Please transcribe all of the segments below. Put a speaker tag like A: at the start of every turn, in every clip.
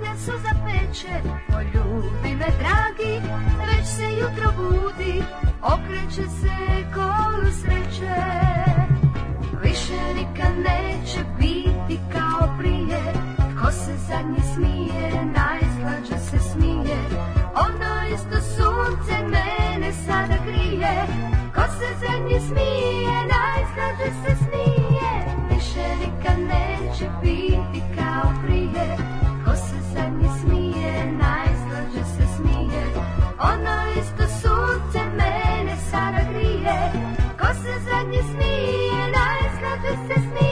A: meso zapeče, poljubi me dragi, već se jutro budi, okreće se koju sreće. Više nikad neće biti kao prije, tko se zadnji smije, najslađe se smije, ono isto sunce mene sada grije, ko se zadnji smije, najslađe se smije, više nikad neće biti kao prije, ko se zadnji smije, najslađe se smije, ono isto sunce mene sada grije, ko se zadnji smije, najslađe se smije.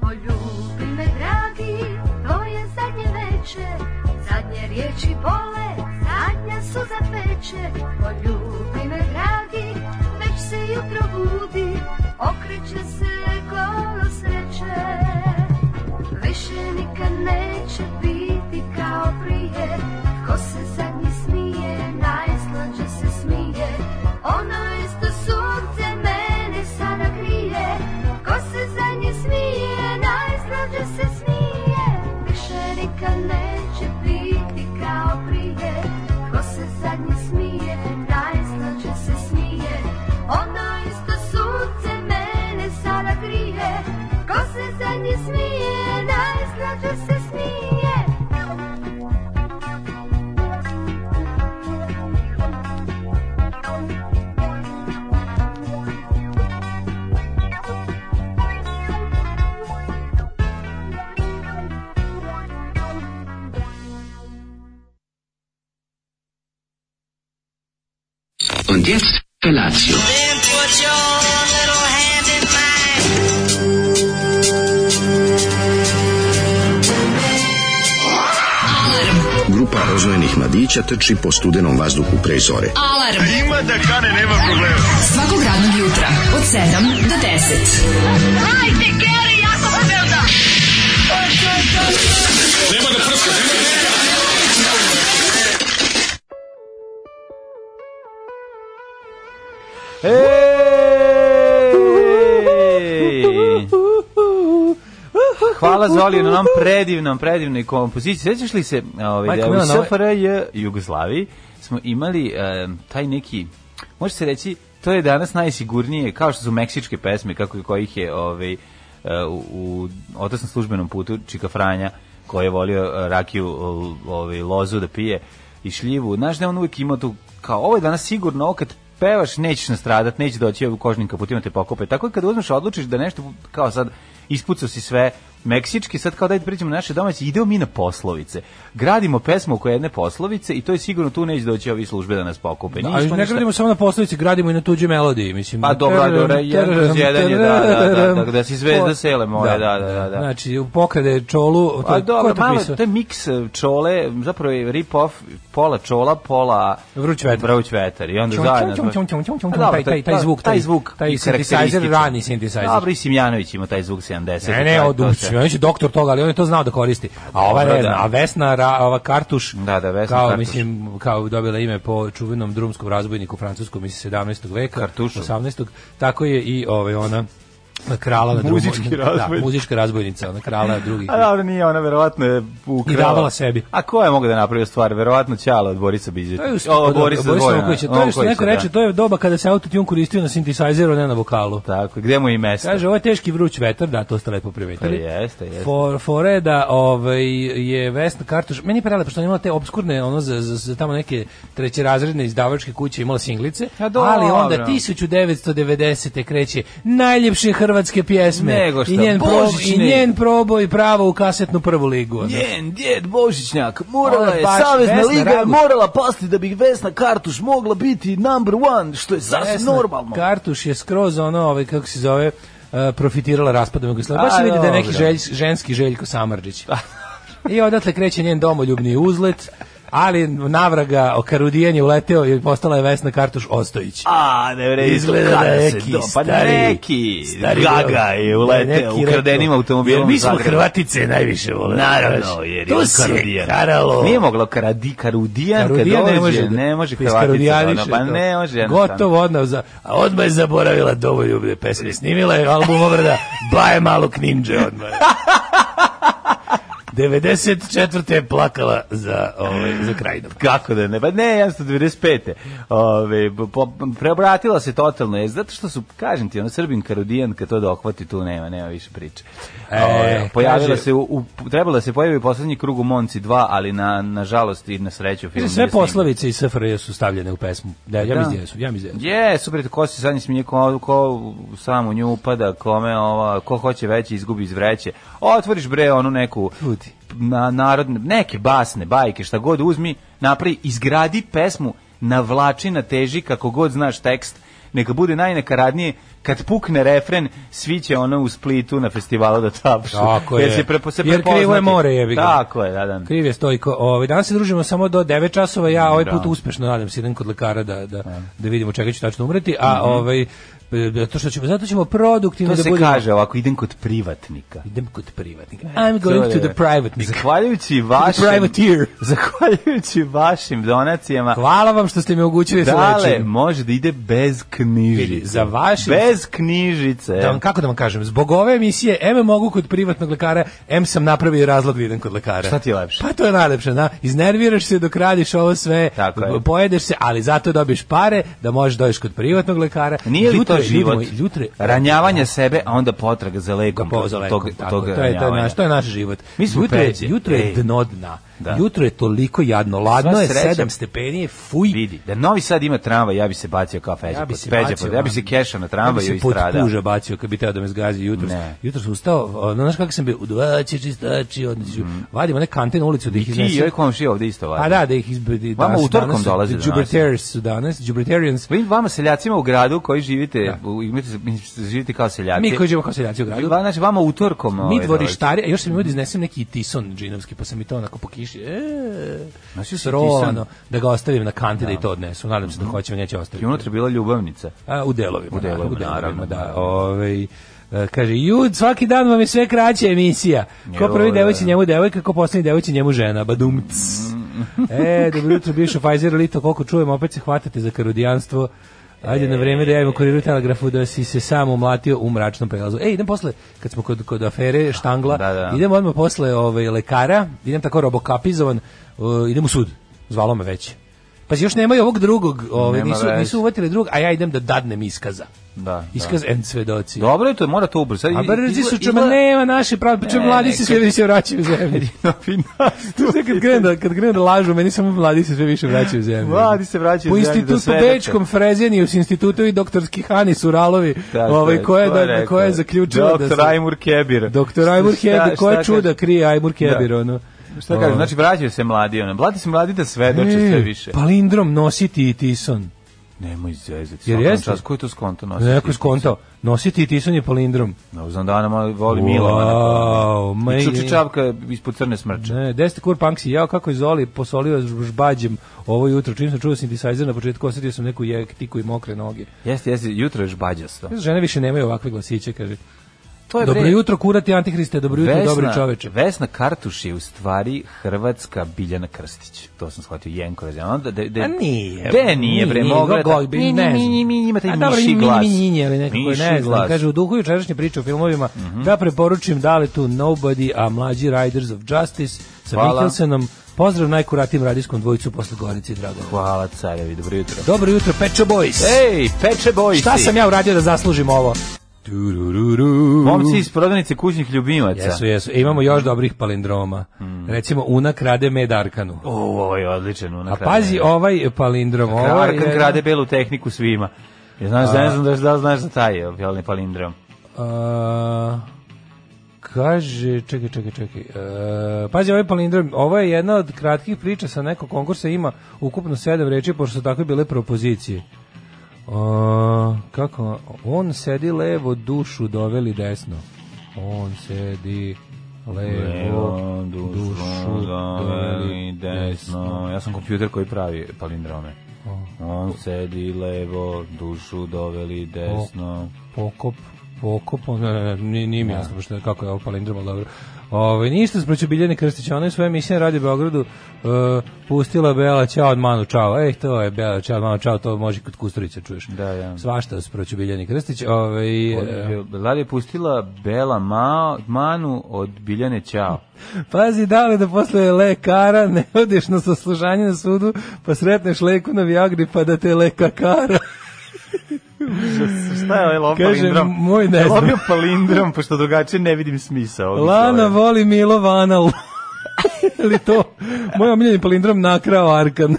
A: Poljubi me dragi, tvoje zadnje veče, zadnje riječi bole, zadnja suza peče. Poljubi me dragi, već se jutro budi, okreće se kolo sreće. Više nikad neće biti kao prije, ko se zadnji smije, najslađe se smije. Ono isto sunce mene sada grije, ko se zadnji smije, najslađe se smije. Više nikad neće biti kao prije, ko se zadnji smije, najslađe se smije. Ono isto sunce mene sada grije, ko se zadnji smije, najslađe se smije.
B: Und jetzt Felatio.
C: Then put your little hand in mine.
D: Grupa roznojenih mladića trči po studenom vazduhu pre zore.
E: Alarm. E, Ima da kane, nema problema. Svakog radnog jutra, od 7 do 10. Hajde, Keri, jako se velda.
F: Ej! Hvala Zoli na onom predivnom, predivnoj kompoziciji. Sjećaš li se ovaj,
G: Majko
F: da u
G: Milana, ovaj-
F: SFRJ Jugoslaviji smo imali e, taj neki, može se reći, to je danas najsigurnije, kao što su meksičke pesme, kako kojih je ovaj, e, u, u otasnom službenom putu Čika Franja, koji je volio e, rakiju o- ovaj, lozu da pije i šljivu. Znaš da je on uvijek imao tu, kao ovo je danas sigurno, ovo kad pevaš nećeš nastradat, neće doći u kožnim kaputima te pokope. Tako je kad uzmeš odlučiš da nešto, kao sad, ispucao si sve meksički, sad kao dajte priđemo na naše domaće, idemo mi na poslovice. Gradimo pesmu oko jedne poslovice i to je sigurno tu neće doći ovi službe da nas pokupe.
G: Da,
F: Nismo
G: ali ne
F: ništa-
G: gradimo samo na poslovici, gradimo i na tuđoj melodiji, mislim.
F: Pa dobro,
G: Tararam,
F: dobro, jedan kroz
G: tararam,
F: jedan je, da, da, da,
G: tararam.
F: da, da si zvezda
G: Po-
F: sele moje, da, da, da, da.
G: Znači, u pokrade čolu, to
F: Pa
G: je, ko
F: dobro,
G: je to
F: malo,
G: pisao?
F: to je miks e, čole, zapravo je rip-off pola čola, pola
G: Vruć vetar.
F: Vruć vetar. I onda
G: Čum,
F: zajedno...
G: čum, čum, čum, čum, čum,
F: A dobro,
G: taj- taj- taj
F: to-
G: zvuk,
F: taj
G: taj-
F: zvuk.
G: taj
F: i
G: synthesizer,
F: karakterističan.
G: rani synthesizer.
F: Dobro, i Simjanović ima taj zvuk 70.
G: Ne, ne,
F: to-
G: od
F: Pa, to se-
G: on je doktor toga, ali on je to znao da koristi. A ova
F: Dobro,
G: ne zna,
F: da.
G: a Vesna, Ra- ova Kartuš,
F: Da, da, Vesna
G: kao,
F: Kartuš.
G: mislim, kao dobila ime po čuvenom drumskom razbojniku francuskom iz 17. veka,
F: Kartušu.
G: 18. Tako je i ovaj, ona krala na drumu-
F: Muzički razbojnik.
G: Da, muzička razbojnica, ona krala drugih.
F: A dobro, nije ona, verovatno je ukrala.
G: I davala sebi.
F: A ko je mogao da napravi stvar? Verovatno Ćala od Borisa Biđe.
G: To je pa us-
F: Ovo,
G: od-
F: Borisa
G: od Borisa
F: Dvojana.
G: Vukovića. To je što
F: Vukovića,
G: neko
F: da.
G: reče, to je doba kada se autotune koristio na sintesajzeru, ne na vokalu.
F: Tako, gde mu je i mesto?
G: Kaže, ovo je teški vruć vetar, da, to ste lepo
F: Pa
G: primetili.
F: jeste, jeste.
G: For, fore da ovaj, je Vesna Kartuš, meni je prelepo što ona imala te obskurne, ono, za, za, za tamo neke trećerazredne izdavačke kuće imala singlice,
F: A dobro.
G: ali onda 1990. kreće najljepše hrvatske pjesme
F: Nego šta,
G: i, njen proboj, i
F: božićni.
G: njen proboj pravo u kasetnu prvu ligu. ono.
F: Njen djed Božićnjak morala
G: Ona
F: je,
G: baš
F: Savezna
G: Vesna
F: liga je
G: Raguš.
F: morala pasti da bi Vesna Kartuš mogla biti number one, što je sasvim
G: Vesna
F: normalno.
G: E, Kartuš je skroz ono, ovaj, kako se zove, e, profitirala raspadom Jugoslavije. Baš
F: A,
G: se vidi da je neki
F: dobro. Pa,
G: želj, ženski Željko Samarđić. I odatle kreće njen domoljubni uzlet. ali navraga Karudijan je uleteo i postala je Vesna Kartuš Ostojić. E,
F: A, ne vredi,
G: Izgleda da
F: kada se
G: neki
F: do- pa
G: stari-
F: neki
G: stari
F: gaga je uleteo
G: neki
F: ukradenim
G: rekao,
F: automobilom
G: jer mi
F: u
G: smo
F: Zagreb.
G: Hrvatice najviše vole.
F: Naravno, jer je
G: to
F: on
G: se
F: Karudijan.
G: karalo.
F: Nije moglo karadi, Karudijan kad
G: Karudija
F: dođe,
G: ne može, da-
F: ne može Hrvatica.
G: iskarudijaniše
F: ono, Pa
G: to.
F: ne može jednostavno.
G: Gotovo odmah za, a odmah je zaboravila domoljubne pesme. Snimila je album obrada Baje malog ninja odmah. 94. je plakala za, ovaj, za krajinom.
F: Kako da ne? Pa ne, ja sam 95. Ove, po, preobratila se totalno. Je, zato što su, kažem ti, ono Srbin Karudijan, kad to dohvati, tu nema, nema više priče.
G: E,
F: Ove, pojavila
G: kaže-
F: se, u, u- trebala se pojavi u poslednji krug u Monci 2, ali na, na žalost i na sreću film.
G: Sve
F: nije snimljen.
G: poslavice iz SFRJ su stavljene u pesmu. Da, ja mislim da su, ja mislim da su.
F: Je, super, ko se zadnji smije, ko, ko sam u nju upada, kome ova, ko hoće veće izgubi iz vreće. Otvoriš bre onu neku
G: Ljudi.
F: na, narodne, neke basne, bajke, šta god uzmi, napravi, izgradi pesmu, navlači, nateži, kako god znaš tekst, neka bude najnakaradnije, kad pukne refren, svi će ono u Splitu na festivalu da tapšu.
G: Tako
F: jer
G: je.
F: se prepo, se
G: Jer krivo je
F: prepoznati.
G: more, jebi ga.
F: Tako je, da, da.
G: Kriv je Stojko. Ovaj danas se družimo samo do 9 časova. Ja ovaj put
F: Da.
G: uspešno nadam se idem kod lekara da da da vidimo čega ću tačno umreti, a ovaj zato što ćemo zato ćemo produktivno
F: Mhm. To
G: da
F: se
G: budemo
F: kaže ovako, idem kod privatnika.
G: idem kod privatnika. I'm going to the private
F: Zahvaljujući vašim...
G: privateer.
F: Zahvaljujući vašim donacijama,
G: Hvala vam što ste mi omogućili da se
F: Dale
G: lečim.
F: može da ide bez
G: Vidi,
F: knjižice.
G: za vaše-
F: Bez knjižice.
G: Da vam, kako da vam kažem, zbog ove emisije M mogu kod privatnog lekara, M sam napravio razlog da idem kod lekara.
F: Šta ti je lepše?
G: Pa to je najlepše, da. Iznerviraš se dok radiš ovo sve,
F: Tako je.
G: pojedeš se, ali zato dobiješ pare da možeš doći kod privatnog lekara.
F: Pa Nije li
G: Jutro
F: to
G: je, ljudi
F: život?
G: moji, jutro je-
F: Ranjavanje sebe, a onda potraga za
G: ga
F: lekom.
G: poza lekom,
F: tog,
G: tako,
F: tog
G: to je, to je
F: ranjavanja.
G: naš, to je naš život.
F: Mi smo
G: jutro, je,
F: peđe,
G: jutro je
F: ej.
G: dno dna.
F: Da.
G: Jutro je toliko jadno, ladno
F: Sva
G: je
F: sreća.
G: 7 stepeni, fuj,
F: Vidi, da Novi Sad ima tramvaj, ja bi se bacio kao feđa.
G: Ja bi
F: pod-
G: se
F: peđa
G: bacio,
F: pod- ja bi se
G: man.
F: kešao na
G: Ja bi
F: tramvaju
G: se
F: i
G: pod
F: stradao.
G: puža bacio kad bi teo da me zgazi jutros.
F: Ne.
G: Jutros sam ustao, ono, znaš kako sam bio, udvaće čistači, odnesu. Vadimo one kante na ulicu da ih
F: Ti Mhm. i ovaj
G: iznesem.
F: komšija ovde isto
G: A
F: važno.
G: da, da ih izbedi.
F: Vama utorkom dolaze do nas.
G: Jupiters su danas, Jupitarians.
F: Vi vama seljacima u gradu koji živite, u, imate, živite kao seljaci.
G: Mi koji živimo kao seljaci u gradu.
F: Va- Znači, vama utorkom... ovaj,
G: Mi
F: dolazi.
G: dvorištari, a još sam imao da iznesem neki tison džinovski, pa sam i to onako po kiši. E,
F: Nosio si
G: srovano,
F: tison? Mhm.
G: da ga ostavim na kanti da i to odnesu. Nadam se da hoćemo, neće
F: I
G: ostaviti.
F: unutra je bila ljubavnica.
G: A, u delovima.
F: U delovima,
G: da,
F: naravno.
G: Da, ovaj, e, kaže, jud, svaki dan vam je sve kraća emisija. Ko
F: Jo,
G: prvi
F: da.
G: devojci njemu devojka, ko poslednji devojci njemu žena. Badumc.
F: Mm.
G: e, dobro jutro, bivšo Pfizer Lito, koliko čujem, opet se hvatate za karudijanstvo. Ajde
F: E.
G: na vreme da javimo kuriru telegrafu da si se sam umlatio u mračnom prelazu. E, idem posle, kad smo kod, kod afere Štangla,
F: Da, da.
G: idem odmah posle ovaj, lekara, idem tako robokapizovan, uh, idem u sud. Zvalo me već. Pa još nemaju ovog drugog, ovaj,
F: Nema
G: nisu,
F: veze.
G: nisu uvatili drug, a ja idem da dadnem iskaza.
F: Da,
G: Iskaz en svedoci.
F: Dobro je to, mora to ubrzo. Sad
G: A
F: izgleda-
G: brzi su čuma,
F: izgleda-
G: nema naše pravo, pa čemu
F: Ne,
G: mladi
F: ne,
G: se sve više vraćaju u zemlju.
F: novinarstvo.
G: Sve kad krenu da, kad krenu da lažu, meni samo mladi se sve više vraćaju u zemlju.
F: Mladi se vraćaju u
G: po
F: zemlju da
G: institutu
F: svedoče.
G: Bečkom Frezeniju, s institutu i doktorski Hani Suralovi,
F: Tako
G: ovaj,
F: je,
G: koja, je
F: to je
G: da,
F: rekao.
G: koja je zaključila da
F: Doktor Ajmur Kebir.
G: Doktor Ajmur
F: Šta-
G: Hebir, koja
F: šta
G: čuda
F: kaže-
G: krije Ajmur Hebir,
F: Da.
G: ono.
F: Šta kažeš,
G: Ovaj.
F: znači vraćaju se mladi, ono. Mladi se mladi da svedoče
G: E,
F: sve više.
G: Palindrom nositi i tison.
F: Nemoj zezati.
G: Jer
F: svakom
G: jeste?
F: Čas, ko je to skonto nositi?
G: Neko je skontao. Nositi i tison je palindrom.
F: No, znam da Ana malo voli Milovana.
G: Wow, ma
F: I
G: je-
F: čuči čavka ispod crne smrče.
G: Ne, gde ste kur Punksi? Jao, kako je Zoli posolio s žbađem ovo jutro. Čim sam čuo synthesizer na početku, osetio sam neku jektiku i mokre noge.
F: Jeste, jeste, jutro je žbađasto.
G: Kaže, Žene više nemaju ovakve glasiće, kaže.
F: To je
G: Dobro
F: bre-
G: jutro, kurati Antihriste, dobro jutro, dobri čoveče.
F: Vesna Kartuš je u stvari hrvatska Biljana Krstić. To sam shvatio Jenko. Da, da, da, da,
G: A nije.
F: Gde nije, bre, mogla je
G: go- go-
F: tako-
G: ne
F: Ni,
G: znam.
F: ni, ni, ni, ima taj
G: A dobro,
F: miši
G: ni, ni,
F: glas.
G: ni, ni, ni, ali nekako,
F: Miši
G: ne znam.
F: glas. Mhm.
G: Kaže, u duhu jučerašnje priče o filmovima, da preporučim da li tu Nobody, a mlađi Riders of Justice sa
F: Hvala.
G: Mikkelsenom. Pozdrav najkuratijim radijskom dvojicu posle Gorici i Dragana.
F: Hvala carevi, dobro jutro.
G: Dobro jutro, Pecho Boys.
F: Ej, peče boj
G: Šta sam ja uradio da zaslužim ovo?
F: Momci iz prodavnice kućnih ljubimaca.
G: Jesu, Hmm. jesu. E, imamo još dobrih palindroma. Recimo, Una krade med Arkanu.
F: O, ovo je odličan.
G: A pazi ovaj palindrom. Ovaj
F: Arkan
G: je-
F: krade belu tehniku svima. Ja znaš, da ne znam da, da znaš za taj je, jelni palindrom.
G: A, kaže, čekaj, čekaj, čekaj. E, pazi, ovaj palindrom, ovo je jedna od kratkih priča sa nekog konkursa, ima ukupno sedam reči, pošto su takve bile propozicije. A, kako? On sedi levo, dušu doveli desno. On sedi levo,
F: Levo, dušu
G: dušu
F: su doveli desno. Ja sam kompjuter koji pravi palindrome. On sedi levo, dušu doveli desno.
G: Pokop, pokop, ne, ne, ne, nije mi jasno pošto kako je ovo palindrom, ali dobro. Ove, ništa sproću Biljane Krstić, ona je svoje emisije na Radio Beogradu e, pustila Bela Ćao od Manu Čao. Ej, to je Bela Ćao od Manu Čao, to može kod Kusturića čuješ.
F: Da, ja.
G: Svašta sproću Biljane Krstić. Ove, e,
F: Lada je pustila Bela Mao, Manu od Biljane Ćao.
G: Pazi, da li da posle lekara ne odeš na saslušanje na sudu, pa sretneš leku na Viagri, pa da te lekakara.
F: Šta je ovaj lov
G: Kaže,
F: palindrom?
G: moj ne znam.
F: Lovio palindrom, pošto drugačije ne vidim smisao. ovih
G: Lana
F: slova.
G: voli Milo Vanal. Ili to? Moj omiljeni palindrom nakrao Arkan.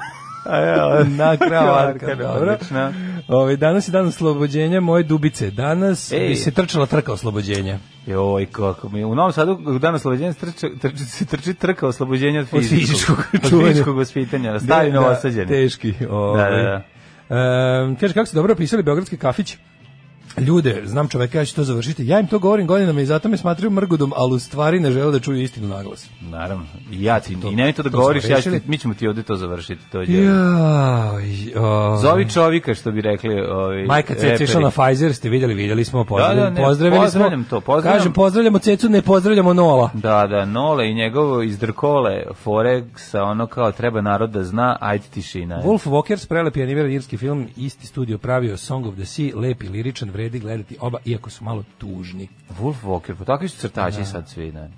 F: A ja,
G: nakrao Arkan, dobro.
F: odlično.
G: Ove, danas je dan oslobođenja moje dubice. Danas
F: Ej.
G: bi se trčala trka oslobođenja.
F: Joj, kako mi. U Novom Sadu danas oslobođenje trči, trči, se trči trka oslobođenja od
G: Od
F: fizičkog.
G: fizičkog
F: Od
G: čuvanja.
F: fizičkog ospitanja. Stari
G: Da,
F: novosađeni.
G: Teški. ovaj.
F: Da, da, da.
G: Ehm, kaže, kako ste dobro opisali Beogradski kafić? Ljude, znam čoveka, ja ću to završiti. Ja im to govorim godinama i zato me smatraju mrgudom, ali u stvari ne žele da čuju istinu naglas.
F: Naravno. I ja ti, i nemoj to da
G: to
F: govoriš,
G: smo
F: ja ću, ti-
G: rešili.
F: mi ćemo ti ovde to završiti. To je.
G: Jaj, o,
F: Zovi čovika, što bi rekli. Ovi,
G: Majka ono Ceca
F: reperi.
G: išla na Pfizer, ste vidjeli, vidjeli smo, pozdravili,
F: Da, da, ne,
G: pozdravili
F: pozdravljam
G: smo.
F: to, pozdravljam.
G: Kažem, pozdravljamo Cecu, ne pozdravljamo Nola.
F: Da, da, Nole i njegovo izdrkole fore sa ono kao treba narod da zna, ajde tišina.
G: Wolf Walkers, prelepi animiran irski film, isti studio pravio Song of the Sea, lepi, liričan, vredi gledati oba, iako su malo tužni.
F: Wolf Walker, pa takvi su crtači sad svi, ne.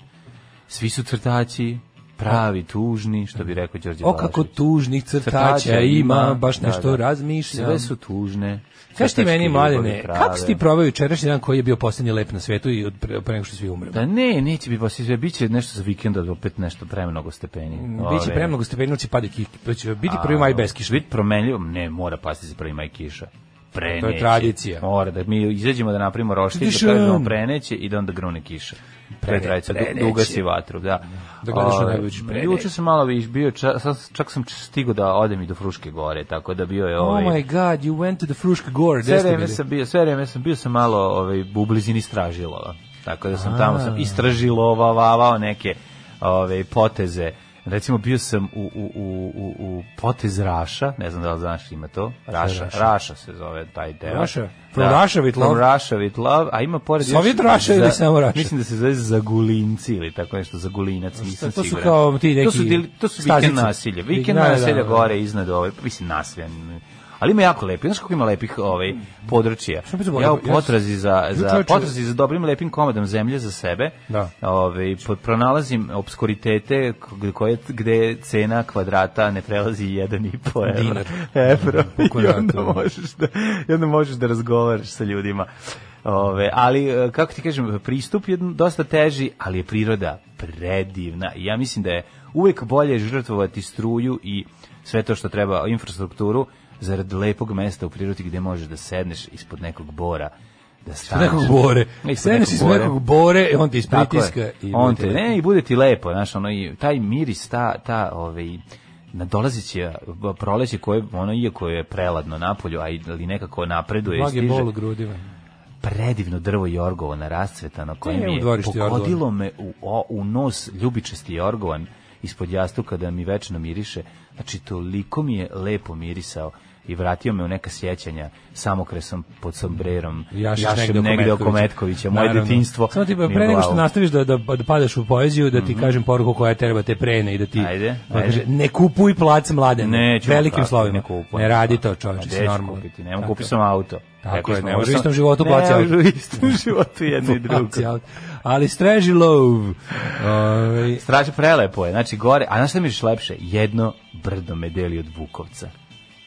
F: Svi su crtači, pravi, tužni, što bi rekao Đorđe
G: O kako
F: Balašić.
G: tužnih crtaća ima, baš nešto razmišljam.
F: Sve su tužne.
G: Kaži ti
F: crtačke
G: meni,
F: ljubavi
G: mladene,
F: prave.
G: kako si ti probao jučerašnji dan koji je bio posljednji lep na svetu i od pre, pre nego što svi umremo?
F: Da ne, neće biti baš sve, bit će nešto za vikend, ali opet nešto premnogo stepeni.
G: Biće premnogo stepeni, ili će pade kiš, pa će biti prvi maj bez kiša.
F: Biti promenljivo, ne, mora pasti se prvi maj kiša. Preneće.
G: To je tradicija.
F: Mora da mi izađemo da napravimo roštilj, da
G: Kiša.
F: kažemo preneće i da onda grune kiša. To je
G: Prene-
F: tradicija,
G: preneće.
F: duga si vatru, da.
G: Da gledaš na
F: Ovaj,
G: najveći preneće.
F: Juče sam malo viš bio, ča- sad čak sam stigo da odem i do Fruške gore, tako da bio je
G: Oh
F: ovaj...
G: my god, you went to the Fruška Gore,
F: sve
G: gde ste
F: vreme
G: bili?
F: sam bio, sve vreme sam bio sam malo ovaj u blizini Stražilova. Tako da sam tamo sam istražilovavao neke ove poteze. Recimo bio sam u, u, u, u, u potez Raša, ne znam da li znaš ima to. Raša, Raša, se zove taj deo.
G: Raša? From Russia with
F: From
G: love?
F: Russia with love, a ima pored
G: Sovjet Raša ili
F: za-
G: samo Raša?
F: Mislim da se zove Zagulinci ili tako nešto, Zagulinac, nisam
G: to su
F: siguran.
G: kao ti neki
F: To su, deli- to su
G: stazice.
F: vikend nasilje. Vikend
G: Da, da,
F: nasilja
G: da.
F: gore iznad ove, pa mislim nasilja. Ali ima jako lepi, znaš kako ima lepih ovaj, područja.
G: Šta bi to bilo?
F: Ja u
G: Ja sam-
F: potrazi za,
G: Ju,
F: za,
G: čoveče-
F: potrazi za dobrim lepim komadom zemlje za sebe,
G: Da.
F: ovaj, pod- pronalazim obskuritete k- koje, gde cena kvadrata ne prelazi 1,5 evra.
G: Dinar.
F: Evro.
G: Po
F: I
G: kvadratu.
F: onda možeš da, i onda možeš da razgovaraš sa ljudima. Ove, ali, e, kako ti kažem, pristup je dosta teži, ali je priroda predivna. I ja mislim da je uvek bolje žrtvovati struju i sve to što treba, infrastrukturu, zarad lepog mesta u prirodi gde možeš da sedneš ispod nekog bora, da
G: Ispod
F: staneš.
G: nekog bore.
F: Ispod
G: Sedneš iz nekog bore, on ti iz
F: tako je.
G: pritiska. i
F: on
G: bude
F: te,
G: lepo.
F: ne, E, i bude ti lepo, znaš, ono, i taj miris, ta, ta, ovaj, nadolazeće proleće koje, ono, iako je preladno napolju, a i- ali nekako napreduje i
G: Blagi
F: stiže,
G: bol u grudima.
F: predivno drvo Jorgovo na rascvetano, koje
G: je
F: mi
G: E, u
F: je
G: dvorištu
F: pogodilo me u, o- u nos ljubičasti Jorgovan ispod jastuka da mi večno miriše, znači toliko mi je lepo mirisao i vratio me u neka sjećanja samokresom pod sombrerom,
G: Jašiš
F: jašem negde, oko Metkovića, moje
G: Naravno.
F: detinjstvo.
G: Samo ti
F: mi je
G: pre nego što
F: glavu. Mhm.
G: nastaviš da, da, da padeš u poeziju, da ti kažem poruku koja treba te prene i da ti
F: Ajde,
G: da
F: ajde.
G: kaže, ne kupuj plac mladen.
F: Neću,
G: Velikim
F: tako,
G: slovima.
F: Ne, kupujem.
G: ne radi to
F: A
G: čovječe,
F: Pa gde
G: si
F: ću
G: normalno.
F: kupiti? Ne mogu, kupio sam auto.
G: Tako
F: Rekli
G: je,
F: smo,
G: ne
F: ovo
G: može u
F: sam-
G: istom životu
F: Ne,
G: plaći
F: ne
G: auto.
F: može u istom životu jedno i drugo.
G: Placijal. Ali Strežilov. Ovaj,
F: Strašno prelepo je, znači gore, a znaš šta mi je još lepše? Jedno brdo me deli od Bukovca.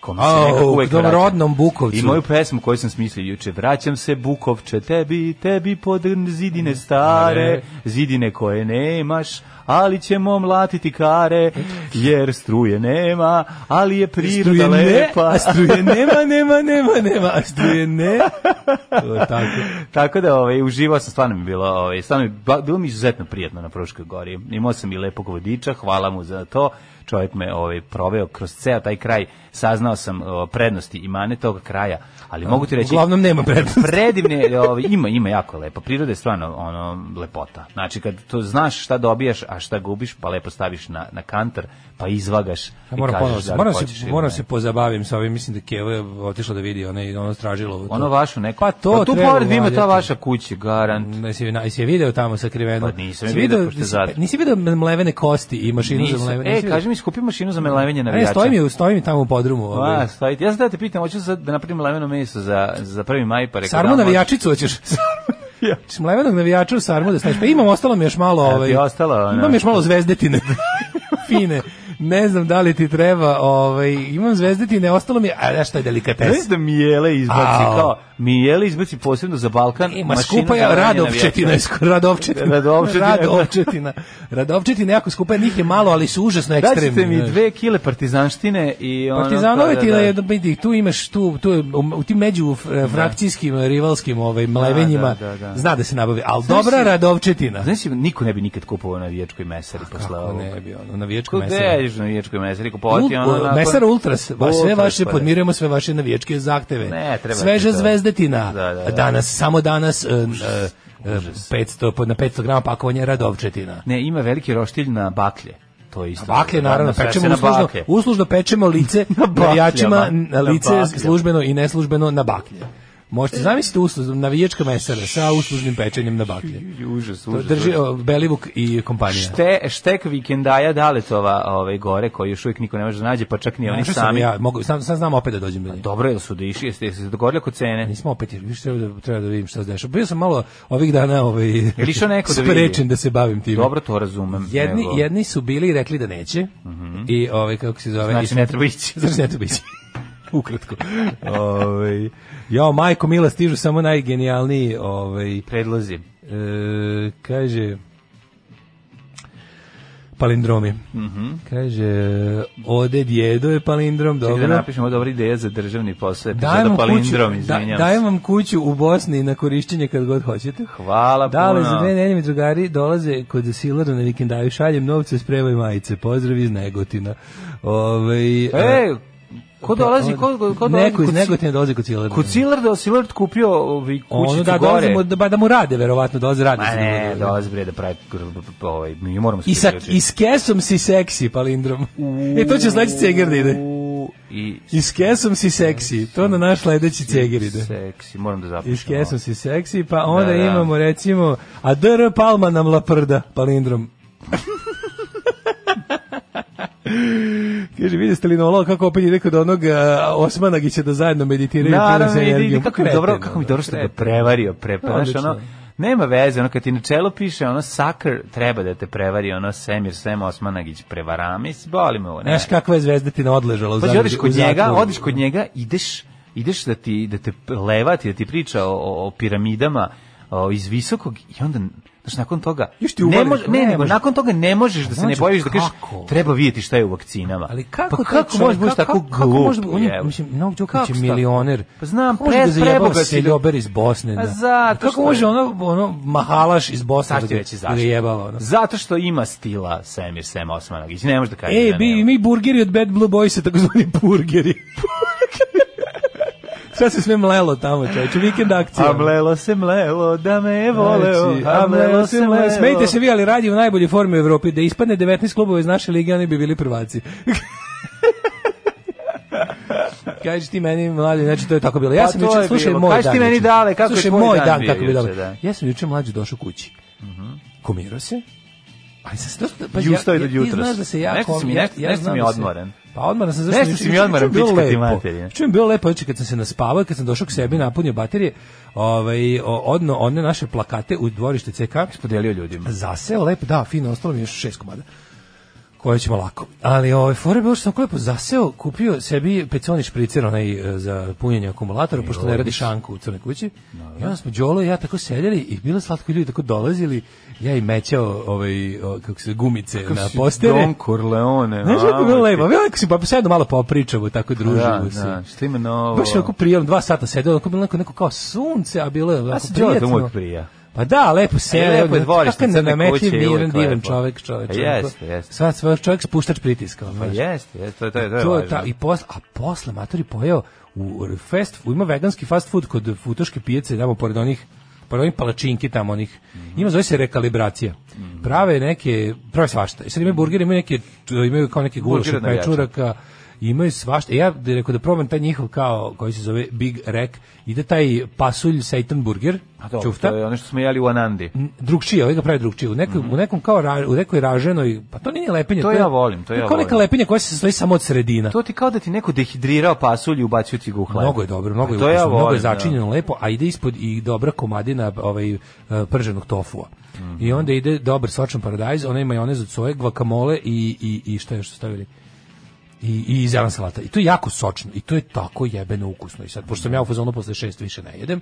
F: Kome
G: Au,
F: nekako uvek
G: k tom
F: vraćam.
G: rodnom Bukovcu.
F: I moju pesmu koju sam smislio juče, vraćam se Bukovče tebi, tebi pod zidine stare, zidine koje nemaš, ali ćemo mlatiti kare, jer struje nema, ali je priroda
G: struje ne,
F: lepa.
G: a struje nema, nema, nema, nema, a struje ne. To je tako.
F: Tako da ovaj uživao sam stvarno mi je bilo, ovaj stvarno mi je ba- bilo mi izuzetno prijatno na Fruškoj gori. Imao sam i lepog vodiča, hvala mu za to. Čovjek me ovaj proveo kroz ceo taj kraj, saznao sam o, prednosti i mane tog kraja, ali mogu ti reći
G: Uglavnom nema prednosti.
F: predivne, ovaj, ima, ima jako lepo. Priroda je stvarno ono, lepota. Znači, kad to znaš šta dobijaš, a šta gubiš, pa lepo staviš na, na kantar, pa izvagaš
G: Ja
F: i
G: moram
F: kažeš
G: ponovo,
F: da li
G: moram se,
F: hoćeš ili
G: moram
F: ne.
G: se pozabavim sa ovim, mislim da Keva je otišla da vidi ona i ono stražilo. ovo to.
F: Ono vašu neko.
G: Pa to
F: tu
G: treba
F: pored ima ta
G: valjati.
F: vaša kuća, garant.
G: Ne si, na, si je video tamo sakriveno?
F: Pa nisam je
G: Si
F: video, pošto je
G: nisi-
F: zatvor.
G: Nisi video mlevene kosti i mašinu za
F: Nisam.
G: mlevene?
F: E,
G: nisi
F: kaži mi, skupi mašinu za melevenje
G: video? E,
F: navijača.
G: stoji mi, stoji mi tamo u podrumu. ovaj.
F: A, stoji. Ja sam da te pitam, hoću sad da napravim leveno meso za, za prvi maj, pa rekao
G: Sarmu
F: da, može.
G: navijačicu hoćeš. Hoćeš Mlevenog navijača u sarmu da staviš. Pa imam, ostalo mi još malo...
F: E, ti
G: Ovaj,
F: je ostalo, ono?
G: Imam još malo zvezdetine. Fine. Ne znam da li ti treba. Ovaj, imam zvezdetine, ostalo mi... je- A, znaš što je delikates?
F: Znaš da Mijele izbaci
G: Au.
F: kao, Mijele izbaci posebno za Balkan.
G: Ima
F: mašinu
G: skupa
F: za
G: je
F: levanje
G: radovčetina, je
F: navijača.
G: skoro- radovčetina.
F: Radovčetina.
G: radovčetina. Radovčetina je jako skupa, njih je malo, ali su užasno ekstremni.
F: Daćete mi
G: znaš.
F: dve kile partizanštine i ono...
G: Partizanove
F: da,
G: ti
F: da,
G: na
F: da.
G: jednom vidi, tu imaš tu tu je, u- u tim među fr- frakcijskim rivalskim ovaj mlevenjima
F: da, da, da.
G: zna da se nabavi, al dobra
F: si-
G: radovčetina.
F: Znaš, niko ne bi nikad kupovao na vijačkoj mesari posle
G: Pa Kako
F: ovog.
G: ne bi ono navijačko
F: Kako
G: mesara.
F: gde ješ na vijačkoj mesari kupovati
G: Ul-
F: e, ono... nakon-
G: Mesar Ultras, va, sve
F: Ultras,
G: vaše
F: pa da.
G: podmirujemo sve vaše navijačke zahteve.
F: Ne, treba
G: Sveža
F: ti to.
G: zvezdetina.
F: Da, da, da.
G: Danas samo danas e, e, e, 500 pod na 500 grama pakovanje radovčetina.
F: Ne, ima veliki roštilj na baklje. To je isto.
G: Bakle naravno
F: sve se
G: pečemo
F: na
G: uslužno,
F: baklje.
G: uslužno pečemo lice
F: bakljama,
G: navijačima, na
F: na
G: lice
F: bakljama.
G: službeno i neslužbeno na baklje. Možete zamisliti uslužno navijačka mesara sa uslužnim pečenjem na baklje.
F: Užas,
G: To
F: užas.
G: drži
F: užas.
G: o, Belivuk i kompanija.
F: Šte, štek vikendaja Daletova ovaj, gore, koji još uvijek niko ne može da nađe, pa čak ni oni
G: Našao sam
F: sami.
G: Ja mogu sam, sam znam opet da dođem do nje.
F: Dobro, jel su da išli, jeste jeste se dogovorili oko cene?
G: Nismo opet, jer više treba da, treba da vidim šta se dešava. Bio sam malo ovih dana ovaj,
F: li išao neko da vidi?
G: sprečen da se bavim tim.
F: Dobro, to razumem.
G: Jedni,
F: nego-
G: jedni su bili i rekli da neće. I ovaj, kako se zove?
F: Mhm. Znači, ne treba ići.
G: Znači ne treba ići. Ukratko. ovaj, jao, majko Mila, stižu samo najgenijalniji ovaj,
F: Predlozi.
G: E, kaže palindromi. Kaže ode djedo je palindrom,
F: Dobro. Mhm. Da
G: dobro.
F: napišemo dobra ideja za državni posao.
G: Dajem
F: Dajem
G: vam, kuću,
F: palindrom,
G: da,
F: izvinjam
G: dajem
F: se.
G: vam kuću u Bosni na korišćenje kad god hoćete.
F: Hvala
G: Da li
F: puno.
G: za dve nedelje mi drugari dolaze kod Silara na vikendaju, šaljem novce, spremaj majice. Pozdrav iz Negotina. Ovaj
F: E, ko
G: pa,
F: dolazi,
G: onda-
F: ko, ko dolazi?
G: Neko iz
F: Kod-
G: Negotina dolazi kod Silara.
F: Kod Silard, da Silard kupio ovaj,
G: Ono
F: kućicu
G: da,
F: gore.
G: dolaze mu, da, ba- da mu rade, verovatno, dolaze rade.
F: Ma
G: se
F: ne,
G: dogodilo.
F: dolazi bre da pravi gr- b- b- ovaj, mi moramo se
G: I sa,
F: priključiti.
G: I s kesom si seksi, palindrom. E, to će sledeći ceger da ide.
F: U, I
G: I s kesom si seksi, to na naš sledeći ceger ide.
F: seksi, moram da zapišem.
G: I s kesom si seksi, pa onda
F: Da, da.
G: imamo recimo, a dr palma nam laprda, palindrom. Kaže, vidjeste li Nolo kako opet ide kod onog a, Osmanagića da zajedno meditiraju puno
F: Naravno,
G: sa
F: vidi,
G: energijom. ono,
F: vidi kako mi dobro, kako mi dobro što ga prevario, pre, pa, znaš,
G: Odlično.
F: ono, nema veze, ono, kad ti na čelo piše, ono, sakr, treba da te prevari, ono, Semir, Sem Osmanagić, prevara, mi se bolimo ovo, ne.
G: Znaš kakva je zvezdetina odležala u
F: Pa ti
G: zadru-
F: odeš
G: u
F: kod
G: zatvoru.
F: njega, odeš kod njega, ideš, ideš da ti da te levati, da ti priča o- o, o piramidama o, iz visokog i onda Znaš, nakon toga,
G: Još ti
F: ne,
G: uvališ,
F: može,
G: ne
F: ne, nego,
G: može.
F: nakon toga ne možeš da se ne
G: Mlađo,
F: bojiš da kažeš,
G: kako?
F: treba vidjeti šta je u vakcinama.
G: Ali kako
F: pa
G: taj
F: kako
G: čovjek-
F: možeš biti
G: kako-
F: tako glup?
G: kako može- on je,
F: jebo?
G: mislim, Novak Đoković
F: Kako
G: je
F: šta?
G: milioner.
F: Pa znam,
G: Kako može da
F: pre,
G: zajebava
F: preboga si ljub-
G: seljober iz Bosne.
F: A
G: da?
F: zato
G: Kako
F: što
G: može
F: je-
G: ono, ono mahalaš iz Bosne
F: Sad
G: da
F: ću
G: ga-
F: reći
G: da ga
F: zašto.
G: jebava, ono?
F: Zato što ima stila Semir Sem Osmanagić. Ne možeš da kažeš
G: E,
F: Pa da
G: bi,
F: nema.
G: mi burgeri od Bad Blue Boysa, tako zvani burgeri. Sad se sve mlelo tamo, čovječe, vikend akcija.
F: A mlelo se mlelo, da me voleo.
G: Znači, a mlelo se mlelo. Smejte se vi, ali radi u najboljoj formi u Evropi. Da ispadne 19 klubova iz naše lige, oni bi bili prvaci. Kaži ti meni, mlađe, znači to je tako bilo. Ja
F: Pa
G: sam
F: to
G: juče,
F: je
G: slušaj,
F: bilo.
G: moj
F: Kaži
G: dan.
F: ti meni,
G: juče.
F: Dale, kako je
G: slušaj,
F: tvoj
G: moj
F: dan
G: dan,
F: bio
G: kako bi
F: juče,
G: dobro.
F: da.
G: Ja sam juče mlađe došao kući. Komirao se, ali sam se dosta... Pa,
F: I ustao je do
G: Ti
F: jutros.
G: znaš da se ja...
F: Nešto
G: kom-
F: si mi-
G: ja-
F: nešto-
G: ja
F: nešto
G: znam
F: mi je
G: da se-
F: odmoren.
G: Pa odmoran sam, zašto
F: Nešto
G: mi-
F: si mi
G: juče
F: odmoran,
G: mi je bilo
F: pička ti
G: lepo.
F: materina.
G: Čujem bilo lepo, znači kad sam se naspavao, kad sam došao k sebi, napunio baterije, ovaj, o- odno one naše plakate u dvorište CK,
F: Podelio ljudima.
G: zaseo lepo, da, fino, ostalo mi je još šest komada koje ćemo lako. Ali ovaj fore bilo što sam lepo zaseo, kupio sebi peconi špricer onaj e, za punjenje
F: E,
G: akumulatora pošto ne radi šanku u crnoj kući. I onda smo Đolo i ja tako sedeli i bilo je slatko ljudi tako dolazili, ja i mećao ovaj o, kako se gumice na postere.
F: Don Corleone.
G: Znaš kako je bilo
F: a,
G: lepo, bilo je lepo se pa sedno malo popričamo, tako družimo
F: Da,
G: se.
F: da, što ima novo?
G: Baš je onako prijemno, dva sata sedeo, onako bilo neko, neko kao sunce, a bilo je
F: A
G: onako
F: se Đole to
G: prijatno.
F: uvijek prija.
G: Pa Pa da, lepo se,
F: E, lepo je dvorište,
G: Kakav
F: crne
G: nenametljiv,
F: kuće je
G: miran,
F: uvek
G: divan
F: lepo.
G: čovek, čovek.
F: Pa jeste, jeste.
G: Sva, sva čovek spuštač pritiska.
F: Pa
G: znaš.
F: jeste, jeste, to je, to je, to je,
G: to je
F: važno.
G: ta, i posle, a posle matori pojeo u fast food, ima veganski fast food kod futoške pijace, tamo pored onih pored onih palačinki tamo onih.
F: Mhm.
G: Ima zove se rekalibracija. Prave neke, prave svašta. I sad imaju burgere, imaju neke imaju kao neke gulaše,
F: Burger od navijača.
G: pečuraka, imaju svašta. E, ja da rekao da probam taj njihov kao koji se zove Big Rek, ide taj pasulj seitan burger,
F: A dobro,
G: ćufta
F: To je ono što smo jeli u Anandi.
G: drugčije, ovaj ga pravi drugčije. U, nekom, u nekom kao ra, u nekoj raženoj, pa to nije lepenje.
F: To ja volim, to ja
G: Kao neka
F: volim.
G: lepenja koja se sastoji samo od sredina.
F: To ti kao da ti neko dehidrirao pasulj i ubacio ti ga u hleb.
G: Mnogo je dobro, mnogo je
F: Pa to ja
G: ukusno, mnogo je
F: volim, da.
G: začinjeno lepo, a ide ispod i dobra komadina ovaj e, prženog tofua. I onda ide dobar sočan paradajz, onaj majonez od soje, guacamole i, i, i šta još su stavili? I, i zelena salata. I to je jako sočno i to je tako jebeno ukusno. I sad, pošto sam ja u fazonu posle šest više ne jedem,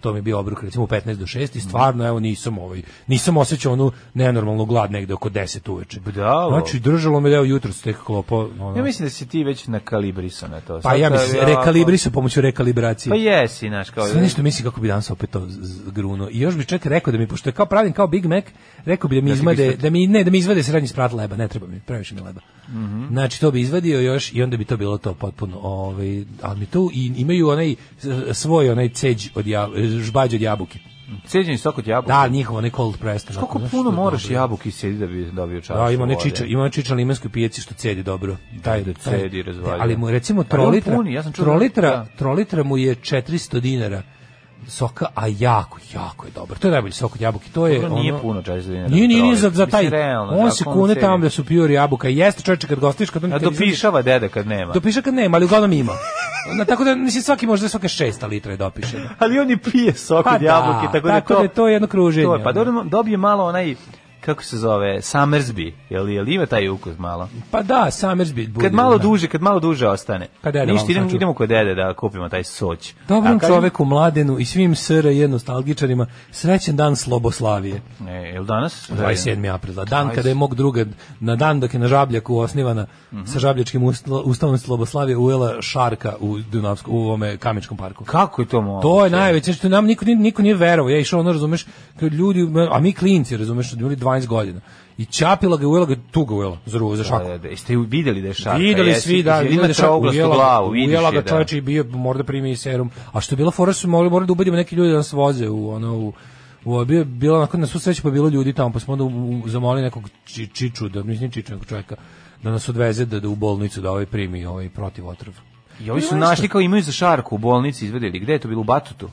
G: to mi je bio obruk recimo u 15 do 6 i stvarno evo nisam ovaj nisam osjećao onu nenormalnu glad negde oko 10 uveče.
F: Bravo.
G: Znači držalo me da evo jutros tek klopo. ono.
F: Ja mislim da si ti već nakalibrisan na to.
G: pa
F: Sad
G: ja
F: to
G: mislim
F: je ovako-
G: rekalibri su pomoću rekalibracije.
F: Pa jesi, znaš, kao...
G: Sve nešto mislim kako bi danas opet to z- z- gruno. I još bi čak rekao da mi, pošto je kao pravim kao Big Mac, rekao bi da mi
F: Da ti
G: izvade,
F: bistrat.
G: da mi, ne, da mi izvade srednji sprat leba, ne treba mi, previše mi leba.
F: Mhm.
G: Znači, to bi izvadio još i onda bi to bilo to potpuno, ovaj, ali mi tu i, imaju onaj s- svoj, onaj ceđ od jabuke, žbađ od jabuke.
F: Ceđeni sok od jabuka.
G: Da, njihov onaj cold pressed. onako,
F: Koliko
G: znaš,
F: puno
G: što je
F: moraš
G: dobro.
F: jabuki sedi da bi dobio čašu
G: Da, ima
F: ne
G: ne čiča, ima ne čiča limenskoj pijaci što cedi dobro. Taj
F: Pa, Da,
G: taj-
F: cedi, razvaljuje.
G: Ali mu recimo
F: Ali on
G: trolitra,
F: puni, ja sam čuo da-
G: trolitra,
F: da.
G: trolitra mu je 400 dinara soka, a jako, jako je dobar. To je najbolji sok od jabuke. To je
F: Dobro, nije
G: ono-
F: puno 40 dinara
G: Nije, nije, nije za, za
F: Mislim,
G: taj.
F: realno, za
G: on se
F: ako on
G: kune
F: cedi.
G: tamo da su pure jabuka. Jeste čoveče kad gostiš kad on
F: A
G: kad izvadi-
F: dopišava deda kad nema.
G: Dopiše kad nema, ali uglavnom ima. Na, tako da mislim svaki možda svake 6 litara je dopiše.
F: Ali on i pije sok
G: Pa
F: od jabuke,
G: da,
F: tako da
G: tako
F: to...
G: da je to jedno kruženje,
F: To je, pa
G: ono.
F: dobro, dobije malo onaj, kako se zove, Summersby. Jel, jel ima taj ukus malo?
G: Pa da, Summersby bude. ono.
F: Kad malo
G: da.
F: duže, kad malo duže ostane.
G: Kad dede malo
F: Ništa, idemo,
G: sačuva.
F: idemo kod dede da kupimo taj soć.
G: Dobrom
F: A kažem-
G: čoveku, mladenu i svim SRJ nostalgičarima, srećen dan Sloboslavije.
F: E, jel danas?
G: 27. aprila, dan
F: 20.
G: kada je mog druga, na dan dok je na Žabljaku osnivana
F: Mhm.
G: sa Žabljačkim uslo- ustavom Sloboslavije ujela Šarka u Dunavsku, u ovome Kamičkom parku.
F: Kako je to moguće?
G: To je najveće što nam niko, niko nije verovao. Ja išao, ono, razumeš, kad ljudi, a mi klinci, razumeš, od ljudi 12 godina. I čapila ga, i ujela ga, tu ga ujela, za, ru- za šaku.
F: Da, da, da. Jeste ju videli da je šarka?
G: Videli
F: jesi?
G: svi, da,
F: Jel
G: videli
F: ima
G: da čovjek
F: trouglastu
G: ujela,
F: glavu, vidiš
G: ujela
F: je,
G: ga
F: da.
G: čovječ i bio, morda primi i serum. A što je bila fora, su morali, morali da ubedimo neke ljude da nas voze u ono, u, u bio, bilo onako na svu sreću pa je bilo ljudi tamo, pa smo onda u- u- zamolili nekog či, čiču, da mislim čiču nekog čovjeka, da nas odveze da, da u bolnicu da ovaj primi ovaj protiv otrov.
F: I ovi su našli kao imaju za šarku u bolnici izvedeli. Gde je to bilo? U Batutu?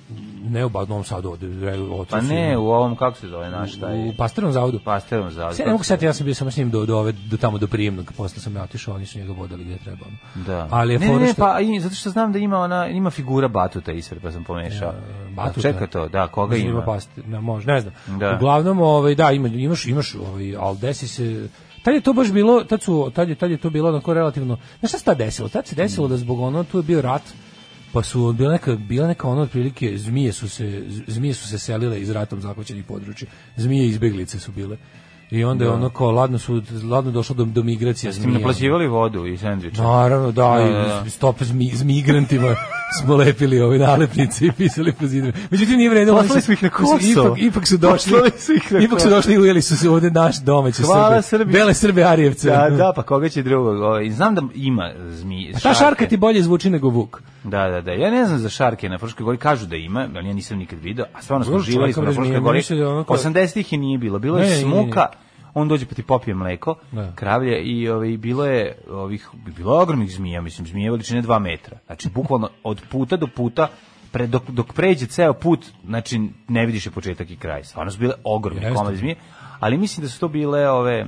G: Ne u Bad- Novom Sadu, ovde, re- otrov
F: Pa
G: su
F: ne,
G: im-
F: u ovom, kako se zove naš taj...
G: u Pasterom zavodu.
F: Pasterom zavod.
G: Sve ne mogu sad, ja sam bio samo s njim do, do, ove, do tamo do prijemnog, posle sam ja otišao, oni su njega vodali gdje treba.
F: Da.
G: Ali je
F: ne,
G: fora
F: ne, ne,
G: što-
F: pa i, zato što znam da ima ona ima figura Batuta ispred, pa sam pomešao.
G: Batuta.
F: A Čeka to, da, koga
G: Mislim,
F: ima?
G: pasti, ne, može, ne znam.
F: Da.
G: Uglavnom, ovaj, da, ima, imaš, imaš, ovaj, ali desi se... Tad je to baš bilo, tad, su, tad, je, tad je to bilo onako relativno... Znaš šta se tad desilo? Tad se desilo da zbog ono, tu je bio rat, pa su bila neka, bila neka ono otprilike, zmije su se, z- zmije su se selile iz ratom zahvaćenih područja. Zmije i izbeglice su bile. I onda je ono kao, ladno, su, ladno došlo do, do migracija
F: Ste mi
G: zmija.
F: naplaćivali vodu i sendviče.
G: Naravno, da,
F: Da,
G: i
F: da, da.
G: stop s, mi, s migrantima smo lepili ove nalepnice i pisali po zidovima. Međutim, nije vredilo.
F: Poslali
G: oni su-
F: smo ih na
G: oni su
F: Kosovo.
G: Ipak, ipak su došli.
F: Poslali su ih na
G: ipak su
F: Kosovo.
G: došli i ujeli su se ovde naš domaći
F: Hvala
G: Srbi.
F: Srbi.
G: Bele Srbe Arijevce.
F: Da, da, pa koga će drugog? Ovaj, znam da ima zmije.
G: Pa ta šarka ti bolje zvuči nego Vuk.
F: Da, da, da. Ja ne znam za šarke na Fruškoj gori, kažu da ima, ali ja nisam nikad video, a stvarno smo
G: Dobro,
F: živali smo na
G: čovjeka
F: Fruškoj
G: razmijenio,
F: gori.
G: mislim da je ono kao-
F: 80-ih je nije bilo, bilo je
G: Ne, ne, ne, ne.
F: smuka, on dođe pa ti popije mleko,
G: Da.
F: kravlje i ovaj, bilo je ovih, bilo je ogromnih zmija, mislim, zmije veličine 2 metra. Znači, bukvalno od puta do puta, pre, dok, dok pređe ceo put, znači, ne vidiš je početak i kraj. Stvarno su bile ogromne
G: Jeste.
F: komade zmije, ali mislim da su to bile ove,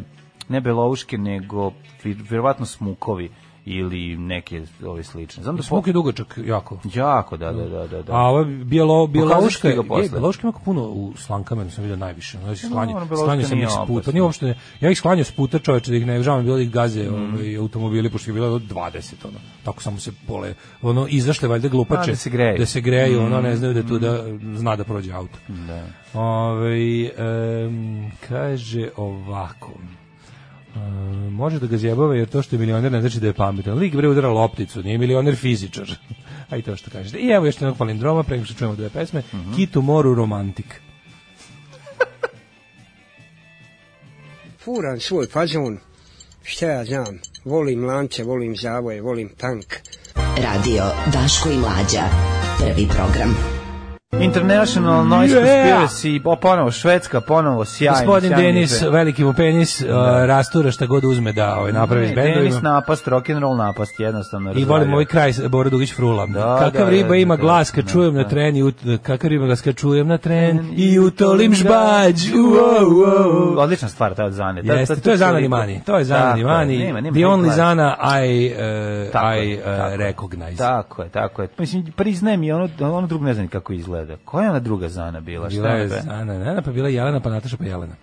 F: ne belouške, nego vir- vjerovatno smukovi ili neke ove slične. Znam da po-
G: Smuk je dugačak jako.
F: Jako, da, da, da, da. da.
G: A ova bijelo,
F: Pokazat ću
G: bjeloška
F: ti
G: je,
F: ga posle.
G: bjeloška ima puno u slankamenu, sam vidio najviše. Ono, znači, sklanje,
F: ono, Bjeloška
G: sklanio sam
F: nije
G: ih s puta.
F: opasno.
G: Nije uopšte, ja ih sklanio s puta čoveče da ih ne žavam, bilo da ih gaze
F: Mhm.
G: ovaj, automobili, pošto je bilo do 20, ono. Tako samo se pole, ono, izašle valjda glupače.
F: A, da se greju. Mhm.
G: Da se greju, ono, ne znaju da je tu da zna da prođe auto. Da. kaže ovako, E, može da ga zjebava jer to što je milioner ne znači da je pametan. Lik bre udara lopticu, nije milioner fizičar. A
F: Mhm.
G: i to što kažete. I evo još jednog palindroma, prema što čujemo dve pesme. Kitu moru romantik.
H: furam svoj fazon, šta ja znam, volim lance, volim zavoje, volim tank.
I: Radio Daško i Mlađa. Prvi program.
F: International Noise
G: Yeah!
F: Conspiracy, o, ponovo Švedska, ponovo sjajno.
G: Gospodin
F: sjajni
G: Denis,
F: bend.
G: veliki mu penis, uh, rastura šta god uzme da ovaj, napravi s
F: Ne, Denis
G: bendovima.
F: napast, rock'n'roll napast, jednostavno.
G: I
F: razvalio.
G: volim ovaj kraj Bora Dugić Frula.
F: Da,
G: kakav
F: da,
G: riba
F: da,
G: ima
F: da,
G: glas
F: da,
G: kad čujem na
F: da.
G: tren i ut, kakav riba glas kad čujem na tren i utolim žbađ. Uo, uo, uo.
F: Odlična stvar ta od Zane. Ta-
G: Jeste,
F: ta-
G: to je Zana
F: toliko-
G: Limani. To je Zana
F: Tako je,
G: Limani.
F: nema- nema
G: The only
F: glas.
G: Zana I, uh,
F: Tako je,
G: I uh,
F: tako je.
G: recognize.
F: Tako je, tako je. Mislim, priznaje mi, ono, ono drugo ne znam ni kako izgleda. Koja je ona druga Zana bila?
G: Bila
F: Šta
G: je
F: je be?
G: Zana Nena, pa bila je Jelena, pa Nataša, pa Jelena.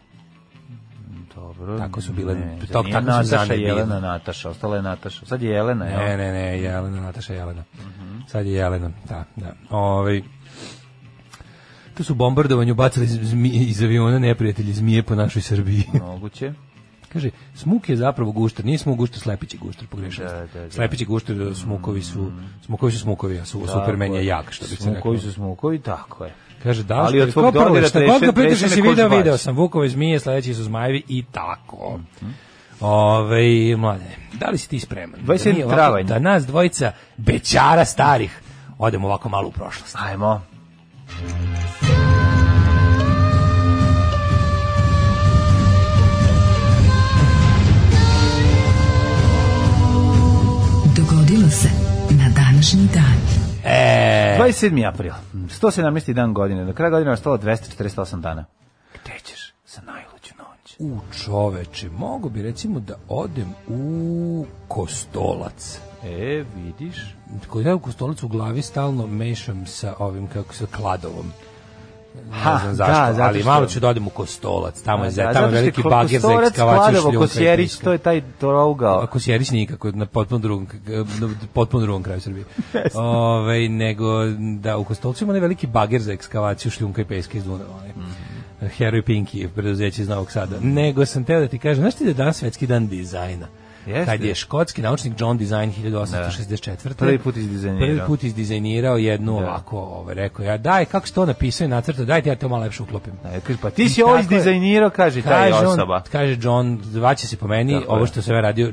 F: Dobro.
G: Tako su bile-
F: Ne,
G: to-
F: nije
G: tako su Zane
F: Nataša,
G: bile.
F: Jelena, Nataša. Ostala je Nataša. Sad je Jelena, jel? Mhm.
G: Ne, ne, ne, Jelena, Nataša Jelena. Sad je Jelena, da, da. Ovaj tu su bombardovanju bacali zmi, iz aviona neprijatelji zmije po našoj Srbiji.
F: Moguće.
G: Kaže, smuk je zapravo gušter, nije smuk gušter, slepić je gušter, pogrešio.
F: Da,
G: sam.
F: da, Mhm. da.
G: Slepić je gušter, smukovi su, smukovi su smukovi, a su, Superman je Pa jak, što bi se rekao.
F: Smukovi su smukovi, tako je.
G: Kaže, da,
F: Ali
G: što
F: od
G: je
F: svog
G: kao prvo,
F: dodira
G: šta god ga
F: treše-
G: pitaš,
F: treše me
G: jesi
F: ko
G: video,
F: žvač.
G: video sam, vukove zmije, sledeći su zmajevi i tako.
F: Mhm.
G: Ove, mlade, da li si ti spreman?
F: 27.
G: mi ovako-
F: travanj.
G: Da nas dvojica bećara starih odemo ovako malo u prošlost.
F: Ajmo.
I: Dogodilo se na današnji dan.
G: E.
F: 27. april. 117. dan godine. Do kraja godine je ostalo 248 dana. Gde ćeš sa najluđu noć?
G: U čoveče, mogu bi recimo da odem u Kostolac.
F: E, vidiš.
G: Kod ja u Kostolac u glavi stalno mešam sa ovim, kako se, kladovom.
F: Ha,
G: ne znam
F: da,
G: zašto,
F: zato
G: ali
F: što-
G: malo ću da odem u Kostolac, tamo Pa je,
F: Pa Da,
G: za-
F: zato
G: tamo
F: što
G: je
F: je
G: veliki
F: kod
G: bager za
F: Kostolac,
G: ekskavaciju
F: Kladovo,
G: šljunka. i
F: Kosjerić,
G: pijeska.
F: to je taj trougao.
G: A Kosjerić nikako, na potpuno drugom, k- na potpuno drugom kraju Srbije. Ove, nego, da, u Kostolcu ima onaj veliki bager za ekskavaciju šljunka i peska iz Dunava. onaj.
F: Mhm.
G: Heroj Pinki, preduzeće iz Novog Sada. Nego sam teo da ti kažem, znaš ti da je danas svetski dan dizajna?
F: Jeste.
G: Kad je škotski naučnik John Design 1864.
F: Prvi put izdizajnirao.
G: Prvi put izdizajnirao jednu ovako, ovaj, rekao ja, daj, kako se to napisao i nacrtao, daj ti ja to malo lepše uklopim.
F: E, kaže, pa ti si ovo
G: Tako je.
F: izdizajnirao, kaže, taj
G: Kaže on,
F: osoba.
G: kaže John, vaće se po meni,
F: Tako je.
G: ovo što se ja radio,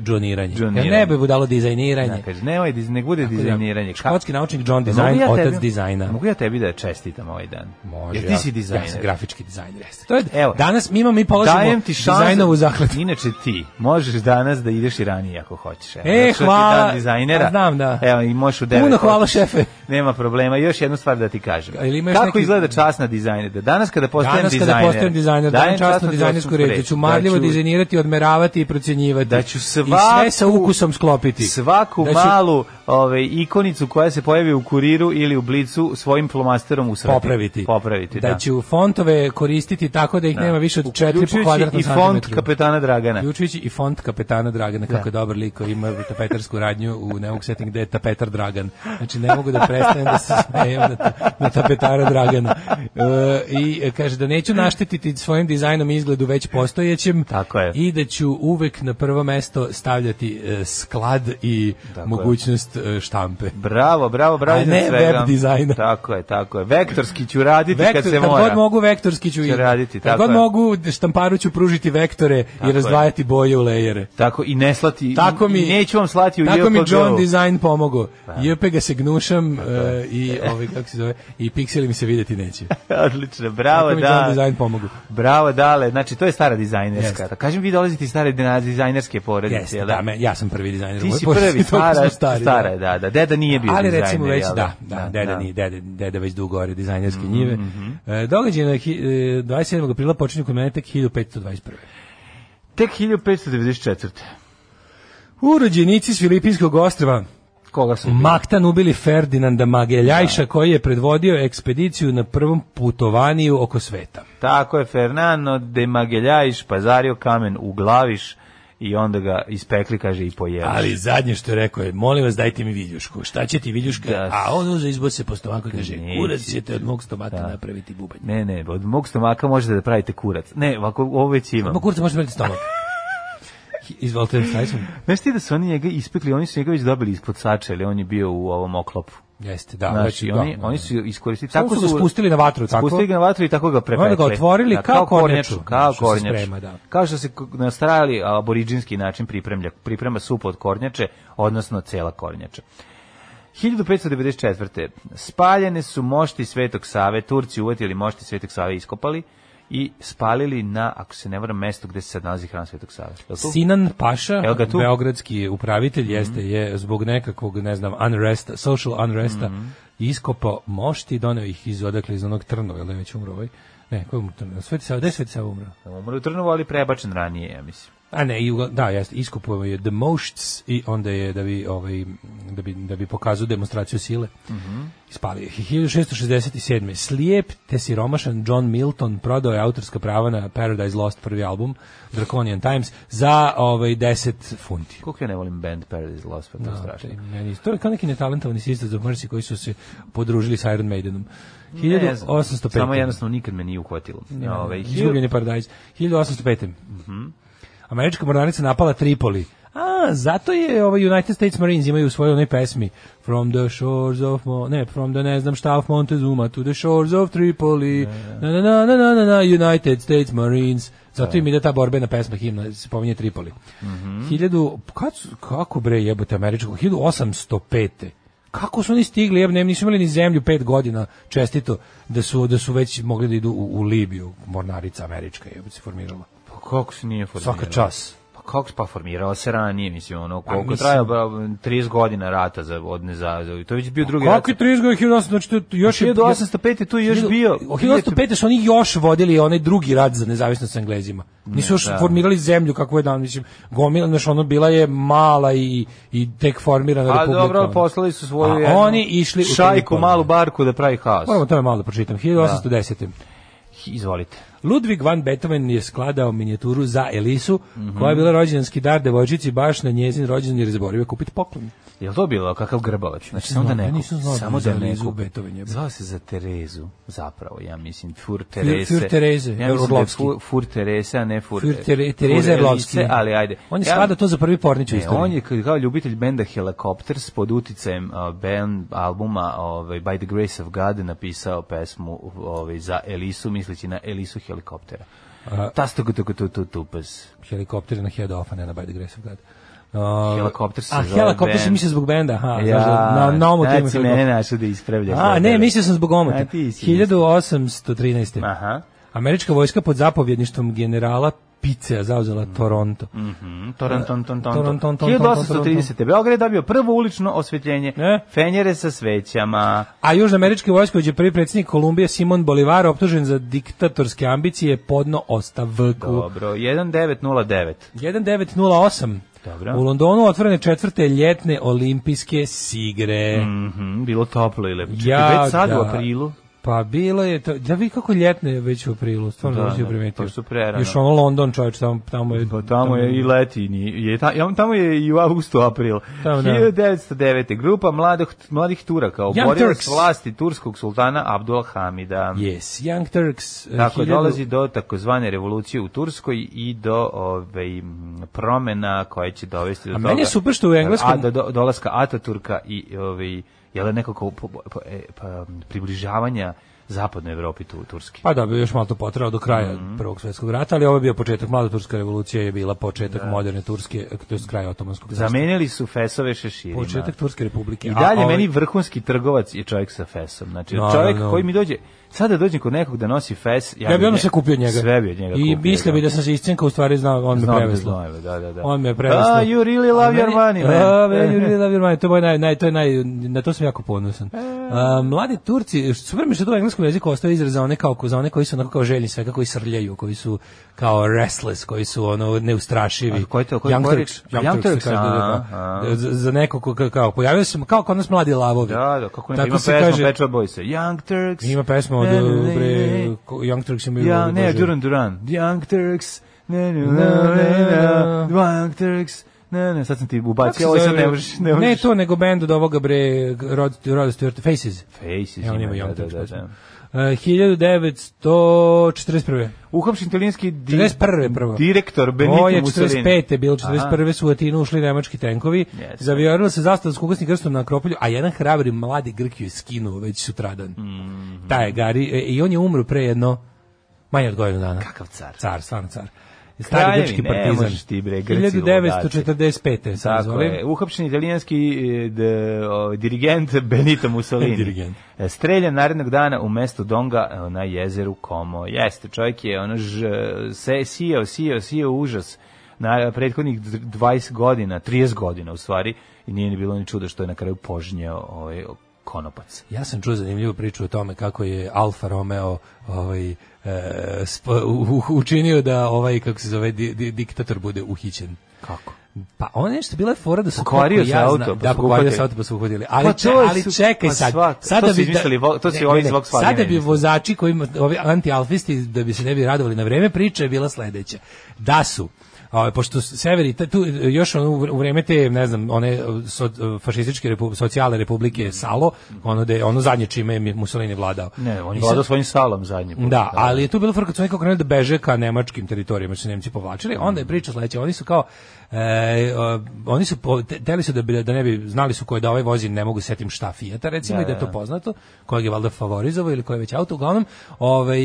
F: Džoniranje.
G: džoniranje. Džoniranje. Ne bi budalo dizajniranje.
F: Da, E, kaže, nemoj, diz- nek bude dizajniranje. Ka-
G: Škotski naučnik John
F: Mogu
G: Design,
F: ja
G: otac
F: tebi-
G: dizajna.
F: Mogu ja tebi da čestitam ovaj dan?
G: Može.
F: Jer ti si
G: ja-
F: dizajner.
G: Ja sam grafički dizajner. jeste. To je,
F: Evo.
G: danas mi imamo, mi polažemo
F: Dajem ti šansu.
G: dizajnovu zakladu.
F: Inače ti možeš danas da ideš i ranije ako hoćeš. Evo,
G: E,
F: došao ti
G: hvala.
F: dan dizajnera.
G: Pa znam, da.
F: Evo, i možeš u devet.
G: Puno hvala,
F: hoćeš.
G: šefe.
F: Nema problema. Još jednu stvar da ti kažem.
G: A ili imaš
F: Kako
G: neki-
F: izgleda čas na dizajnera? Danas kada postajem
G: Danas
F: dizajner.
G: kada postajem dizajner, dajem časno dizajnersku reč, da ću marljivo
F: dizajnirati
G: dizajnirati, odmeravati i procjenjivati.
F: Da ću
G: I sve sa
F: svaku-
G: ukusom sklopiti.
F: Svaku
G: Da ću-
F: malu ovaj, ikonicu koja se pojavi u kuriru ili u blicu svojim flomasterom usrati.
G: popraviti.
F: Popraviti, da.
G: da. ću fontove koristiti tako da ih nema više od 4 po
F: Uključujući
G: kvadratnom
F: i font
G: santimetru.
F: kapetana Dragana.
G: Uključujući i font kapetana Dragana, kako je dobar lik koji ima tapetarsku radnju u nemog setting gde je tapetar Dragan. Znači ne mogu da prestanem da se smejem na, ta- na tapetara Dragana. E, I e, kaže da neću naštetiti svojim dizajnom i izgledu već postojećem
F: Tako je.
G: i da ću uvek na prvo mesto stavljati e, sklad i
F: Tako je.
G: mogućnost e, štampe.
F: Bravo, bravo, bravo.
G: A
F: iznad
G: ne
F: svega.
G: web dizajna.
F: Tako je, tako je. Vektorski ću raditi kad
G: Vektor,
F: se
G: kad
F: mora.
G: god mogu vektorski ću,
F: Ću
G: i-
F: raditi,
G: Kad
F: tako
G: god
F: je.
G: mogu štamparu ću pružiti vektore
F: Tako je.
G: i razdvajati boje u lejere.
F: Tako i ne slati.
G: Tako
F: i-
G: mi
F: i neću vam slati u
G: Tako mi
F: JPG-u. Pa.
G: John Design pomogao. JP ga se gnušam e, i ovaj kako se zove i pikseli mi se videti neće.
F: Odlično, bravo,
G: Tako mi
F: da.
G: John Design pomogao.
F: Bravo, dale. Znači, to je stara dizajnerska.
G: Jeste.
F: Kažem, vi dolazite iz stare dina- dizajnerske porodice,
G: Jeste,
F: jel
G: da, me, ja sam prvi dizajner.
F: Ti
G: Moje
F: si
G: porodice
F: prvi,
G: toliko
F: stara,
G: smo
F: stara,
G: stari,
F: je, da, da. Deda nije bio
G: Ali
F: dizajner,
G: recimo već
F: jel
G: da, da, deda
F: da. Mhm,
G: nije, dede, dede već dugo ore dizajnerske njive. E, događaj na hi- e, 27. aprila počinju kod mene tek 1521.
F: Tek 1594.
G: Urođenici s Filipinskog ostrva
F: Koga su?
G: Maktan ubili Ferdinanda Mageljajša koji je predvodio ekspediciju na prvom putovanju oko sveta.
F: Tako je, Fernando de Mageljajš pazario kamen u glaviš i onda ga ispekli, kaže, i pojeliš.
G: Ali zadnje što je rekao je, molim vas dajte mi viljušku. Šta će ti viljuška?
F: Da.
G: A on uze izbor se po stomaku i kaže,
F: Neće.
G: kurac ćete od mog stomata napraviti bubanj.
F: Ne, ne, od mog stomaka možete da pravite kurac. Ne, ovako, ovo već imam.
G: Ma kurac može napraviti stomak. Izvolite, šta smo?
F: Znaš ti da su oni njega ispekli, oni su njega već dobili ispod sača, ali on je bio u ovom oklopu.
G: Jeste, da.
F: Znaš,
G: već-
F: i
G: Znači, da,
F: znači, oni,
G: da,
F: oni
G: da.
F: su iskoristili...
G: Samo su ga spustili na vatru, tako?
F: Spustili ga na vatru i tako ga prepekli.
G: Onda ga otvorili kao kornjaču, znači,
F: Kao
G: što se
F: kornjaču.
G: sprema, da.
F: Kao što se k- na starali aboriđinski način pripremlja, priprema sup od kornjače, odnosno cela kornjača. 1594. Spaljene su mošti Svetog Save, Turci uvatili mošti Svetog Save, iskopali i spalili na, ako se ne varam, mesto gde se sad nalazi hram Svetog Save. Jel tu?
G: Sinan Paša,
F: Evo ga tu. Mhm.
G: beogradski upravitelj, jeste je zbog nekakvog, ne znam, unresta, social unresta,
F: Mhm.
G: iskopao mošti i doneo ih iz odakle, iz onog Trnova, ili je već umro ovaj? Ne, ko je umro Trnova? Sveti Sava, gde je Sveti Sava umro?
F: Umro je u Trnovu, ali prebačen ranije, ja mislim.
G: A ne, i uga- da, jeste, iskopao je The Mošts i onda je da bi ovaj da bi da bi pokazao demonstraciju sile. Mhm. Ispalio je 1667. Slijep te siromašan John Milton prodao je autorska prava na Paradise Lost prvi album Draconian Times za ovaj 10 funti.
F: Koliko ja ne volim band Paradise Lost, pa to je strašno.
G: Taj, meni- To je kao neki netalentovani sisters of Mercy koji su se podružili sa Iron Maidenom.
F: Ne znam.
G: 1805.
F: Samo jednostavno nikad me nije uhvatilo. Ja, ovaj,
G: Izgubljen je paradajz. 1805. Američka mornarica napala Tripoli. A, zato je ovaj United States Marines imaju u svojoj onoj pesmi From the shores of Mo ne, from the ne znam šta of Montezuma to the shores of Tripoli. Na na na na na na, na United States Marines. Zato im ide ta borbena pesma himna, se pominje Tripoli. 1000 kad su- kako bre jebote američko 1805. Kako su oni stigli? Jebne, nisu imali ni zemlju pet godina čestito da su da su već mogli da idu u, u Libiju. Mornarica američka je se formirala.
F: Pa kako se nije formirao?
G: Svaka čas.
F: Pa kako se pa formirao se ranije, mislim, ono, koliko
G: mislim-
F: traja, ba, 30 godina rata za, od nezazavu. To je već bio drugi rat.
G: Pa Kako je 30 godina 1800, znači to još je
F: 1805 je tu još bio.
G: 1805 su oni još vodili onaj drugi rat za nezavisnost sa Englezima. Nisu još
F: da.
G: formirali zemlju kako je dan, mislim, gomila, znači ono bila je mala i, i tek formirana
F: A
G: republika.
F: dobro,
G: ono.
F: poslali su svoju
G: A
F: jednu
G: oni išli u
F: šajku,
G: Tripoli.
F: malu barku da pravi haos.
G: Moramo o tome malo da pročitam. 1810.
F: Izvolite.
G: Ludwig van Beethoven je skladao minijaturu za Elisu, koja je bila rođendanski dar devojčici baš na njezin rođendan jer je zaboravio kupiti poklon.
F: Jel to bilo kakav grbavač? Znači, samo da
G: Znam, ja
F: ne kupi.
G: nisam znao da
F: Samo
G: je za
F: da ne
G: Elizu
F: kupi.
G: Beethoven je bio.
F: Zvao se za Terezu, zapravo, ja mislim. Fur Terese.
G: Fur Tereze,
F: Ja mislim da je
G: Orlovski.
F: Fur, fur Teresa, a ne Fur,
G: Fur Tere-
F: Fur Elice,
G: Tereza Erlovski.
F: Ali ajde.
G: On je
F: Ja-
G: skladao to za prvi pornić u
F: Ne,
G: istoriji.
F: on je kao kao ljubitelj benda Helicopters pod uticajem uh, band albuma ovaj, By the Grace of God napisao pesmu ovaj, za Elisu, misleći na Elisu helikoptera. Tas tu tu tu tu tu pes.
G: Helikopter je na head off, a ne na by the grace of God.
F: Helikopter se
G: A
F: zove
G: helikopter se
F: band.
G: misli zbog benda, aha. znaš da- na, na omu
F: znači,
G: timu
F: mene
G: helikopter.
F: našao da ispravljaš.
G: A, ne,
F: tebe.
G: mislio sam zbog omota.
F: A, ti si
G: 1813.
F: Aha.
G: Američka vojska pod zapovjedništvom generala Picea zauzela Toronto.
F: Mm, Toron, ton, ton, ton,
G: Toron, ton, ton, ton, ton, ton, ton.
F: 1830. Beograd je dobio prvo ulično osvetljenje.
G: E?
F: Fenjere sa svećama.
G: A južnoamerički vojskovođa prvi predsjednik Kolumbije Simon Bolivar optužen za diktatorske ambicije je podno ostavku.
F: Dobro, 1909.
G: 1908.
F: Dobro.
G: U Londonu otvorene četvrte ljetne olimpijske sigre.
F: Mhm, bilo toplo i lepo. Čekaj,
G: Ja,
F: već sad u
G: da.
F: aprilu.
G: Pa bilo je to, da vi kako ljetne je već u aprilu, stvarno
F: Da,
G: da,
F: da,
G: primetio.
F: to su prerano.
G: Još ono London čovječ, tamo, tamo je...
F: Pa tamo je i leti, ni- je, ta- ja- tamo je i u avgustu, april.
G: Tamo, da.
F: 1909. Grupa mladih, mladih Turaka oborila
G: Turks.
F: s vlasti turskog sultana Abdul Hamida.
G: Yes, Young Turks. eh,
F: Tako je,
G: 1000
F: dolazi do takozvane revolucije u Turskoj i do ove, promena koje će dovesti do
G: A
F: toga.
G: meni je super što u engleskom-
F: A, do, do- dolaska Ataturka i ove, jel, nekako po- po- po- e, pa, približavanja zapadnoj Evropi tu, Turski.
G: Pa da, bi još malo to potrao do kraja
F: Mhm.
G: Prvog svjetskog rata, ali ovo je bio početak, mlada turska revolucija je bila početak moderne Turske, eh, to je kraj otomanskog carstva.
F: Zamenili su fesove šeširima.
G: Početak Turske republike.
F: I
G: A,
F: dalje
G: a ovaj-
F: meni vrhunski trgovac je čovjek sa fesom. Znači,
G: Naravno.
F: čovjek koji mi dođe, sada dođem kod nekog da nosi fes, ja,
G: Ja bi ono
F: nje-
G: se kupio od njega.
F: Sve bi od njega
G: I
F: kupio,
G: mislio bi da sam se iscenka, u stvari znao, on me
F: Znam da
G: preveslo.
F: znaju, da, da, da.
G: On me preveslo.
F: Ah, you really love
G: A meni-
F: your money, man.
G: Ah, man, you really love your money. To je moj naj, naj, to je naj, na to sam jako ponosan.
F: E.
G: A, mladi Turci, super mi je što to u engleskom jeziku ostaje izraz za one, kao, za one koji su onako kao željni svega, koji srljaju, koji su kao restless, koji su ono neustrašivi.
F: A koji to- koji-
G: Young
F: koji
G: Turks.
F: reč? Young
G: Young Turks,
F: Turks,
G: se kaže, da, da,
F: a,
G: da. Za, za neko ko, kao- kao, pojavio se kao kod nas mladi lavovi.
F: Da, da, kako ne,
G: Tako
F: ima
G: se
F: pesma
G: kaže-
F: Pet Shop Boysa. Young Turks.
G: Ima pesma od
F: Ne, ne, ne,
G: bre,
F: ne.
G: ko- Young Turks imaju... ono
F: Ja, ne,
G: bože.
F: Duran Duran. Young Turks. Ne, ne, ne, ne, ne, Young Turks. ne, Ne, ne, sad sam ti
G: Kako se
F: ubacio, Znači, ovo sad
G: zove?
F: ne možeš, ne možeš.
G: Pa Ne to, nego bend od ovoga bre, Rod, Rod Stewart, Faces.
F: Faces
G: Evo,
F: ima,
G: nema Young
F: da,
G: Turks
F: da, da,
G: pesmu.
F: da.
G: Uh, 1941.
F: Uhapšen italijanski di...
G: 41. prvo.
F: direktor
G: To je
F: Benito Mussolini.
G: 45. je bilo, 41.
F: Aha.
G: su u Atinu ušli nemački tenkovi,
F: Jeste.
G: zavijorila se zastava s kukasnim krstom na Akropolju, a jedan hrabri mladi Grk ju je skinuo već sutradan.
F: Mhm.
G: Taj je Gari, e, i on je umro pre jedno, manje od godinu dana.
F: Kakav car.
G: Car, stvarno car. Stari
F: Kraljevi,
G: grčki
F: ne
G: partizan.
F: možeš ti, bre, Grci
G: 1945. sam
F: Tako
G: izvolim.
F: je. Uhapšen italijanski e, d- o, dirigent Benito Mussolini.
G: Dirigent.
F: E, Streljan narednog dana u mestu Donga e, na jezeru Komo. Jeste, čovjek je ono ž, se, sijao, sijao, sijao užas na prethodnih dr- 20 godina, 30 godina u stvari, i nije ni bilo ni čudo što je na kraju požnjao ovaj konopac.
G: Ja sam čuo zanimljivu priču o tome kako je Alfa Romeo ovaj, e, sp- u- u- učinio da ovaj, kako se zove, di- di- diktator bude uhićen.
F: Kako?
G: Pa on je nešto bila je fora da su
F: Pokvario
G: koliko
F: se
G: ja
F: auto,
G: znam-
F: pa
G: da
F: su
G: pokvario
F: uhvatili.
G: se auto pa su uhvatili. Ali,
F: Pa
G: če-
F: to
G: ali
F: su-
G: čekaj
F: pa
G: sad.
F: svak-
G: sad
F: to
G: da
F: su
G: bi da-
F: izmislili vo- to su
G: ne,
F: ovi iz
G: ne, ne,
F: Volkswagena
G: Sada bi
F: izmislili.
G: vozači koji ovi anti-alfisti da bi se ne bi radovali na vreme priča je bila sledeća. Da su ovaj pošto severi tu e, još ono, u vr- u vreme te ne znam one e, so, e, fašističke repu, socijale republike Salo ono da je ono zadnje čime je Mussolini vladao.
F: Ne, on je
G: I sad-
F: vladao svojim salom zadnji put.
G: da, ali je tu bilo fora kad su oni kao krenuli da beže ka nemačkim teritorijama, jer su Nemci
F: Mm.
G: povlačili, onda je priča sledeća, oni su kao e, o, oni su po- te- teli su da bi da ne bi znali su ko je da ovaj vozi, ne mogu se setim šta Fiata recimo
F: Da,
G: i da je to
F: da.
G: poznato, kojeg je valjda favorizovao ili koji je već auto uglavnom, ovaj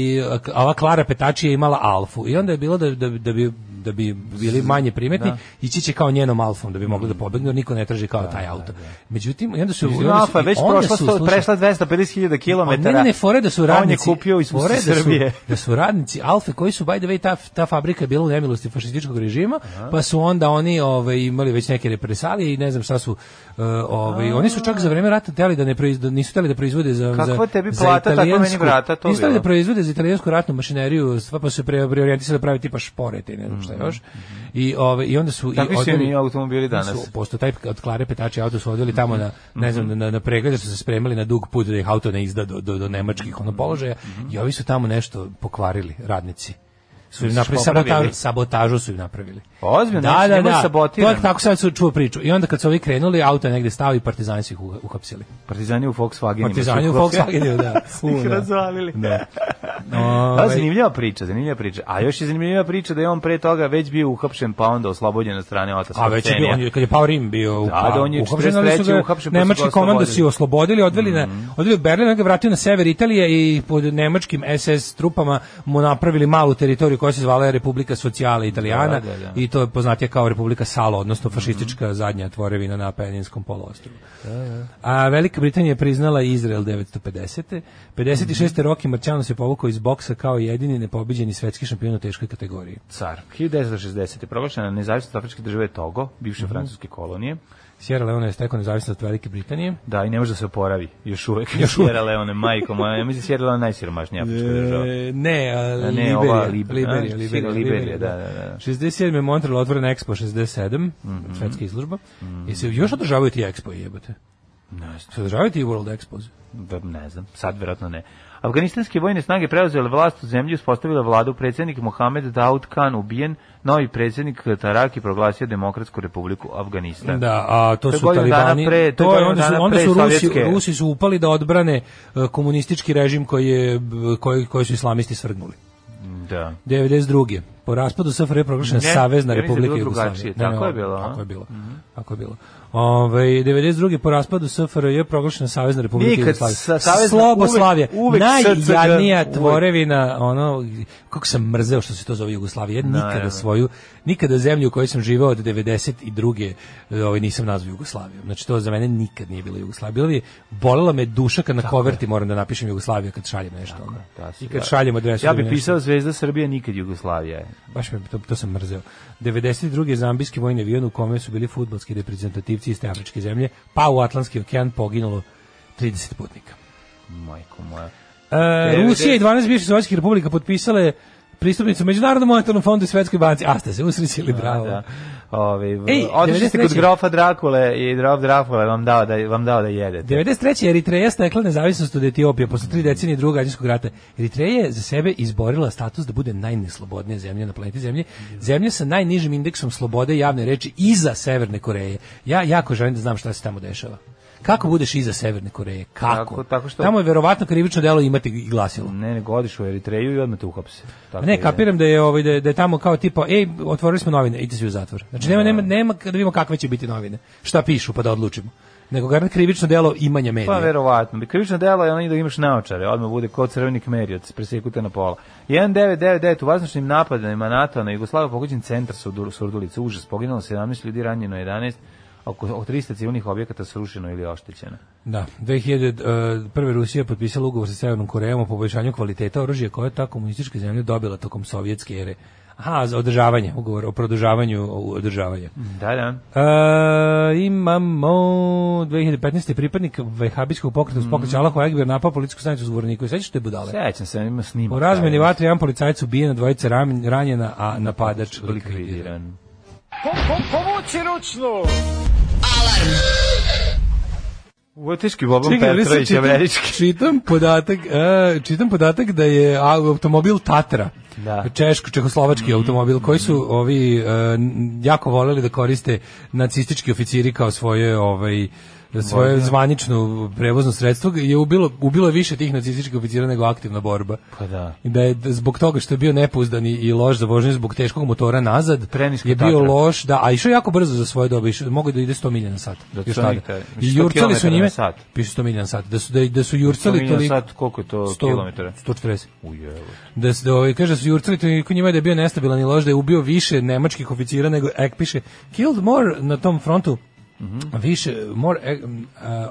G: a ova Klara Petači je imala Alfu i onda je bilo da da, da bi da bi bili manje primetni, ići će kao njenom Alfom da bi
F: Mm.
G: mogli da pobegnu, jer niko ne traži kao taj auto. Međutim, i onda su i onda su-
F: Alfa je već
G: i onda
F: prošla,
G: su,
F: sto-
G: slušaj,
F: prešla 250.000
G: a
F: km.
G: Pa Ne, ne, ne, fore da su radnici.
F: On je kupio iz
G: fore da su-
F: Srbije.
G: Da su radnici Alfe koji su by the way ta ta fabrika je bila u nemilosti fašističkog režima, pa su onda oni ovaj imali već neke represalije i ne znam šta su e, ovaj oni su čak za vreme rata hteli da ne proiz, da nisu hteli da proizvode za
F: Kakva
G: za
F: tebi
G: za
F: plata, tako meni
G: italijansku-
F: vrata, to
G: Nisu hteli da
F: bilo.
G: proizvode za italijansku ratnu mašineriju, sva pa su se pre- preorijentisali da pravi tipa šporete i ne znam šta još. I ovaj i onda su
F: Mhm, Takvi su
G: odveli-
F: i automobili danas. Mhm,
G: Su, posto taj od Klare Petači auto su odveli tamo na ne znam na, na preglede što su se spremali na dug put da ih auto ne izda do do, do nemačkih
F: Mhm,
G: ono položaja i ovi su tamo nešto pokvarili radnici su im
F: Misliš,
G: napravili
F: popravili?
G: sabotažu, sabotažu su im napravili.
F: Ozbiljno,
G: da,
F: znači,
G: da,
F: njemu je
G: da.
F: sabotiran.
G: To je tako sad su čuo priču. I onda kad su ovi krenuli, auto je negde stao i partizani su ih uha- uhapsili.
F: Partizani u Volkswagenima.
G: Partizani u
F: su uklopili.
G: Volkswagenu, da.
F: Su
G: U,
F: ih
G: da.
F: razvalili.
G: Da.
F: Da,
G: Ovaj,
F: zanimljiva priča, zanimljiva priča. A još je zanimljiva priča da je on pre toga već bio uhapšen, pa onda oslobođen od strane otac
G: A već je bio, on je, kad je pao Rim bio u
F: Da, da, on je
G: uhapšen, ali su
F: 43.
G: ga
F: uhapšen, pa su ga
G: nemački komandosi
F: oslobodili. Mhm.
G: oslobodili, odveli, na, odveli u Berlin, onda ga vratio na sever Italije i pod nemačkim SS trupama mu napravili malu teritoriju koja se zvala Republika Socijale Italijana
F: Da, da, da. Mhm.
G: i to je poznatija kao Republika Salo, odnosno fašistička zadnja tvorevina na Peninskom poluostrvu. A Velika Britanija je priznala Izrael 950.
F: Mhm.
G: 56. Roki Marciano se povukao iz boksa kao jedini nepobiđeni svetski šampion u teškoj kategoriji.
F: car. 1960. je proglašena nezavisnost afričke države Togo,
G: Mhm.
F: bivše francuske kolonije.
G: Sierra Leone je stekao nezavisnost od Velike Britanije.
F: Da, i ne može da se oporavi još uvek. Još
G: uvek.
F: Sierra Leone, majko moja, ja mislim Sierra Leone je najsiromašnija afrička država.
G: E, Ne, a,
F: ne,
G: Liberija,
F: ova Lib-
G: Liberija,
F: a,
G: Liberija,
F: Sierra Liberija, da, da, Mhm. da.
G: 67. je Montreal otvoren Expo 67, svetska izložba. I se još održavaju ti Expo jebote.
F: Mhm. Ne znam.
G: Se održavaju ti World Expos.
F: Da, ne znam, sad verovatno ne. Afganistanske vojne snage preuzele vlast u zemlji, uspostavila vladu, predsjednik Mohamed Daud Khan ubijen, novi predsjednik Taraki proglasio Demokratsku republiku Afganistan.
G: Da, a to
F: To je
G: su
F: godinu dana
G: talibani.
F: pre- to je
G: to je
F: godinu
G: onda su,
F: dana
G: onda
F: pre
G: su Rusi,
F: sovjetske.
G: Rusi su upali da odbrane e, komunistički režim koji je b- koji koji su islamisti svrgnuli.
F: da.
G: 92. Po raspadu SFRJ je proglašena
F: Ne,
G: Savezna
F: ja mislim da je
G: Republika
F: bilo
G: Jugoslavije.
F: drugačije. Tako
G: ne, ono,
F: je bilo, a? Mhm.
G: Tako je bilo. Tako je bilo. Ovaj 92. po raspadu SFRJ je proglašena Savezna Republika
F: Nikad
G: Jugoslavije.
F: sa- savezna-
G: Sloboslavija,
F: uvek- uvek
G: najjadnija
F: SCG, uvek.
G: tvorevina, ono kako sam mrzeo što se to zove Jugoslavija. Ja nikada
F: Naravno.
G: svoju, nikada zemlju u kojoj sam živeo od 92. ovaj nisam nazvao Jugoslavijom. Znači to za mene nikad nije bila Jugoslavija. Bilo mi je- bolela me duša kad na koverti moram da napišem Jugoslavija kad šaljem nešto. ono.
F: Da, si-
G: I kad
F: da.
G: šaljem adresu.
F: Ja
G: da mi
F: bih
G: nešto-
F: pisao Zvezda Srbija nikad Jugoslavija.
G: baš me to, to sam mrzeo. 92. zambijski vojni avion u kome su bili futbolski reprezentativci iz te afričke zemlje, pa u Atlantski okean poginulo 30 putnika.
F: Majko moja.
G: E, Rusija i 12 bivših sovjetskih republika potpisale pristupnicu Međunarodnom monetarnom fondu i Svetskoj banci. A ste se usrećili, bravo.
F: Da. Ove,
G: Ej,
F: otišli ste kod
G: 93..
F: grofa Drakule i grof Drakule vam dao da, vam dao da jedete.
G: 93. Eritreja stekla nezavisnost od Etiopije posle tri decenije drugog građanskog rata. Eritreja je za sebe izborila status da bude najneslobodnija zemlja na planeti Zemlje, zemlja sa najnižim indeksom slobode javne reči iza Severne Koreje. Ja jako želim da znam šta se tamo dešava. Kako budeš iza Severne Koreje? Kako?
F: Tako- tako što-
G: Tamo je verovatno krivično delo imati i glasilo.
F: Ne, nego odiš u Eritreju i odmah te uhapse. Tako
G: Ne,
F: ide.
G: kapiram da je ovaj da je, da je tamo kao tipa ej, otvorili smo novine, idite svi u zatvor. Znači nema nema nema da vidimo kakve će biti novine. Šta pišu pa da odlučimo. Nego garant krivično delo imanja medija.
F: Pa verovatno. Bi krivično delo je ono i da imaš naočare, odmah bude kao crveni kmerioc, presekute na pola. 1999 u vazdušnim napadima NATO na Jugoslaviju pogođen centar Surdu- Surdulice, užas, poginulo 17 ljudi, ranjeno 11, oko, oko 300 civilnih objekata srušeno ili oštećeno.
G: Da, 2001. Rusija potpisala ugovor sa Severnom Korejom o poboljšanju kvaliteta oružja koje je ta komunistička zemlja dobila tokom sovjetske ere. Aha, za održavanje, ugovor o produžavanju održavanja.
F: Da, da.
G: E, imamo 2015. pripadnik vehabijskog pokreta uz pokreća Allaho Ekber napao policijsku stanicu u Zvorniku. Sećaš te budale?
F: Mhm. Sećam se, ima snimak.
G: U razmeni vatre jedan policajac ubijena, dvojica ram- ranjena, a napadač likvidiran.
F: likvidiran. Ovo je teški Boban
G: Čekaj, ali sad
F: Petrović,
G: čitam-
F: američki.
G: Čitam podatak, e, čitam podatak da je au- automobil Tatra,
F: Da. Mm.
G: češko-čehoslovački automobil, koji su ovi e, n- jako voljeli da koriste nacistički oficiri kao svoje ovaj svoje zvanično prevozno sredstvo je ubilo, ubilo je više tih nacističkih oficira nego aktivna borba.
F: Pa da.
G: I da je d- zbog toga što je bio nepouzdan i- i loš za vožnju zbog teškog motora nazad,
F: Preniska
G: je bio
F: Tatra.
G: loš, da, a išao je jako brzo za svoje dobe, išao, mogo da ide 100 milja na sat.
F: Da,
G: još
F: to
G: tada.
F: nikad.
G: I
F: 100
G: jurcali su
F: kilometara na
G: njime,
F: sat.
G: Piše 100 milja na sat. Da su, da, da su jurcali
F: Spominjao
G: toliko...
F: sad koliko je to
G: 100
F: kilometara?
G: 140.
F: Ujevo.
G: Da se da ovaj kaže da su jurcali toliko njima da je bio nestabilan i loš da je ubio više nemačkih oficira nego ek piše killed more na tom frontu.
F: Mhm.
G: Više more eh, uh,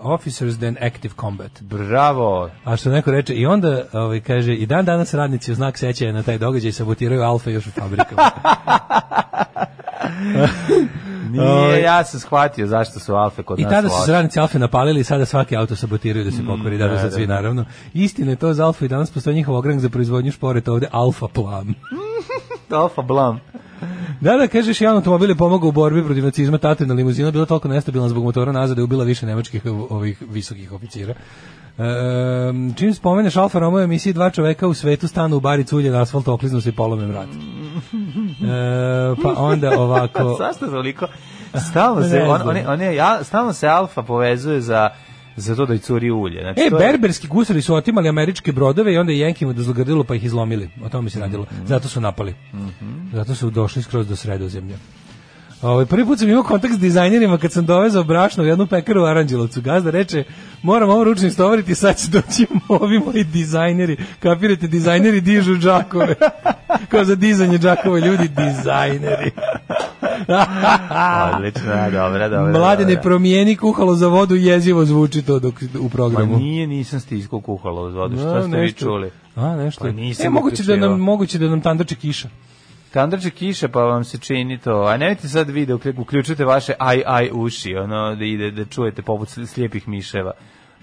G: officers than active combat.
F: Bravo.
G: A što neko reče i onda ovaj kaže i dan danas radnici u znak sećanja na taj događaj sabotiraju alfa još u fabrikama.
F: Nije, ja sam shvatio zašto su alfe kod
G: I
F: nas
G: tada su se
F: loše.
G: radnici Alfe napalili i sada svaki auto sabotiraju da se pokvari, Mm, da, da, sad svi naravno. Istina je to za Alfa i danas postoji njihov ogrank za proizvodnju šporeta ovde, Alfa Plan.
F: Alfa blam.
G: Da, da, kažeš, jedan automobil je pomogao u borbi protiv nacizma, tatrina limuzina bila toliko nestabilna zbog motora nazad da je ubila više nemačkih ov- ovih visokih oficira. Ehm, čim spomeneš Alfa Romeo u emisiji dva čoveka u svetu stanu u bari culje na asfalt okliznu se i polome vrat. E, pa onda ovako...
F: Zašto toliko? Stalno se,
G: Ne
F: on,
G: znam.
F: on, on je, ja, stalno se alfa povezuje za, za to da i curi ulje. Znači,
G: E,
F: to je-
G: berberski gusari su otimali američke brodove i onda je Jenkima dozlogrdilo pa ih izlomili. O tome se radilo.
F: Mhm.
G: Zato su napali. Zato su došli skroz do sredozemlja. Ovaj prvi put sam imao kontakt s dizajnerima kad sam dovezao brašno u jednu pekaru u Aranđelovcu. Gazda reče: "Moram ovo ručno istovariti, sad će doći ovi moji dizajneri. Kapirate, dizajneri dižu džakove. Kao za dizanje džakova ljudi dizajneri."
F: Odlično, da, dobro, dobro.
G: Mladene
F: dobro.
G: promijeni kuhalo za vodu jezivo zvuči to dok u
F: Ma
G: programu.
F: Pa nije, nisam stiskao kuhalo uz vodu, šta
G: Da,
F: ste vi
G: nešto.
F: čuli?
G: A, nešto.
F: Pa nisam
G: e, moguće da
F: uključivao.
G: nam, moguće da nam tandače kiša.
F: Tandrče kiše, pa vam se čini to. A nemojte sad vi da uklju- uključujete vaše aj, aj uši, ono, da, ide, da čujete poput sli- slijepih miševa.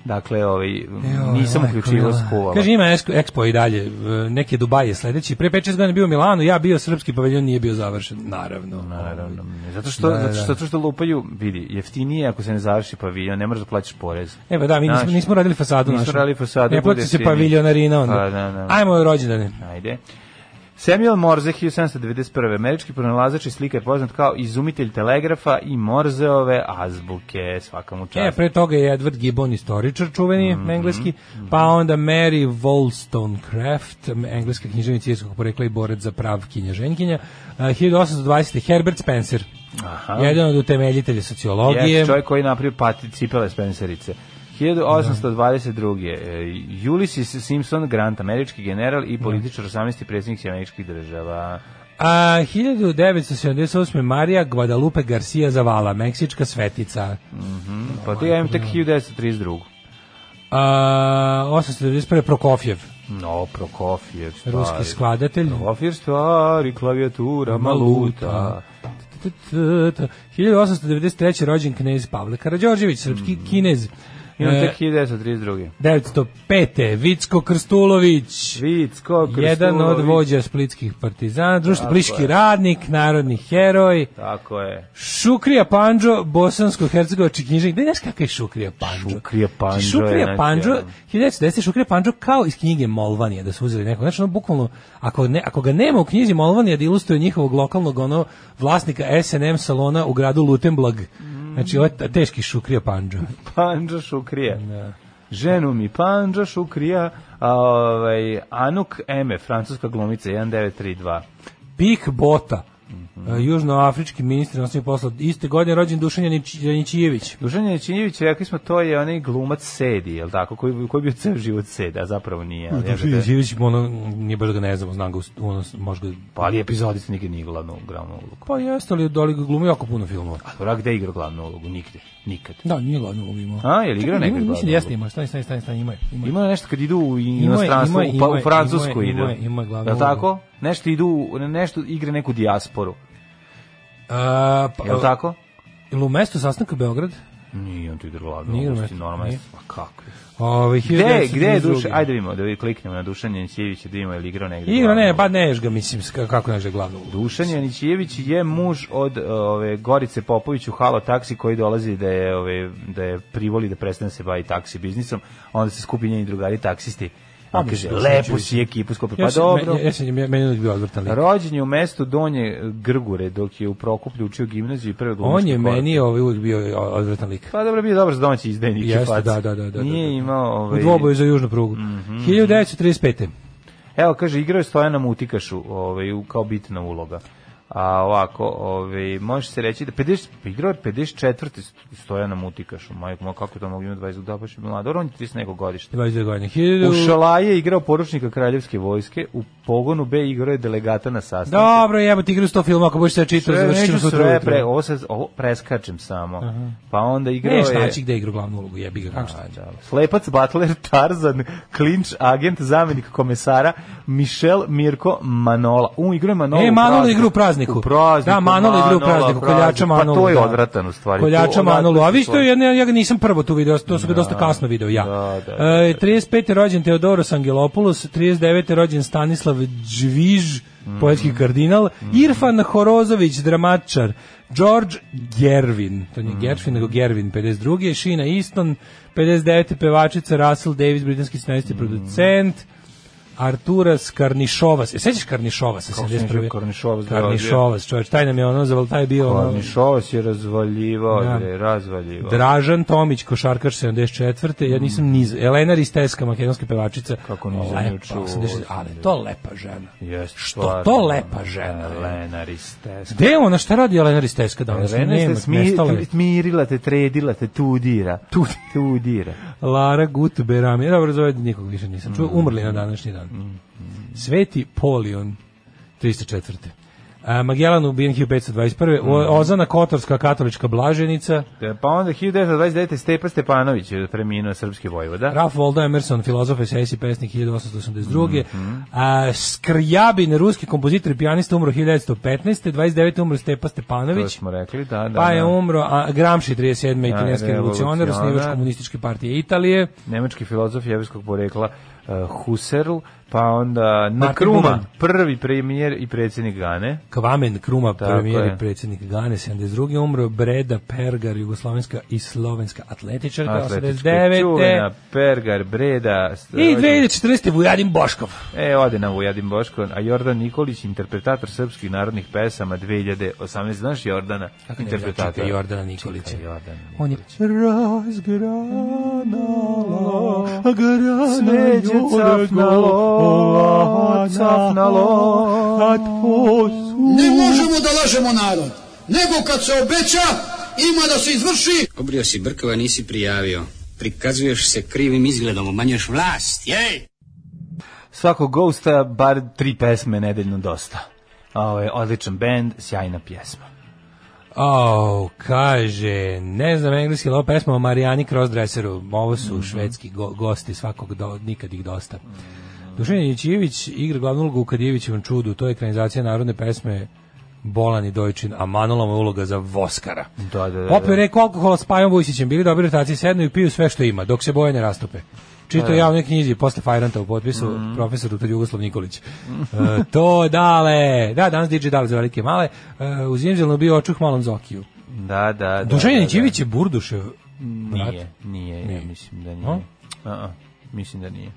F: Dakle, ovaj,
G: E,
F: nisam
G: Joj,
F: uključivao
G: majko
F: skuvala.
G: mila. Kaže, ima esk- Expo i dalje, e, neke Dubaje sledeći. Pre 5-6 godina je bio u Milanu, ja bio srpski paviljon, nije bio završen. Naravno.
F: Naravno. Mm, Zato što,
G: Da,
F: zato,
G: da.
F: što, zato što lupaju, vidi, jeftinije ako se ne završi paviljon, ne moraš da plaćaš porez.
G: E pa da, mi nismo,
F: Znaš.
G: nismo radili fasadu
F: Nismo
G: našu.
F: radili fasadu,
G: Ne
F: bude
G: plaća se
F: jeftinije.
G: paviljonarina onda.
F: Pa, da, da.
G: Ajmo joj rođendane.
F: Ajde. Samuel Morze 1791. američki pronalazač i slikar poznat kao izumitelj telegrafa i Morzeove azbuke, svaka mu
G: E,
F: čast.
G: pre toga je Edward Gibbon, istoričar čuveni, engleski, pa onda Mary Wollstonecraft, m- engleska književnica irskog porekla i borec za prav knježenkinja. Uh, 1820. Herbert Spencer, jedan od utemeljitelja sociologije.
F: Je čovjek koji je napravio pati cipele Spencerice. 1822. e, Ulysses Simpson Grant, američki general i političar 18. predsjednik američkih država.
G: A 1978. Marija Guadalupe Garcia Zavala, meksička svetica.
F: Pa to ja imam tek 1932.
G: A, 891. Prokofjev,
F: No, Prokofjev. stari.
G: ruski skladatelj.
F: Prokofjev stvari, klavijatura, maluta.
G: 1893. rođen knez Pavle Karadžorđević, srpski kinez.
F: Imam
G: E,
F: Mm. tek 1932.
G: 905. Vicko Krstulović.
F: Vicko Krstulović.
G: Jedan od vođa splitskih partizana, društvo Pliški radnik, narodni heroj,
F: Tako je.
G: Šukrija Panđo, bosansko-hercegovački knjižnik. Da znaš kakav je Šukrija Panđo?
F: Šukrija Pandžo je,
G: Šukrija
F: znači,
G: Panđo,
F: ono.
G: 1910. Šukrija Panđo kao iz knjige Molvanija, da su uzeli nekog. Znači, ono, bukvalno, ako, ne, ako ga nema u knjizi Molvanija, da ilustruje njihovog lokalnog, ono, vlasnika S&M salona u gradu Lutenblag. Znači, ovo je ta- teški Šukrija Panđo.
F: Panđa Šukrija. Ženu mi Panđa Šukrija, a ovaj, Anuk Eme, francuska glumica, 1932.
G: Pik Bota,
F: Mhm.
G: e, južnoafrički ministar inostranih posla, iste godine rođen Dušan Janić- Janićijević.
F: Dušan Janičinjević, rekli smo, to je onaj glumac Sedi, je li tako? Koji, koji je bio ceo život Seda, zapravo nije. Ali,
G: Dušan
F: jebote,
G: Janićijević, ono, nije baš da ga ne znamo, znam ga, us- ono, možda ga...
F: pa ali epizodista nikad nije glavnu glavnu ulogu.
G: Pa jeste, ali doli ga glumi jako puno filmova.
F: A Rak gde je igrao glavnu ulogu? Nigde. Nikad.
G: Da, nije glavnu ulogu imao.
F: A, je li igrao
G: Čekaj,
F: nekad
G: ima-
F: glavnu
G: Mislim da jeste
F: ulogu?
G: imao, stani, stani, stani, stani, ima je. Ima,
F: Ima nešto kad idu u
G: je,
F: inostranstvo,
G: ima je,
F: u, pa,
G: ima
F: u
G: je,
F: Francusku
G: ima je,
F: idu.
G: ima je, ima je glavnu
F: Jel
G: ulogu.
F: tako? Nešto idu, u- nešto igra neku dijasporu.
G: A, pa,
F: Jel tako?
G: Ili u mestu sastanka Beograd?
F: Nije on tu igra glavnu
G: Nije
F: ulogu,
G: igra
F: ti
G: mesto,
F: normalno.
G: nije.
F: Pa kako je?
G: Ove,
F: Gde,
G: 1932.
F: gde je Dušan? Ajde vidimo, da vi kliknemo na Dušan Janićijevića, da vidimo je li igrao negde.
G: Igra,
F: glavnu
G: ne,
F: ulogu.
G: ba ne ješ ga, mislim, s- kako ne ješ da je glavnu ulogu.
F: Dušan Janićijević je muž od e, ove Gorice Popović u Halo taksi koji dolazi da je ove da je privoli da prestane se bavi taksi biznisom, a onda se skupi njeni drugari taksisti.
G: Pa,
F: On kaže
G: mislim,
F: lepo
G: znači,
F: si ekipu skupi. Pa
G: Ja sam-
F: dobro.
G: me- Ja sam, meni je uvijek bio odvrtan lik.
F: Rođen je u mestu Donje Grgure dok je u Prokuplju učio gimnaziju i prve glumačke
G: On je
F: korpe.
G: meni ovaj, uvijek bio odvrtan lik.
F: Pa dobro, bio je dobar za domaći izdajnik. i
G: Jeste,
F: fac.
G: da, da, da, da.
F: Nije
G: da, da.
F: imao... Ovaj, Mhm.
G: U dvoboju za južnu prugu. 1935.
F: Evo, kaže, igrao je Stojana Mutikašu ovaj, u- kao bitna uloga. A ovako, ovaj, može se reći da 50, pa igrao je 54. st- Stojana Mutikašu. Majko, moj, kako je to mogu imati 20 da baš je mlad. Dobro, on je 30 nekog godišta.
G: 22 godine.
F: U
G: 1000...
F: Šalaje je igrao poručnika Kraljevske vojske, u pogonu B igrao je delegata na sastanku.
G: Dobro, jebati igru 100 filmova, ako budeš sve čitao,
F: Sve,
G: završit ćemo
F: neću
G: sutra
F: sve,
G: ujutro.
F: pre, ovo, se, ovo preskačem samo. Pa onda igrao
G: Neš
F: je...
G: naći gde igru glavnu ulogu, jebi ga, kako šta će.
F: Da. Slepac, Butler, Tarzan, Klinč, agent, zamenik komesara, Michel Mirko Manola. U, igru je Manola.
G: E,
F: u
G: Manolo
F: prazniku.
G: igra u prazniku.
F: U prazniku.
G: Da, Manolo igra u prazniku, koljača Manolo.
F: Pa to je
G: da.
F: odvratan u stvari.
G: Koljača
F: To odatle
G: Manolo. A vi
F: su
G: ste,
F: stvari.
G: ja, ne- ja ga nisam prvo tu video, to su ga dosta kasno video ja.
F: Da, da, da,
G: E, 35. je rođen Teodoros Angelopoulos, 39. je rođen Stanislav Đviž,
F: Mhm.
G: poetski kardinal, Irfan Horozović, dramačar, George Gervin, to
F: Mhm.
G: nije Gervin, nego Gervin, 52. Šina Easton, 59. pevačica Russell Davis, britanski scenarist i
F: Mhm.
G: producent, Artura Skarnišovas. E, sećaš Karnišovas? sa
F: Kako se zove
G: 71.?
F: Karnišovas, da,
G: Karnišovas, čovječ, taj nam je ono, zaval, taj je bio ono,
F: Kornišova se Pa razvaljivao,
G: Da.
F: bre, razvaljivao.
G: Dražan Tomić, košarkaš 74. Ja nisam niz... Elena Risteska, makedonska pevačica.
F: Mm. Kako nisam
G: Lepa,
F: nju čuo,
G: 80, ali to lepa žena.
F: Jeste,
G: Što
F: stvarno.
G: to lepa žena je.
F: Elena Risteska.
G: Gde je ona? Šta radi Elena Risteska danas?
F: Elena
G: Nema,
F: Risteska smi-
G: nestala je.
F: tu- smirila te, tredila te, tudira. Tudira.
G: Lara Gutberam. Ja dobro zove nikog više nisam
F: Mm.
G: čuo. Umrli na današnji dan. Sveti Polion 304. A, Magellan ubijen 1521.
F: Mm.
G: O- Ozana Kotorska katolička blaženica.
F: E, Pa onda 1929. Stepa Stepanović je preminuo srpski vojvoda.
G: Ralph Waldo Emerson, filozof, esejist i pesnik 1882.
F: Mm-hmm.
G: A, Skrjabin, ruski kompozitor i pijanista, umro 1915. 29. umro Stepa
F: To
G: Stepanović.
F: smo rekli, da, da.
G: Pa je
F: da.
G: umro a, Gramsci 37.
F: Da,
G: italijanski revolucionar,
F: revolucionar.
G: osnivač komunističke partije Italije.
F: nemački filozof jevrskog porekla uh, Husserl, pa onda na
G: Martin
F: Kruma,
G: Budan.
F: prvi premijer i predsjednik Gane.
G: Kvamen Kruma,
F: Tako
G: premijer
F: je.
G: i predsjednik Gane, 72. umro Breda Pergar, jugoslovenska i slovenska atletičarka,
F: Atletički je
G: 89.
F: čuvena, Pergar, Breda. st-
G: I 2014. Vujadin Boškov.
F: E, ode nam Vujadin Boško, a Jordan Nikolić, interpretator srpskih narodnih pesama 2018. Znaš Jordana?
G: Interpretator.
F: Interpretator.
G: Čekaj, Jordana Nikolića.
F: Čekaj, Jordana
G: On je razgranala, a
F: Smeđe cafnalo, a cafnalo, a
J: Ne možemo da lažemo narod, nego kad se obeća, ima da se izvrši.
B: Obrio si brkova, nisi prijavio. Prikazuješ se krivim izgledom, umanjuješ vlast, jej!
F: Svakog Ghosta bar tri pesme nedeljno dosta. Ovo je odličan band, sjajna pjesma.
G: Au, Oh, kaže, ne znam engleski, ali ovo pesma o Marijani Crossdresseru. Ovo su švedski go- gosti, svakog do, nikad ih dosta. Dušan Janićijević igra glavnu ulogu u Kadijevićevom čudu, to je ekranizacija narodne pesme Bolan i Dojčin, a Manolova je uloga za Voskara.
F: Da, da, da.
G: Popio je rekao alkohola s Pajom Vujsićem, bili dobri rotaciji, sednu i piju sve što ima, dok se boje ne rastope. Čito ja u nekoj knjizi posle Fajranta u potpisu
F: Mhm.
G: profesor dr. Jugoslav Nikolić. E, to dale, da, danas DJ dale za velike i male, e, u Zimzelnu bio očuh malom Zokiju.
F: Da, da, da.
G: Dušan
F: da, da.
G: Janićević je Burdušev brat.
F: Nije, nije, ja mislim da nije.
G: A?
F: A, a, mislim da nije.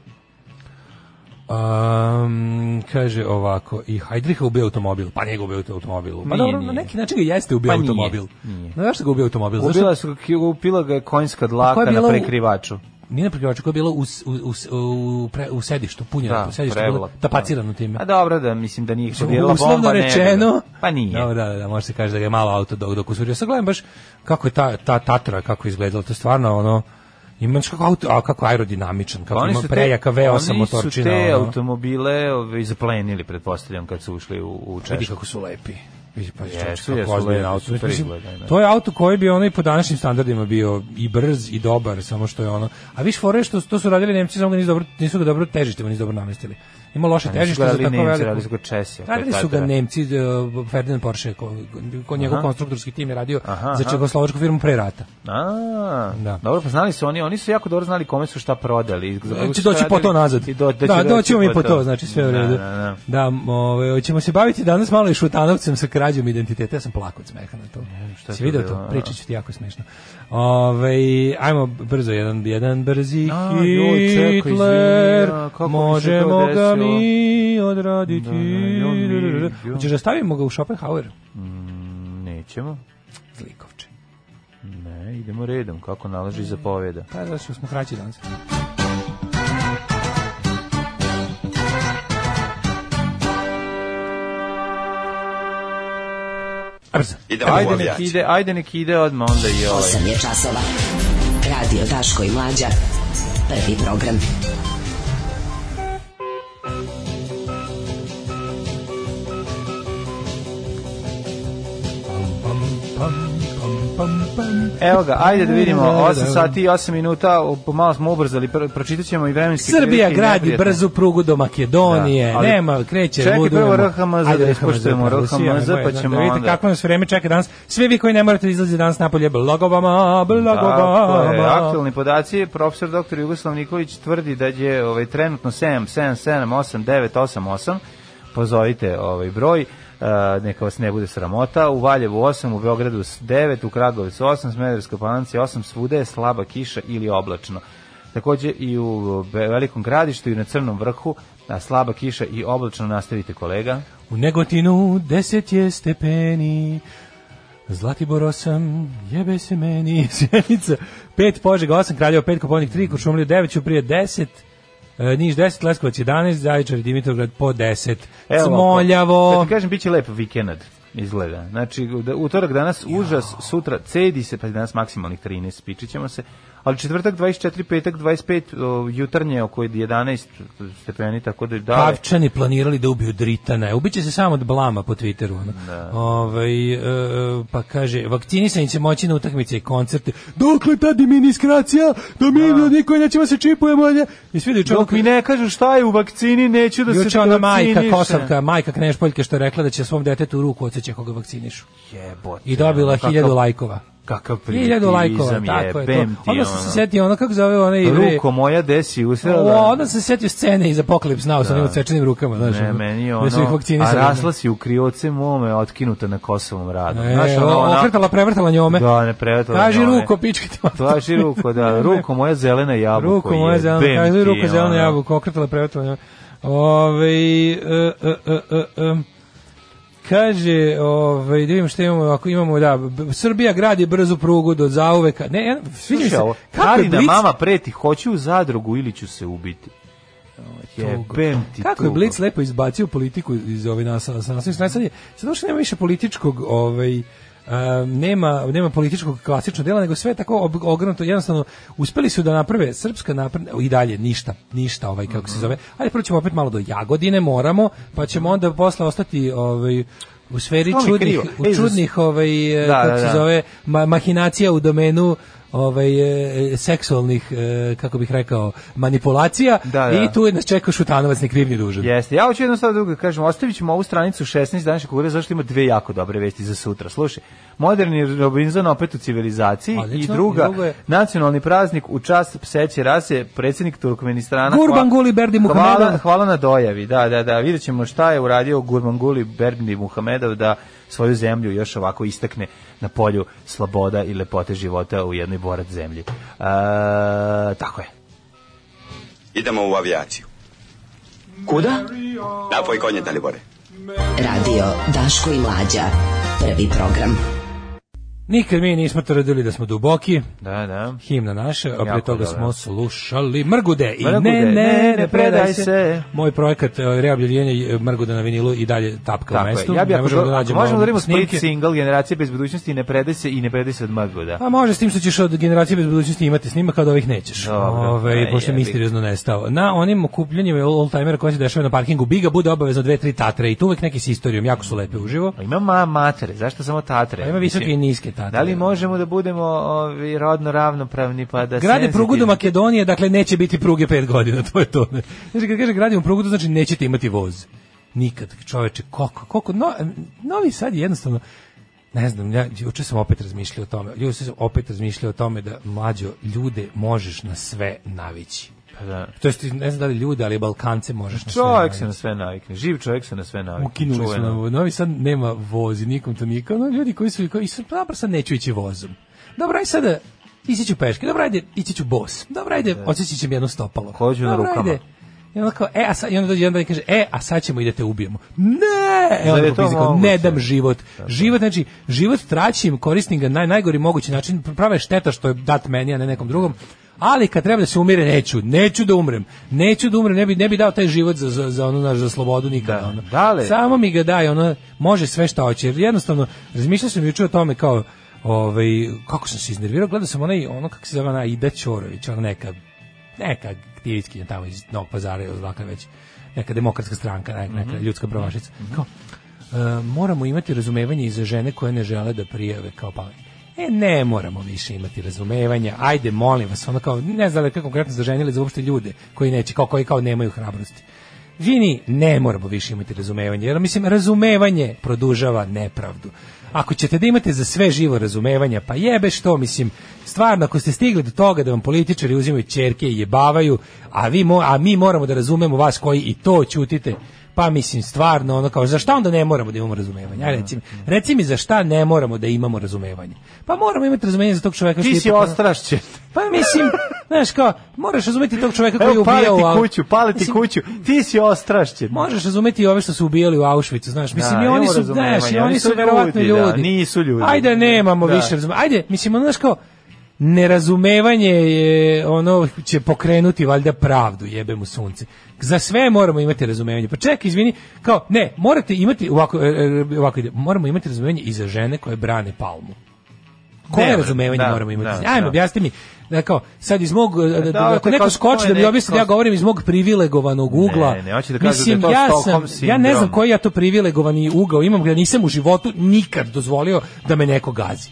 G: Um, kaže ovako, i Hajdriha ubio automobil, pa nije ga ubio automobil.
F: Nije,
G: Pa dobro, na
F: nije.
G: neki način ga jeste ubio
F: Pa nije,
G: automobil.
F: nije.
G: No, zašto ga ubio automobil? Zašto-
F: Ubila, su, ubila ga je konjska
G: Pa Koja
F: dlaka
G: je bila
F: na
G: u-
F: prekrivaču.
G: Nije na prekrivaču, koja je bila u, s- u, u, s- u, pre- u sedištu, punjena,
F: Da,
G: u sedištu,
F: prevlak,
G: bila tapacirano time.
F: A dobro da, mislim da nije eksplodirala bomba.
G: Uslovno
F: ne bi.
G: rečeno.
F: Pa nije.
G: Dobro, da, da, da, može se kaže da ga je malo auto dok, dok usurio. Sad gledam baš kako je ta, ta Tatra, kako je izgledala, to je stvarno ono, imaš kako auto, a kako aerodinamičan, kako
F: Pa Oni
G: ima
F: su te-
G: prejaka V8
F: oni su
G: motorčina.
F: te
G: ono.
F: automobile ove, zaplenili, pretpostavljam, kad su ušli u, u
G: Vidi
F: Češku.
G: kako su lepi. Vidi pa
F: Jesu,
G: jesu,
F: jesu
G: kako ozbiljan
F: lepi,
G: auto.
F: super
G: Mislim,
F: izgledaju, da.
G: to je auto koji bi ono i po današnjim standardima bio i brz i dobar, samo što je ono. A viš fore što to su radili Nemci, samo ga nisu dobro, nisu ga dobro težištima, nisu dobro namestili. Ima loše
F: A Pa nisu
G: težište
F: ga
G: za
F: radili
G: tako
F: Nemci,
G: veliko.
F: radili su ga Česi, ako je
G: Radili su ga
F: Tatara.
G: Nemci, d- Ferdinand Porsche, ko, ko njegov
F: Aha.
G: konstruktorski tim je radio
F: Aha,
G: za
F: aha.
G: čehoslovačku firmu pre rata.
F: A,
G: Da.
F: Dobro, pa znali su oni, oni su jako dobro znali kome su šta prodali.
G: Da će E, doći po to nazad.
F: I do, da, će
G: da,
F: doći
G: doći mi po to, znači sve u
F: Da,
G: redu.
F: da, da.
G: Da, ovaj, hoćemo se baviti danas malo i šutanovcem sa krađom identiteta. Ja sam plakao od smeha na to.
F: šta je
G: Si
F: to
G: video
F: bilo,
G: to?
F: a?
G: Pričat ću ti jako smešno. Ove, ajmo brzo, jedan, jedan brzi
F: A, joj, čekaj,
G: Hitler,
F: izvini, a, kako mi se to
G: možemo ga
F: desilo?
G: mi odraditi.
F: Da, da, joj, mi, joj.
G: Hoćeš da stavimo ga u Schopenhauer?
F: Nećemo.
G: Zlikovče.
F: Ne, idemo redom, kako nalaži zapovjeda.
G: Pa da smo kraći danas. Brzo.
F: Ajde nek ide, ajde nek ide odmah onda i ovaj.
I: 8 je časova. Radio Daško i Mlađa. Prvi program.
F: Evo ga, ajde da vidimo, 8 sati i 8 minuta, o, pomalo smo ubrzali, pr- pročitat ćemo i vremenski
G: Srbija gradi brzu prugu do Makedonije.
F: Da, ali-
G: nema, kreće,
F: Čekaj,
G: ludujemo.
F: prvo RHMZ da
G: Ajde,
F: ispoštujemo,
G: prvo,
F: RHMZ,
G: Rusija,
F: pa
G: nemoj, da-
F: ćemo
G: da vidite
F: onda.
G: kako nas vreme čeka danas. Svi vi koji ne morate izlaziti danas napolje, blagobama,
F: Tako je,
G: blagobama.
F: aktualni podaci, profesor dr. Jugoslav Nikolić tvrdi da je ovaj, trenutno 7778988, pozovite ovaj broj, e, neka vas ne bude sramota, u Valjevu 8, u Beogradu 9, u Kragovicu 8, Smederevska palanci 8, svuda je slaba kiša ili oblačno. Takođe i u Be- Velikom gradištu i na Crnom vrhu a, slaba kiša i oblačno nastavite kolega.
G: U Negotinu deset je stepeni, Zlatibor 8, jebe se meni, Sjenica 5, Požega 8, Kraljevo 5, Koponik 3, Kuršumlija 9, Ćuprije 10, e, Niš 10, Leskovac 11, Zaječar i Dimitrovgrad po 10,
F: Evo,
G: Smoljavo.
F: Da ti kažem, bit će lep vikend izgleda. Znači, da- utorak danas užas, sutra cedi se, pa je danas maksimalnih 13, pičit ćemo se. Ali četvrtak 24, petak 25, o, jutarnje oko 11 stepeni, tako da da.
G: Pavčani planirali da ubiju Dritana. Ubiće se samo od blama po Twitteru. Ono. Ovaj, e, pa kaže, vakcinisani će moći na utakmice i koncerte. Dokle ta diminiskracija? Da mi da. niko nećemo se čipujemo. Ne? I svi da
F: Dok mi ne kažu šta je u vakcini, neću da Pa se
G: Juče ona majka
F: vakcinišem.
G: Kosovka, majka Knešpoljke što je rekla da će svom detetu ruku odseće koga vakcinišu.
F: Jebote. ono,
G: I dobila
F: Kakav-
G: hiljadu lajkova.
F: Kakav
G: Hiljadu lajkova,
F: primitivizam,
G: tako je
F: jebem
G: to.
F: ti,
G: Onda sam se
F: ono.
G: setio ono kako zove onaj... bre-
F: Ruko moja desi usrela.
G: O, onda sam se setio scene iz Apokalips Now sa onim odsečenim rukama, znaš.
F: Ne,
G: ono,
F: meni je
G: da
F: ono,
G: su ih
F: a
G: vakcinisali. ono.
F: rasla si u krioce mome, otkinuta na Kosovom radu.
G: E,
F: Znaš, ono,
G: o-
F: ona-
G: okretala, prevrtala njome.
F: Da, ne prevrtala
G: Kaži
F: njome.
G: ruko, pička ti mater.
F: Tvaži ruko, da, ruko moja zelena jabuka.
G: Ruko moja zelena, kaži ruko
F: ono.
G: zelena jabuka, okretala, prevrtala njome. Ove, e, e, e, e, e. Kaže, ovaj, da vidimo šta imamo, ako imamo, da, b- Srbija gradi brzu prugu do zauveka. Ne, ja, sviđa mi se,
F: Slušaj ovo,
G: kako je
F: Karina
G: Blic,
F: mama preti, hoću u zadrugu ili ću se ubiti. Jebem ti
G: kako je
F: tugo.
G: Blic lepo izbacio politiku iz ove nas, nas, nas, nas, nas sad je- sad uopšte nema više političkog, ovaj, em, nema, nema političkog klasičnog dela, nego sve je tako ob- ogrnuto, jednostavno, uspeli su da naprave srpska napredna, i dalje ništa, ništa, ovaj, kako
F: Mhm.
G: se zove, ali prvo ćemo opet malo do Jagodine, moramo, pa ćemo onda posle ostati, ovaj, u sferi
F: Što Mhm. mi je
G: čudnih,
F: krivo?
G: u
F: Ej, za-
G: čudnih ovaj, e,
F: Da,
G: kako
F: da,
G: se
F: da.
G: zove, ma- mahinacija u domenu ovaj, e, seksualnih, e, kako bih rekao, manipulacija
F: Da, da.
G: i tu je nas čekao Šutanovac, ni krivni dužan.
F: Jeste, ja hoću jedno sad drugo da kažem, ostavit ćemo ovu stranicu 16 današnjeg kure, zašto ima dve jako dobre vesti za sutra. Slušaj, moderni Robinson opet u civilizaciji
G: Odlično,
F: i druga,
G: i drugo je-
F: nacionalni praznik u čast pseće rase, predsjednik Turkmenistana.
G: Gurbanguly Berdimuhamedov.
F: Hvala, hvala na dojavi, da, da, da, vidjet ćemo šta je uradio Gurbanguly Berdi Muhamedov da svoju zemlju još ovako istakne na polju sloboda i lepote života u jednoj borat zemlji. E, tako je.
K: Idemo u avijaciju.
I: Kuda?
K: Napoj konje, Dalibore.
I: Radio Daško i Mlađa. Prvi program.
G: Nikad mi nismo tvrdili da smo duboki.
F: Da, da.
G: Himna naša, a pre
F: Jako
G: toga
F: dobro.
G: smo slušali Mrgude i
F: Mrgude,
G: ne, ne, ne, predaj
F: se.
G: se. Moj projekat e, reobljavljenja Mrgude na vinilu i dalje tapka
F: Tako
G: u
F: je.
G: mestu.
F: Ja bih
G: Ne
F: ako,
G: možemo
F: do-
G: da
F: ako
G: nađemo
F: možemo da radimo split
G: snimke.
F: single generacije bez budućnosti i ne predaj se i ne predaj se od Mrgoda.
G: Pa može s tim što ćeš od generacije bez budućnosti imati snima kao da ovih nećeš.
F: Dobro. Aj,
G: Ove, pošto je
F: jebi.
G: misteriozno nestao. Na onim okupljanjima oldtimera koje se dešavaju na parkingu Biga bude obavezno dve, tri tatre i tu uvek neki s istorijom, jako su lepe uživo.
F: A Ima ma matere, zašto samo tatre?
G: A Pa ima visoke
F: Mislim,
G: i niske tatre.
F: Da li možemo da budemo ovi, rodno ravnopravni pa da
G: Grade prugu do
F: senzitivni-
G: Makedonije, dakle neće biti pruge pet godina, to je to. ne. Znači kad kaže gradimo prugu, to znači nećete imati voz. Nikad, čoveče, koliko, koliko, no, novi sad je jednostavno, ne znam, ja juče sam opet razmišljao o tome, juče sam opet razmišljao o tome da mlađo ljude možeš na sve navići.
F: Pa da.
G: To jest, ne znam da li ljude, ali Balkance možeš na sve
F: Čovjek se
G: navići.
F: na sve navikne, živ čovjek se na sve navikne.
G: Ukinuli su
F: čuveno.
G: nam, Novi Sad nema vozi, nikom to nikao, no, ljudi koji su, koji su, dobro sad neću ići vozom. Dobro, aj sada, ići ću peške, dobro, ajde, ići ću bos, dobro, ajde, osjećat ćem jedno stopalo.
F: Hoću na
G: Dobro,
F: rukama.
G: ajde. I onda kao, e, a sad, i onda dođe jedan dan i kaže, e, a sad ćemo i da te ubijemo. Ne! E, onda
F: Zar je
G: je
F: to
G: kao,
F: moguće?
G: ne dam život. Život, znači, život traćim, koristim ga na najgori mogući način, prava je šteta što je dat meni, a ne nekom drugom, ali kad treba da se umire, neću, neću da umrem, neću da umrem, ne bi, ne bi dao taj život za, za, za ono, naš, za slobodu nikada.
F: Da.
G: ono.
F: Dale.
G: Samo mi ga daj, ono, može sve šta hoće. Jer jednostavno, razmišljao sam juče o tome kao, ovaj, kako sam se iznervirao, gledao sam onaj, ono, kako se zove, ona Ida Ćorović, ona neka, neka aktivistkinja tamo iz Novog pazara ili odakle već, neka demokratska stranka, neka, neka
F: Mhm.
G: ljudska pravašica. Kao, e, moramo imati razumevanje i za žene koje ne žele da prijave kao pa E, ne moramo više imati razumevanja. Ajde, molim vas, ono kao, ne znam da li je kako konkretno za žene ili za uopšte ljude koji neće, kao, koji kao nemaju hrabrosti. Vini, ne moramo više imati razumevanje, jer mislim, razumevanje produžava nepravdu. Ako ćete da imate za sve živo razumevanja, pa jebe što, mislim, stvarno, ako ste stigli do toga da vam političari uzimaju čerke i jebavaju, a, vi mo- a mi moramo da razumemo vas koji i to ćutite, pa mislim, stvarno, ono kao, za šta onda ne moramo da imamo razumevanje? Aj, reci mi, reci mi za šta ne moramo da imamo razumevanje. Pa moramo imati razumevanje za tog čoveka. što
F: Ti
G: je
F: si
G: ipak-
F: ostrašćen.
G: Pa mislim, znaš kao, moraš razumeti tog čoveka koji je
F: Evo, pale
G: ubijao...
F: ti
G: a-
F: kuću, pale ti
G: Mislim,
F: kuću. Ti si ostrašćen.
G: Možeš razumeti i ove što su ubijali u Auschwitzu, znaš, mislim
F: Da,
G: i oni
F: imamo
G: su,
F: razumevanja,
G: znaš, i oni su verovatno ljudi.
F: da, nisu ljudi.
G: Ajde, nemamo
F: Da.
G: više razumevanja. Ajde, mislim, ono, znaš kao, nerazumevanje je, ono, će pokrenuti valjda pravdu, jebe mu sunce. Za sve moramo imati razumevanje. Pa čekaj, izvini, kao, ne, morate imati, ovako, e, e, ovako ide, moramo imati razumevanje i za žene koje brane palmu. Koje
F: Dobro,
G: razumevanje
F: da,
G: moramo imati?
F: da,
G: Ajme,
F: da.
G: objasni mi. Da, kao, sad iz mog, e, da,
F: Da,
G: ako
F: to
G: neko
F: kao-
G: skoči
F: to je
G: da mi
F: neko-
G: objasni, ja govorim iz mog privilegovanog ugla.
F: Ne, ne, hoće da kažu da je
G: Mislim,
F: to
G: ja
F: Stockholm
G: sam, Ja ne znam
F: sindrom.
G: koji ja to privilegovani ugao imam, gde nisam u životu nikad dozvolio da me neko gazi.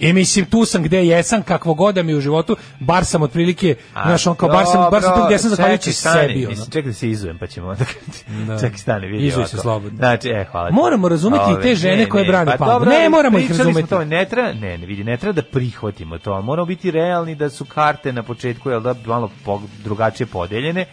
G: I mislim, tu sam gde jesam, kakvo god da mi je u životu, bar sam otprilike, znaš, on kao, bar sam, bar sam tu gde sam zahvaljujući
F: čekaj, stani,
G: sebi. ono.
F: Mislim, čekaj da se izujem, pa ćemo onda... Da.
G: Da.
F: Čekaj, stani, vidi
G: Izuj
F: ovako.
G: se slobodno.
F: Znači, e, hvala. ti.
G: Moramo razumeti i te
F: Ove,
G: žene
F: ne,
G: koje
F: ne,
G: brane
F: pa
G: palmu.
F: dobro,
G: Ne
F: ali
G: moramo ih
F: pričali smo
G: razumeti.
F: to, ne treba, ne, ne, vidi, ne treba da prihvatimo to, ali moramo biti realni da su karte na početku, jel da, malo po- drugačije podeljene,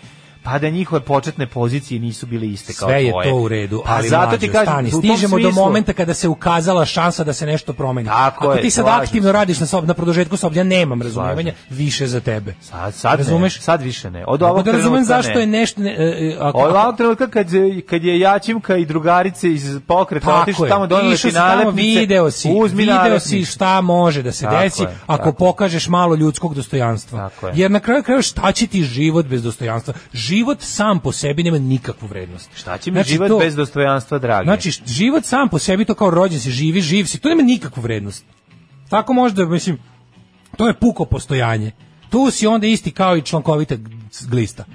F: pa da njihove početne pozicije nisu bile iste kao
G: Sve je
F: tvoje.
G: to u redu,
F: Pa
G: ali
F: zato
G: mlađo,
F: ti kažem,
G: stani,
F: u tom
G: stižemo do
F: smislu-
G: momenta kada se ukazala šansa da se nešto promeni.
F: Tako
G: Ako
F: je,
G: ti sad
F: slažem
G: aktivno radiš na sob, na produžetku sob, ja nemam razumevanja
F: Slažem
G: više za tebe.
F: Sad, sad, Razumeš?
G: Razumeš?
F: Ne, sad više ne. Od
G: Mogu
F: ovog
G: da razumem
F: trenutka
G: zašto
F: ne.
G: je nešto... Ne, e, e, ako-
F: Od ovog trenutka kad, je- kad je Jačimka i drugarice iz pokreta
G: Tako
F: Pa otišli
G: je.
F: tamo donele
G: Išao
F: ti
G: si tamo,
F: nalepnice,
G: video si,
F: uzmi
G: video si
F: nalepnicu.
G: šta može da se
F: Tako
G: desi
F: je,
G: ako
F: tako.
G: pokažeš malo ljudskog dostojanstva.
F: Tako je.
G: Jer na kraju krajeva šta će ti život bez dostojanstva? Život sam po sebi nema nikakvu vrednost.
F: Šta će mi
G: Znači,
F: život
G: to-
F: bez dostojanstva, dragi?
G: Znači, š- život sam po sebi, to kao rođen si, živi, živ si, to nema nikakvu vrednost. Tako možda, mislim, to je puko postojanje. Tu si onda isti kao i člankovita g- glista.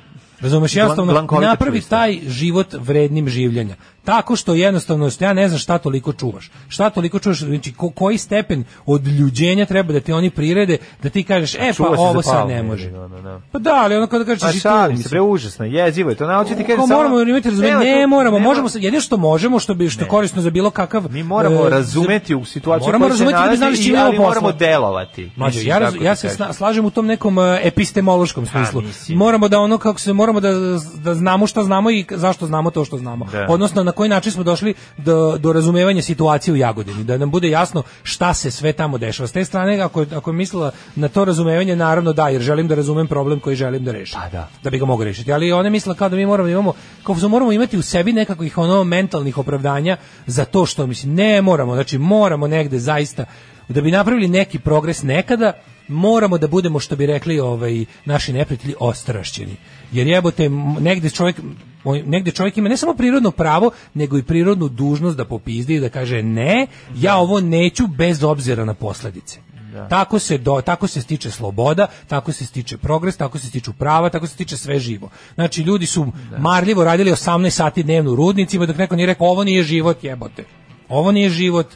G: Razumeš, jednostavno,
F: blankovita
G: napravi
F: glista.
G: taj život vrednim življenja. Tako što jednostavno, što ja ne znam šta toliko čuvaš. Šta toliko čuvaš, znači ko- koji stepen od ljuđenja treba da ti oni prirede, da ti kažeš, e pa
F: Čuva se za
G: ovo sad
F: Pavla,
G: ne može.
F: Da, da, da.
G: Pa da, ali ono kada kažeš
F: A
G: i tu,
F: šalim se,
G: mislim.
F: bre, užasno, jezivo je to. Na, hoću ti kažem
G: Kao
F: samo-
G: moramo imati razumevanje,
F: Nema tu-
G: ne moramo,
F: nema-
G: možemo se, jedino što možemo, što bi što je korisno za bilo kakav Mi
F: Moramo razumeti u situaciju
G: moramo
F: u kojoj se
G: razumeti da bi znali s
F: nalazi,
G: čime
F: i-
G: imamo
F: ali moramo
G: posla.
F: delovati.
G: Mlađe,
F: Mislim,
G: ja, raz-
F: kako ti
G: ja se
F: kažem.
G: sna- slažem u tom nekom e, epistemološkom smislu.
F: mislim.
G: moramo da ono kako se moramo da, da znamo šta znamo i k- zašto znamo to što znamo.
F: Da.
G: Odnosno na koji način smo došli do, do razumevanja situacije u Jagodini, da nam bude jasno šta se sve tamo dešava. S te strane ako je- ako je mislila na to razumevanje naravno da, jer želim da razumem problem koji želim da rešim. Pa da. bi ga mogu rešiti. Ali ona je mislila kao da mi moramo da imamo kao da moramo imati u sebi nekakvih ono mentalnih opravdanja za to što mislim ne moramo, znači moramo negde zaista da bi napravili neki progres nekada moramo da budemo što bi rekli ovaj naši neprijatelji ostrašćeni jer jebote m- negde čovjek on- negde čovjek ima ne samo prirodno pravo nego i prirodnu dužnost da popizdi i da kaže ne ja ovo neću bez obzira na posljedice tako se do, tako se stiče sloboda, tako se stiče progres, tako se stiču prava, tako se stiče sve živo. Znači ljudi su marljivo radili 18 sati dnevno u rudnicima dok neko nije rekao ovo nije život, jebote. Ovo nije život.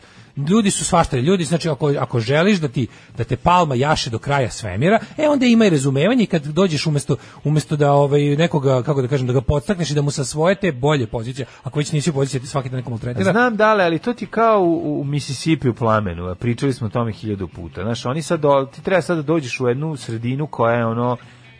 G: Ljudi su svaštari, ljudi, znači ako, ako želiš da ti da te palma jaše do kraja svemira, e onda ima i razumevanje i kad dođeš umjesto umjesto da ovaj nekoga kako da kažem da ga podstakneš i da mu sa svoje te bolje pozicije, ako već nisi u poziciji da ti svaki dan nekom maltretira,
F: Znam da li, ali to ti kao u, u Mississippi u plamenu, a pričali smo o tome hiljadu puta. Znaš, oni sad, do- ti treba sad da dođeš u jednu sredinu koja je ono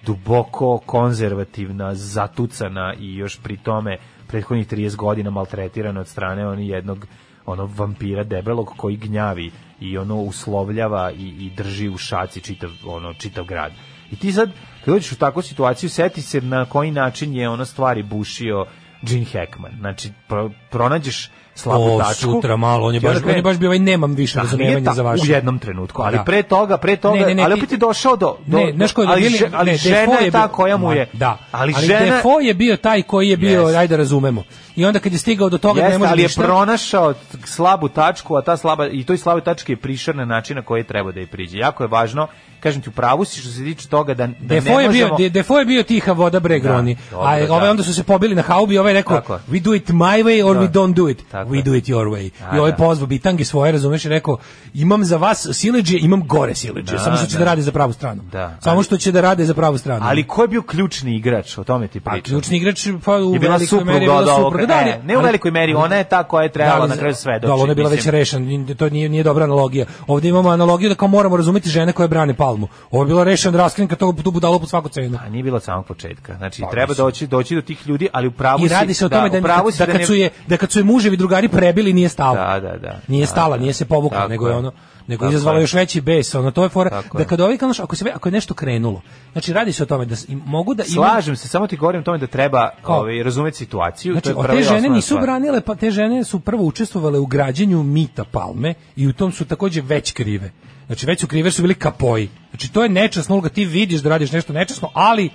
F: duboko konzervativna, zatucana i još pri tome prethodnih 30 godina maltretirana od strane oni jednog onog vampira debelog koji gnjavi i ono uslovljava i, i drži u šaci čitav, ono, čitav grad. I ti sad, kad dođeš u takvu situaciju, seti se na koji način je ono stvari bušio Gene Hackman. Znači, pro- pronađeš slabu
G: O,
F: tačku.
G: sutra malo, on je
F: I onda
G: baš- on je baš bio ovaj, nemam više
F: Da,
G: razumevanja
F: nije ta-
G: za vaše.
F: U jednom trenutku, ali
G: Da.
F: pre toga, pre toga,
G: Ne, ne, ne,
F: ali
G: ti-
F: opet je došao do... do
G: ne, znaš ko je
F: ali,
G: William-
F: že- ali
G: ne,
F: žena
G: Defoe
F: je ta
G: bio-
F: koja mu je...
G: Da,
F: ali, žena...
G: Defoe je bio taj koji je bio,
F: Yes.
G: ajde razumemo. I onda kad je stigao do toga da
F: Jeste,
G: ne može
F: ali je
G: ništa-
F: pronašao t- slabu tačku, a ta slaba i toj slaboj tački je prišao na način na koji treba da je priđe. Jako je važno, kažem ti, u pravu si što se tiče toga da, da ne
G: Defo je, bio,
F: možemo...
G: De- Defoe je bio tiha voda bregroni.
F: Da, dobro,
G: a ove
F: da.
G: onda su se pobili na haubi i ovaj je rekao
F: Tako je.
G: we do it my way or
F: Da.
G: we don't do it.
F: Tako
G: we
F: je.
G: do it your way.
F: A,
G: I ovaj
F: da.
G: pozvao bitange svoje, razumeš, i rekao imam za vas sileđe, imam gore sileđe.
F: Da,
G: samo što će da,
F: da.
G: rade za pravu stranu.
F: Da,
G: Samo
F: ali-
G: što će da rade za pravu stranu.
F: Ali ko je bio ključni igrač, o tome ti
G: Pa
F: pričam.
G: ključni igrač pa u
F: je bila
G: velikoj meri je
F: supruga
G: bila
F: od ovoga.
G: supruga. Da,
F: e,
G: ali-
F: ne u velikoj meri, ona je ta koja je trebala
G: ali
F: na
G: za-
F: kraju svedoči.
G: Da, ali ona je bila već
F: mislim.
G: rešena, to nije, nije dobra analogija. Ovdje imamo analogiju da kao moramo razumjeti žene koje brane palmu. Ovo je bila rešena raskrinka tog tu budalo po svaku cenu.
F: A nije bilo od samog početka. Znači,
G: Pa,
F: treba
G: mislim.
F: doći, doći do tih ljudi, ali u pravu
G: I
F: si-
G: radi se o tome da,
F: u pravu si
G: da, kad
F: ne-
G: su je, da kad su je muževi drugari prebili nije stalo.
F: Da, da, da.
G: Nije
F: Da,
G: stala,
F: da.
G: nije se povukla,
F: Tako
G: nego je
F: je.
G: ono nego je
F: Tako
G: izazvala
F: je.
G: još veći bes, ono to je fora
F: Tako
G: da
F: je.
G: kad ovaj kao, znaš, ako se ve- ako je nešto krenulo. Znači radi se o tome da s- i mogu da imaju-
F: Slažem se, samo ti govorim o tome da treba
G: Kao?
F: ovaj, razumeti situaciju.
G: Znači,
F: to je
G: o,
F: prva i
G: te žene
F: osnovna
G: nisu
F: stvar.
G: branile, pa te žene su prvo učestvovale u građenju mita Palme i u tom su takođe već krive. Znači, već su krive jer su bili kapoji. Znači, to je nečasno, Olga, ti vidiš da radiš nešto nečasno, ali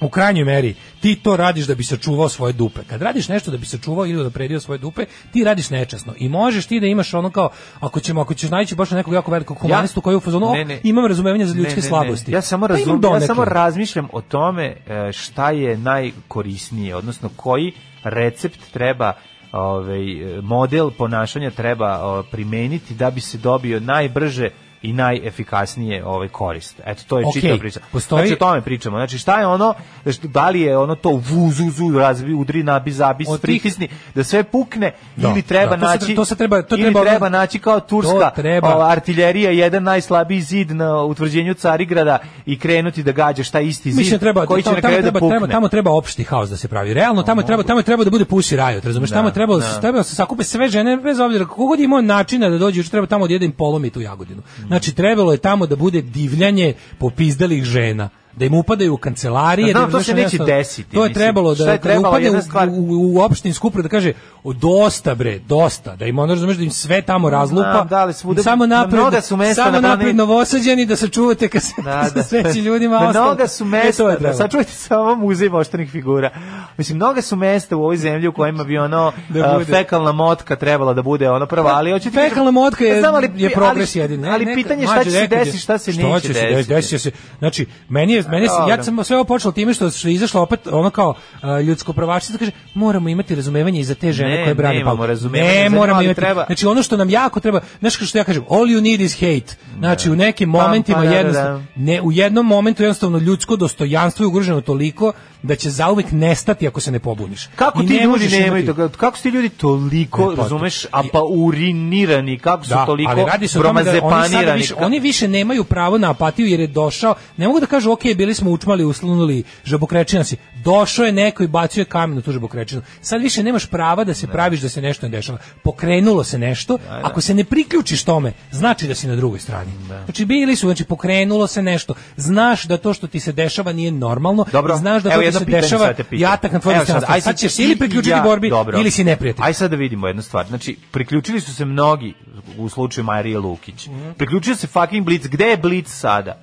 G: u krajnjoj meri ti to radiš da bi sačuvao svoje dupe. Kad radiš nešto da bi sačuvao ili da predio svoje dupe, ti radiš nečasno. I možeš ti da imaš ono kao ako ćemo ako ćeš naći baš nekog jako velikog humanistu koji je u fazonu,
F: Ne,
G: "O,
F: ne.
G: imam razumevanje za
F: Ne,
G: ljudske
F: ne, ne.
G: slabosti.
F: Ja samo
G: Pa imam
F: razum, ja
G: donekle.
F: samo razmišljam o tome e, šta je najkorisnije, odnosno koji recept treba ovaj e, model ponašanja treba o, primeniti da bi se dobio najbrže i najefikasnije ovaj korist. Eto to je
G: Okej,
F: čitava priča.
G: postoji-
F: Znači o tome pričamo. Znači šta je ono znači, da li je ono to vuzuzu razvi udri nabi zabi
G: Od tih-
F: pritisni da sve pukne
G: Da,
F: ili treba
G: da, to se-
F: naći
G: to se treba- to
F: ili
G: treba ono-
F: treba naći Znači kao turska
G: To treba.
F: ova, artiljerija jedan najslabiji zid na utvrđenju Carigrada i krenuti da gađaš taj isti zid
G: Mislim treba
F: koji će
G: tamo,
F: na
G: tamo
F: kraju
G: treba,
F: da pukne.
G: treba tamo treba opšti haos da se pravi. Realno tamo je treba tamo je treba da bude puši rajot, razumeš?
F: Da,
G: tamo je trebalo
F: da.
G: treba se sakupe sve žene bez obzira kako god imao načina da dođe, treba tamo da jedan polomi tu Jagodinu.
F: Mm.
G: Znači trebalo je tamo da bude divljanje popizdalih žena da im upadaju u kancelarije.
F: Da, znam,
G: im,
F: to se
G: znaš,
F: neće
G: jednostavno-
F: desiti,
G: To je
F: mislim.
G: trebalo
F: Šta
G: da,
F: je
G: da
F: trebala
G: upade
F: jedna
G: u,
F: stvar?
G: u, u opštinsku upravu da kaže o, dosta bre, dosta, da im ono razumeš da im sve tamo razlupa.
F: Znam, da, ali svuda-
G: samo
F: na
G: napred,
F: mnoga su mesta
G: samo
F: na planeti-
G: napred Novosađani da se čuvate kad se
F: Da, da.
G: sreći ljudima. a
F: Mnoga
G: ostalo-
F: su
G: E, to
F: mesta,
G: je
F: da,
G: trebalo.
F: sačuvajte samo muzej moštenih figura. Mislim, mnoga su mesta u ovoj zemlji u kojima bi ono
G: Da
F: a,
G: bude.
F: fekalna motka trebala da bude ono prva, ali hoćete... ti kažem-
G: Fekalna motka je,
F: Ja znam, ali-
G: je progres
F: ali-
G: jedin. Ne,
F: Ali
G: neka-
F: pitanje je šta
G: mlađe,
F: će se
G: nekad je-
F: desiti, šta se
G: šta
F: neće
G: će se desiti.
F: desiti.
G: Desio se, znači, meni je jest, meni se, ja sam sve ovo počelo time što što je izašlo opet ono kao a, ljudsko pravačice kaže moramo imati razumevanje i za te žene
F: Ne,
G: koje brane
F: nemamo
G: Palmu.
F: razumevanja za
G: Ne,
F: nju,
G: moramo
F: ali
G: imati.
F: treba-
G: Znači ono što nam jako treba, znaš kao što ja kažem, all you need is hate. Znači u nekim
F: Pa, pa,
G: momentima
F: da, da,
G: jednostavno ne u jednom momentu jednostavno ljudsko dostojanstvo je ugroženo toliko da će zauvek nestati ako se ne pobuniš.
F: Kako
G: I
F: ti
G: ne
F: ljudi
G: možeš imati-
F: nemaju toga? Kako su ti ljudi toliko,
G: Ne, pa,
F: razumeš, a pa urinirani, kako su
G: Da,
F: toliko
G: ali radi se o tome da oni sada
F: bromazepanirani,
G: više,
F: kako-
G: oni više nemaju pravo na apatiju jer je došao, ne mogu da kažu ok, bili smo učmali, uslunuli žabokrečina si, došao je neko i bacio je kamen u tu žabokrečinu. Sad više nemaš prava da se praviš da se nešto ne dešava. Pokrenulo se nešto, ako se ne priključiš tome, znači da si na drugoj strani. Znači bili su, znači pokrenulo se nešto, znaš da to što ti se dešava nije normalno,
F: Dobro,
G: znaš da
F: evo
G: to ti
F: jedno
G: se
F: pitanje
G: dešava
F: sad te
G: i
F: pitam.
G: atak na tvoju
F: Evo
G: stranu.
F: aj
G: Sad
F: ti
G: ćeš se ili
F: i
G: priključiti
F: ja,
G: borbi
F: dobro.
G: ili si neprijatelj.
F: Aj sad da vidimo jednu stvar. Znači, priključili su se mnogi u slučaju Marije Lukić.
G: Mhm.
F: Priključio se fucking Blitz. Gde je Blitz sada?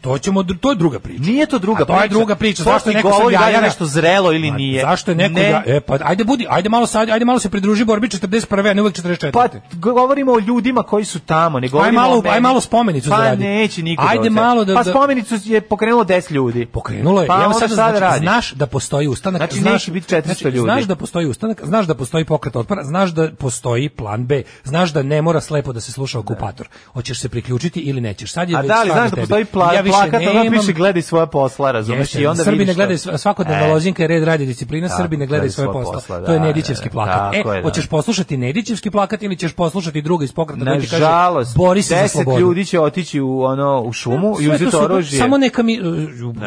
G: To ćemo, dru- to je druga priča.
F: Nije to druga
G: A to je druga priča,
F: ti
G: zašto je neko sad
F: govori da li je
G: jajara?
F: nešto zrelo ili
G: Ma,
F: nije.
G: Zašto je neko
F: Ne.
G: ja- e pa ajde budi, ajde malo sad, ajde malo se pridruži borbi 41, a ne uvek 44.
F: Pa govorimo o ljudima koji su tamo, ne govorimo
G: malo-
F: o meni.
G: aj malo spomenicu
F: Pa
G: zaradi.
F: neće niko. da
G: Ajde
F: hoće.
G: malo da-
F: Pa
G: da-
F: spomenicu je pokrenulo 10 ljudi.
G: Pokrenulo je.
F: Pa
G: Evo
F: onda
G: sad,
F: šta da
G: znači,
F: radi?
G: znaš da postoji ustanak,
F: Znači,
G: znaš
F: neće biti 400
G: znači,
F: ljudi.
G: Znaš da postoji ustanak, znaš da postoji pokret otpora, znaš da postoji plan B, znaš da ne mora slepo da se sluša okupator. Hoćeš se priključiti ili nećeš. Sad je
F: A
G: već
F: da li
G: stvar na
F: znaš da
G: tebi.
F: postoji pla,
G: ja više
F: plakat, ono
G: nemam-
F: piše gledaj svoje posla, razumeš?
G: Jeste,
F: I onda
G: Srbi
F: vidiš
G: ne
F: šta-
G: gledaju sva- svakodnevna
F: E.
G: lozinka je red radi disciplina,
F: Tako,
G: Srbi ne gledaju svoje posla. to je
F: da,
G: Nedićevski
F: da,
G: plakat.
F: tako
G: e,
F: je, da.
G: hoćeš poslušati Nedićevski plakat ili ćeš poslušati druga iz pokreta koji ti kaže
F: Nažalost,
G: bori se za
F: 10
G: slobodu.
F: ljudi će otići u ono u šumu i
G: Sve to
F: uzeti
G: super,
F: oružje.
G: Samo neka mi e,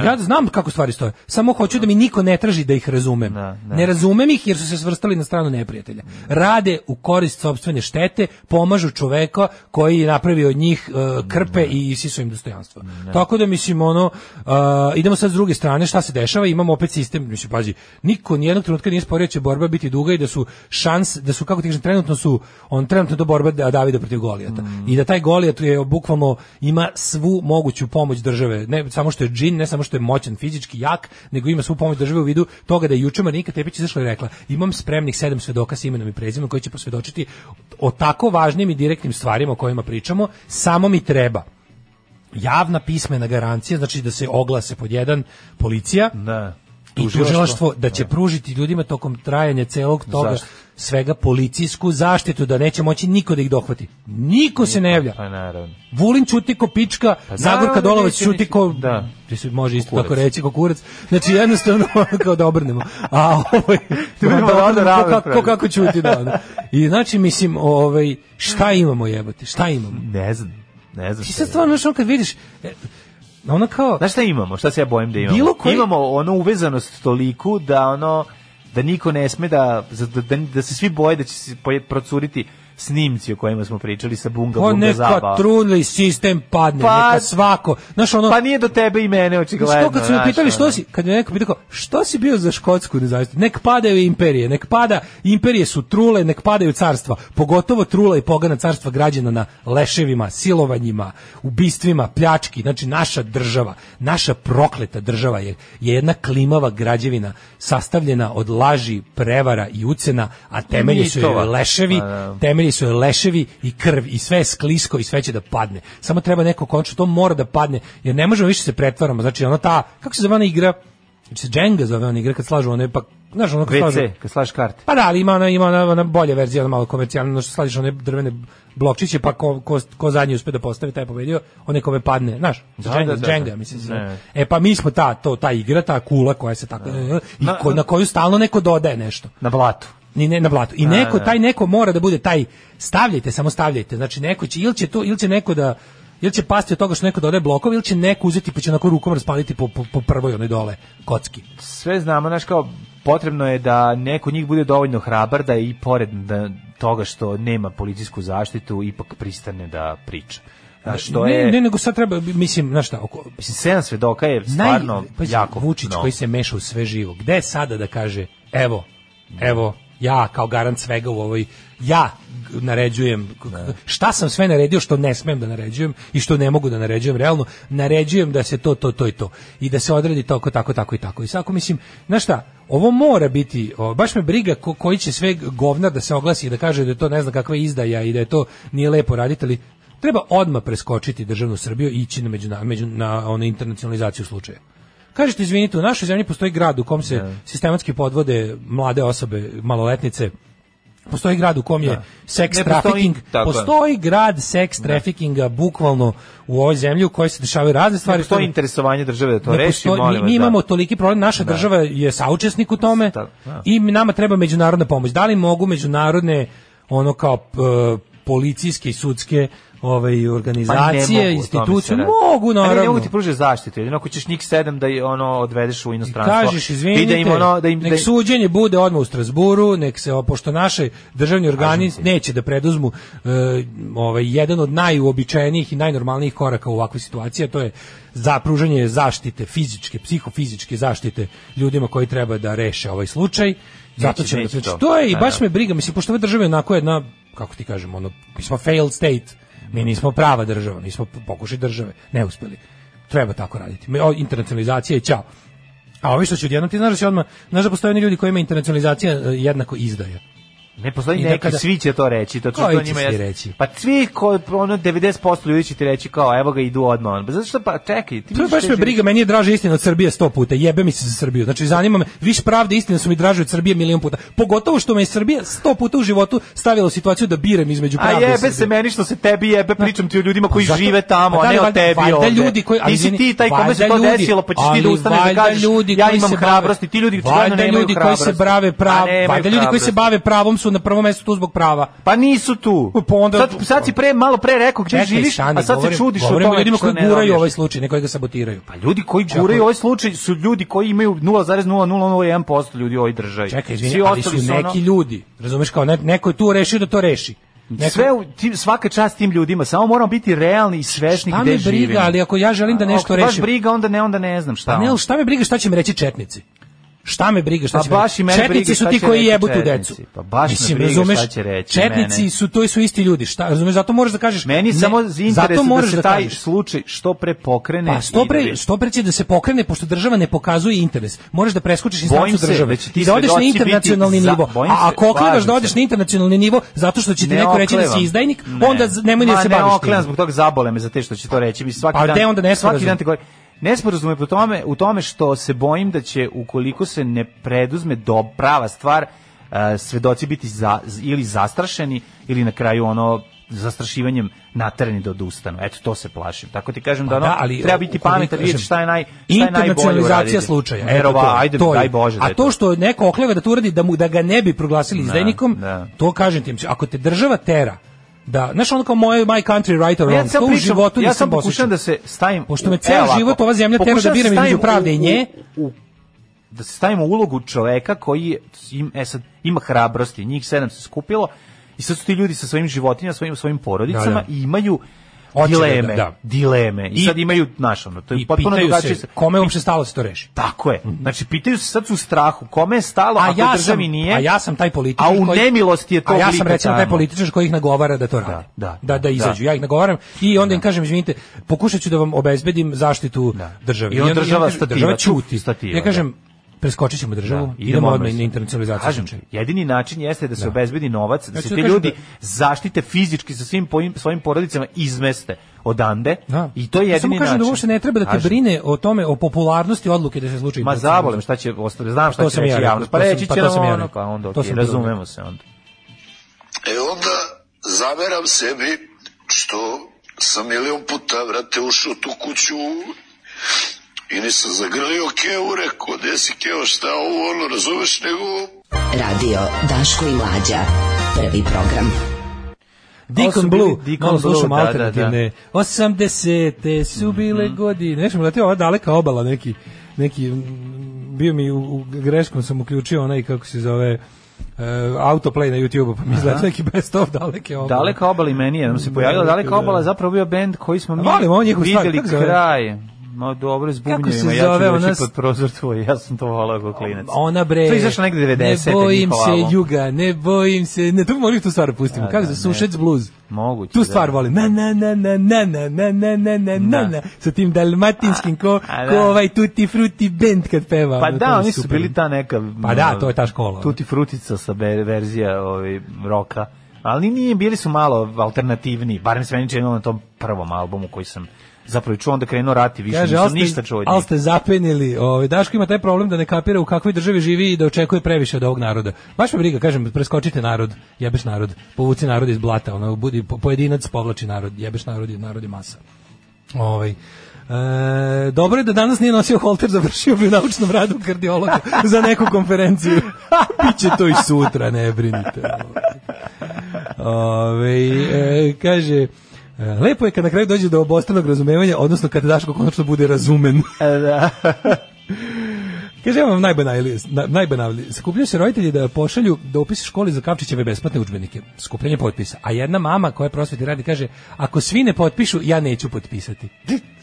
G: ja znam kako stvari stoje. Samo hoću da mi niko ne traži da ih razumem.
F: Da, da.
G: Ne razumem ih jer su se svrstali na stranu neprijatelja. Rade u korist sopstvene štete, pomažu čoveka koji je napravio od njih e, krpe i isisu im dostojanstvo. Tako da mislim ono e, idemo sad s druge strane šta se dešava, imamo opet sistem, mislim pazi, niko ni jednog trenutka nije sporio da će borba biti duga i da su šans da su kako ti kažem trenutno su on trenutno je to borba da Davida protiv Golijata. I da taj Golijat je bukvalno ima svu moguću pomoć države. Ne samo što je džin, ne samo što je moćan fizički jak, nego ima svu pomoć države u vidu toga da je juče Marinika Tepić izašla i rekla: "Imam spremnih sedam svedoka s imenom i prezimenom koji će posvedočiti o tako važnim i direktnim stvarima o kojima pričamo, samo mi treba javna pismena garancija, znači da se oglase pod jedan policija,
F: Da.
G: i
F: Tužilaštvo.
G: tužilaštvo da će pružiti ljudima tokom trajanja celog toga
F: Zaštitu.
G: svega policijsku zaštitu da neće moći niko da ih dohvati. Niko se ne javlja.
F: Pa naravno.
G: Vulin čuti ko pička, Zagorka
F: Pa naravno,
G: Dolovac
F: neće
G: čuti
F: ništa.
G: ko...
F: Da.
G: Ti se može isto
F: Kukurac.
G: tako reći, ko kurac. Znači jednostavno kao da obrnemo. A ovo je...
F: budemo
G: Ko-
F: onda
G: ko,
F: ravnopravni.
G: kako- ko kako čuti, da. da. I znači, mislim, ovaj, šta imamo jebote, šta imamo?
F: Ne znam. Ne znam.
G: Ti
F: šta
G: sad stvarno, znaš, ono kad vidiš, e, ono kao...
F: Znaš šta imamo? Šta se ja bojim da imamo?
G: Bilo koji-
F: Imamo ono uvezanost toliku da ono da niko ne sme da da, da, da se svi boje da će se poje- procuriti snimci o kojima smo pričali sa Bunga
G: Pa
F: Bunga
G: neka
F: Zaba.
G: truli sistem padne,
F: Pa-
G: neka svako. Znaš ono,
F: Pa nije do tebe i mene očigledno.
G: što Znači, kad su me
F: znaš,
G: pitali što
F: ono.
G: si, kad je neko pitao kao, što si bio za škotsku nezavisnost, nek padaju imperije, nek pada, imperije su trule, nek padaju carstva, pogotovo trula i pogana carstva građana na leševima, silovanjima, ubistvima, pljački, znači naša država, naša prokleta država je, je jedna klimava građevina sastavljena od laži, prevara i ucena, a temelji su joj
F: Mitova.
G: leševi,
F: Pa, da.
G: temelji su joj leševi i krv i sve je sklisko i sve će da padne. Samo treba neko končno, to mora da padne, jer ne možemo više se pretvaramo. Znači, ona ta, kako se zove ona igra, znači se Jenga zove ona igra kad slažu one, pa, znaš, ono kad slažu...
F: WC, kad slaš karte.
G: Pa da, ali ima ona, ima ona, ona bolja verzija, ona malo komercijalna, ono što slažiš one drvene blokčiće, pa ko, ko, ko zadnji uspe da postavi, taj je pobedio, one kome padne, znaš,
F: Da,
G: Jenga,
F: da, da, da.
G: Jenga, mislim se.
F: Ne.
G: E pa mi smo ta, to, ta igra, ta kula koja se tako, e, i
F: Na-
G: ko- na koju stalno neko dodaje nešto
F: Na blatu.
G: ni ne na blatu. I
F: Da,
G: neko
F: da.
G: taj neko mora da bude taj stavljajte, samo stavljajte. Znači neko će ili će to ili će neko da ili će pasti od toga što neko dodaje blokove ili će neko uzeti pa će onako rukom raspaliti po, po, po prvoj onoj dole kocki.
F: sve znamo, znaš kao, potrebno je da neko od njih bude dovoljno hrabar da i pored da, toga što nema policijsku zaštitu ipak pristane da priča. Znaš, to
G: ne,
F: je...
G: ne, nego sad treba, mislim, znaš šta, oko,
F: Mislim, sedam svedoka je stvarno
G: pazi,
F: jako...
G: Vučić
F: mnogo.
G: koji se meša u sve živo. Gde je sada da kaže, evo, evo, ja kao garant svega u ovoj, ja g- naređujem, k- šta sam sve naredio što ne smem da naređujem i što ne mogu da naređujem realno, naređujem da se to, to, to i to. I da se odredi tako, tako, tako i tako. I svako mislim, znaš šta, ovo mora biti, o, baš me briga ko, koji će sve govnar da se oglasi i da kaže da je to ne znam kakva izdaja i da je to nije lepo raditi, ali treba odmah preskočiti državnu Srbiju i ići na, međuna, među, na onu internacionalizaciju slučaja. Kažete, izvinite, u našoj zemlji postoji grad u kom se sistematski podvode mlade osobe, maloletnice, postoji grad u kom je
F: Da.
G: seks
F: Ne postoji,
G: trafficking,
F: tako je.
G: postoji grad seks trafikinga bukvalno u ovoj zemlji u kojoj se dešavaju razne
F: Ne
G: stvari.
F: postoji
G: što-
F: interesovanje države da to
G: ne
F: reši,
G: postoji- mi-
F: molim vas,
G: mi,
F: da.
G: imamo toliki problem, naša
F: Da.
G: država je saučesnik u tome
F: Tako, da.
G: i nama treba međunarodna pomoć. Da li mogu međunarodne ono kao p- policijske i sudske ovaj organizacije,
F: Pa mogu, o tome se
G: institucije
F: radi.
G: mogu
F: Ali
G: naravno.
F: Ne mogu ti pruže zaštitu, jedino ako ćeš njih sedam da je ono odvedeš u inostranstvo.
G: Kažeš,
F: i
G: izvinite,
F: da im ono, da im, da
G: nek
F: im-
G: suđenje bude odmah u Strasburu, nek se, o, pošto naše državni organi neće da preduzmu e, ovaj, jedan od najuobičajenijih i najnormalnijih koraka u ovakvoj situaciji, a to je za pružanje zaštite fizičke, psihofizičke zaštite ljudima koji treba da reše ovaj slučaj. Zato
F: Neće,
G: ćemo
F: neće
G: da pričamo.
F: to.
G: To je i
F: Da,
G: baš
F: da.
G: me briga, mislim, pošto ova država je onako jedna, kako ti kažem, ono, mi smo failed state, mi nismo prava država, nismo pokušaj države, ne uspeli. Treba tako raditi. Me- o, Internacionalizacija i ćao. A ovi što će odjednom, ti znaš da će odmah, znaš da postoje oni ljudi kojima je internacionalizacija e, jednako izdaja.
F: Ne postoji
G: I da
F: neki,
G: kada-
F: svi će to reći, to
G: Koji
F: što
G: će
F: njima
G: svi
F: jasno.
G: reći?
F: Pa svi ko ono 90% ljudi će ti reći kao evo ga idu odmah. on. Pa zato što pa čekaj, ti
G: To je
F: misliš
G: baš
F: da
G: me
F: će-
G: briga, meni je draža istina od Srbije sto puta, jebe mi se za Srbiju. Znači, zanima me, više pravde i istine su mi draže od Srbije milion puta. Pogotovo što me je Srbija sto puta u životu stavila u situaciju da biram između
F: A
G: pravde i
F: jebe
G: Srbije.
F: se meni što se tebi jebe, pričam ti o ljudima koji
G: Zato-
F: žive tamo,
G: Pa da
F: a
G: li
F: ne o
G: valjda-
F: tebi
G: valjda
F: ovde.
G: ljudi koji- ali
F: Nisi
G: izvini,
F: ti taj kome se
G: valjda
F: to
G: ljudi-
F: desilo, pa ćeš ti da
G: ali
F: ustaneš da
G: valjda
F: kažeš
G: ljudi
F: ja
G: koji
F: imam
G: se bave-
F: hrabrosti, ti ljudi očigledno
G: valjda
F: nemaju
G: ljudi koji se
F: hrabrosti.
G: brave
F: A
G: prav,
F: nemaju
G: valjda ljudi koji se
F: hrabrosti.
G: bave pravom su na prvom mestu tu zbog prava.
F: Pa nisu tu.
G: Pa onda-
F: sad, sad si pre, malo pre rekao gdje živiš,
G: stani,
F: a sad
G: govorim-
F: se čudiš o
G: govorim
F: tome
G: ljudima
F: što
G: koji
F: ne
G: guraju
F: dobiješ.
G: ovaj slučaj, ne koji ga sabotiraju.
F: Pa ljudi koji guraju ovaj slučaj su ljudi koji imaju 0,0001% ljudi u ovoj državi.
G: Čekaj,
F: Svi
G: izvini, ali su
F: ostali
G: neki
F: ono-
G: ljudi, razumeš kao, ne- neko je tu rešio da to reši. Neko-
F: Sve u, tim, svaka čast tim ljudima, samo moramo biti realni i svesni
G: Šta
F: gde
G: Pa me briga,
F: živimo.
G: ali ako ja želim da
F: A,
G: nešto
F: ako te Baš
G: rešim-
F: briga, onda ne, onda ne znam šta. ono.
G: Pa ne,
F: onda.
G: ali šta me briga šta će mi reći četnici? Šta me briga šta
F: Pa
G: će
F: baš i mene
G: Četnici
F: briga
G: su
F: šta
G: ti
F: će
G: koji
F: reći
G: jebu tu
F: četnici.
G: decu.
F: Pa baš me briga šta će reći
G: Četnici
F: mene.
G: su to su isti ljudi. Šta, razumeš, zato moraš da kažeš.
F: Meni
G: ne,
F: samo
G: zato
F: interesuje da
G: moraš
F: se
G: da
F: taj
G: kažeš.
F: slučaj što pre pokrene.
G: Pa što pre, što pre će da se pokrene, pošto država ne pokazuje interes. Moraš da preskočiš instancu
F: se
G: države.
F: da će ti
G: I da odeš na
F: svedoci biti
G: internacionalni
F: za-
G: nivo.
F: bojim
G: A
F: se,
G: ako oklevaš
F: slažem
G: da odeš
F: se.
G: na internacionalni nivo, zato što će ti
F: Ne
G: neko reći da
F: oklevam.
G: si izdajnik,
F: Ne.
G: onda z- nemoj ni
F: Ma
G: da se
F: ne
G: baviš
F: oklevam
G: tim.
F: zbog toga zabole me za te što će to reći. Mi svaki
G: Pa gde
F: dan,
G: onda nesporazum?
F: Svaki dan te govorim. Nesporazum je po tome, u tome što se bojim da će, ukoliko se ne preduzme do prava stvar, eh, svedoci biti za, ili zastrašeni ili na kraju ono zastrašivanjem naterani da odustanu. Eto, to se plašim. Tako ti kažem da, ono,
G: Pa da, ali
F: treba biti
G: ukoliko,
F: pametan, vidjeti
G: kažem,
F: šta je, naj, šta je najbolje
G: internacionalizacija
F: uraditi.
G: slučaja. eto
F: Verova,
G: to je,
F: ajde,
G: to je.
F: daj Bože. da
G: A
F: je
G: to što neko okleva da to uradi da mu da ga ne bi proglasili izdajnikom,
F: da.
G: to kažem ti, ako te država tera da, znaš ono kao moje my country right or
F: Pa
G: wrong,
F: sam
G: to u
F: pričam-
G: životu
F: ja
G: nisam
F: sam
G: osjećao.
F: pokušavam da se stavim
G: Pošto
F: u-
G: me ceo
F: evo E, ovako,
G: život ova zemlja tera da
F: pokušavam
G: biram
F: stavim
G: između pravde i
F: u-
G: nje.
F: u- u- da se stavim u ulogu čoveka koji je- im, e sad, ima hrabrosti njih sedam se skupilo i sad su ti ljudi sa svojim životinjama svojim svojim porodicama
G: Da, da.
F: i imaju
G: Očigledno,
F: dileme
G: da.
F: dileme i,
G: I-
F: sad imaju naš ono to je
G: I
F: potpuno
G: pitaju
F: drugačije
G: se, kome uopšte stalo se to reši?
F: tako je znači pitaju se sad su u strahu kome je stalo
G: A
F: ako
G: ja, sam,
F: državi nije
G: a ja sam taj političar
F: A u
G: koji-
F: nemilosti je to
G: A ja sam
F: oblika
G: recimo taj
F: tamo.
G: političar koji ih nagovara da to rade.
F: da,
G: da,
F: da.
G: izađu. Ja ih nagovaram i onda im kažem izvinite, pokušat ću da vam obezbedim zaštitu
F: Da.
G: države.
F: I onda
G: onda- i
F: država
G: onda kaže,
F: stativa,
G: država
F: tu
G: ćuti.
F: stativa,
G: ja kažem preskočit ćemo državu,
F: Da,
G: idemo odmah
F: sa-
G: na internacionalizaciju.
F: Kažem,
G: slučaja.
F: jedini način jeste da se
G: znači. Da.
F: obezbedi novac, da
G: Ja
F: se
G: ću
F: ti
G: da kažem
F: ljudi
G: da-
F: zaštite fizički sa svim pojim- svojim porodicama izmeste odande.
G: Da.
F: I to je
G: Ja samo
F: jedini
G: kažem
F: način.
G: da uopšte ne treba da te
F: Kažem.
G: brine o tome, o popularnosti odluke da se slučaj.
F: Ma zabolim šta će ostati, znam šta
G: To
F: će
G: sam ja
F: reći
G: rekao,
F: javnost. Pa
G: to sam-
F: reći
G: pa
F: će
G: to
F: nam
G: sam ja
F: ono,
G: rekao.
F: pa onda
G: To
F: okej,
G: sam
F: razumemo
G: razumeo.
F: se onda.
L: E onda zameram sebi što sam milion puta vrate ušao u tu kuću i nisam zagrlio Keu, rekao, gde si Keo, šta ovo, ono, razumeš, nego
I: Radio Daško i Mlađa. Prvi program.
F: Ovo su
G: Deacon
F: bili
G: Blue,
F: Deacon
G: malo
F: Blue,
G: slušamo
F: da,
G: alternativne. 80-te
F: Mhm.
G: su bile godine. Nešto mi letio ova daleka obala neki, neki mm, bio mi u, u greškom sam uključio onaj kako se zove e, autoplay na YouTubeu, pa mi izletio neki best of daleke obale.
F: Daleka obala i meni je, nam se pojavila
G: Daleka,
F: Daleka obala,
G: da.
F: je zapravo bio bend koji smo mi
G: Volim ovo njihovu stvar,
F: videli
G: kako se zove?
F: kraj. Ma dobro, s
G: Kako se
F: bubnjevima, ja
G: zove
F: ću
G: ona
F: doći
G: s-
F: pod prozor tvoj, ja sam to volao kao klinac.
G: Ona bre.
F: To je izašlo negde 90-te,
G: Ne bojim
F: njihov album.
G: se juga, ne bojim se. Ne, tu molim tu stvar da pustimo.
F: Da,
G: Kako
F: da,
G: se
F: ne.
G: sušec blues.
F: Moguće.
G: Tu
F: da.
G: stvar volim. Na na na na na na na na na na na na sa tim dalmatinskim ko
F: A, a,
G: ko
F: da.
G: ovaj tutti frutti band kad peva.
F: Pa
G: ono,
F: da,
G: to mi
F: oni su
G: super.
F: bili ta neka... ono,
G: Pa da, to je ta škola.
F: Tuti frutica sa be- verzija ovaj, roka Ali nije, bili su malo alternativni, barem se meni činilo na tom prvom albumu koji sam zapravo čuo, onda krenuo rati, više
G: Kaže,
F: nisam
G: ali ste,
F: ništa čuo od njih.
G: ali ste zapenili. Ovaj, Daško ima taj problem da ne kapira u kakvoj državi živi i da očekuje previše od ovog naroda. Baš me briga, kažem, preskočite narod, jebeš narod, povuci narod iz blata, ono, budi po- pojedinac, povlači narod, jebeš narod, narod je masa. Ovaj, E, dobro je da danas nije nosio holter, završio bi u naučnom radu kardiologa za neku konferenciju. Biće to i sutra, ne brinite. ovaj. Ove, e, kaže, e, lepo je kad na kraju dođe do obostranog razumevanja, odnosno kad Daško konačno bude razumen.
F: da.
G: Kaže, ja vam najbanalije, na- najbanalije. Sakupljaju se roditelji da pošalju dopis školi za Kapčićeve besplatne udžbenike. Skupljanje potpisa. A jedna mama koja prosveti radi kaže, ako svi ne potpišu, ja neću potpisati.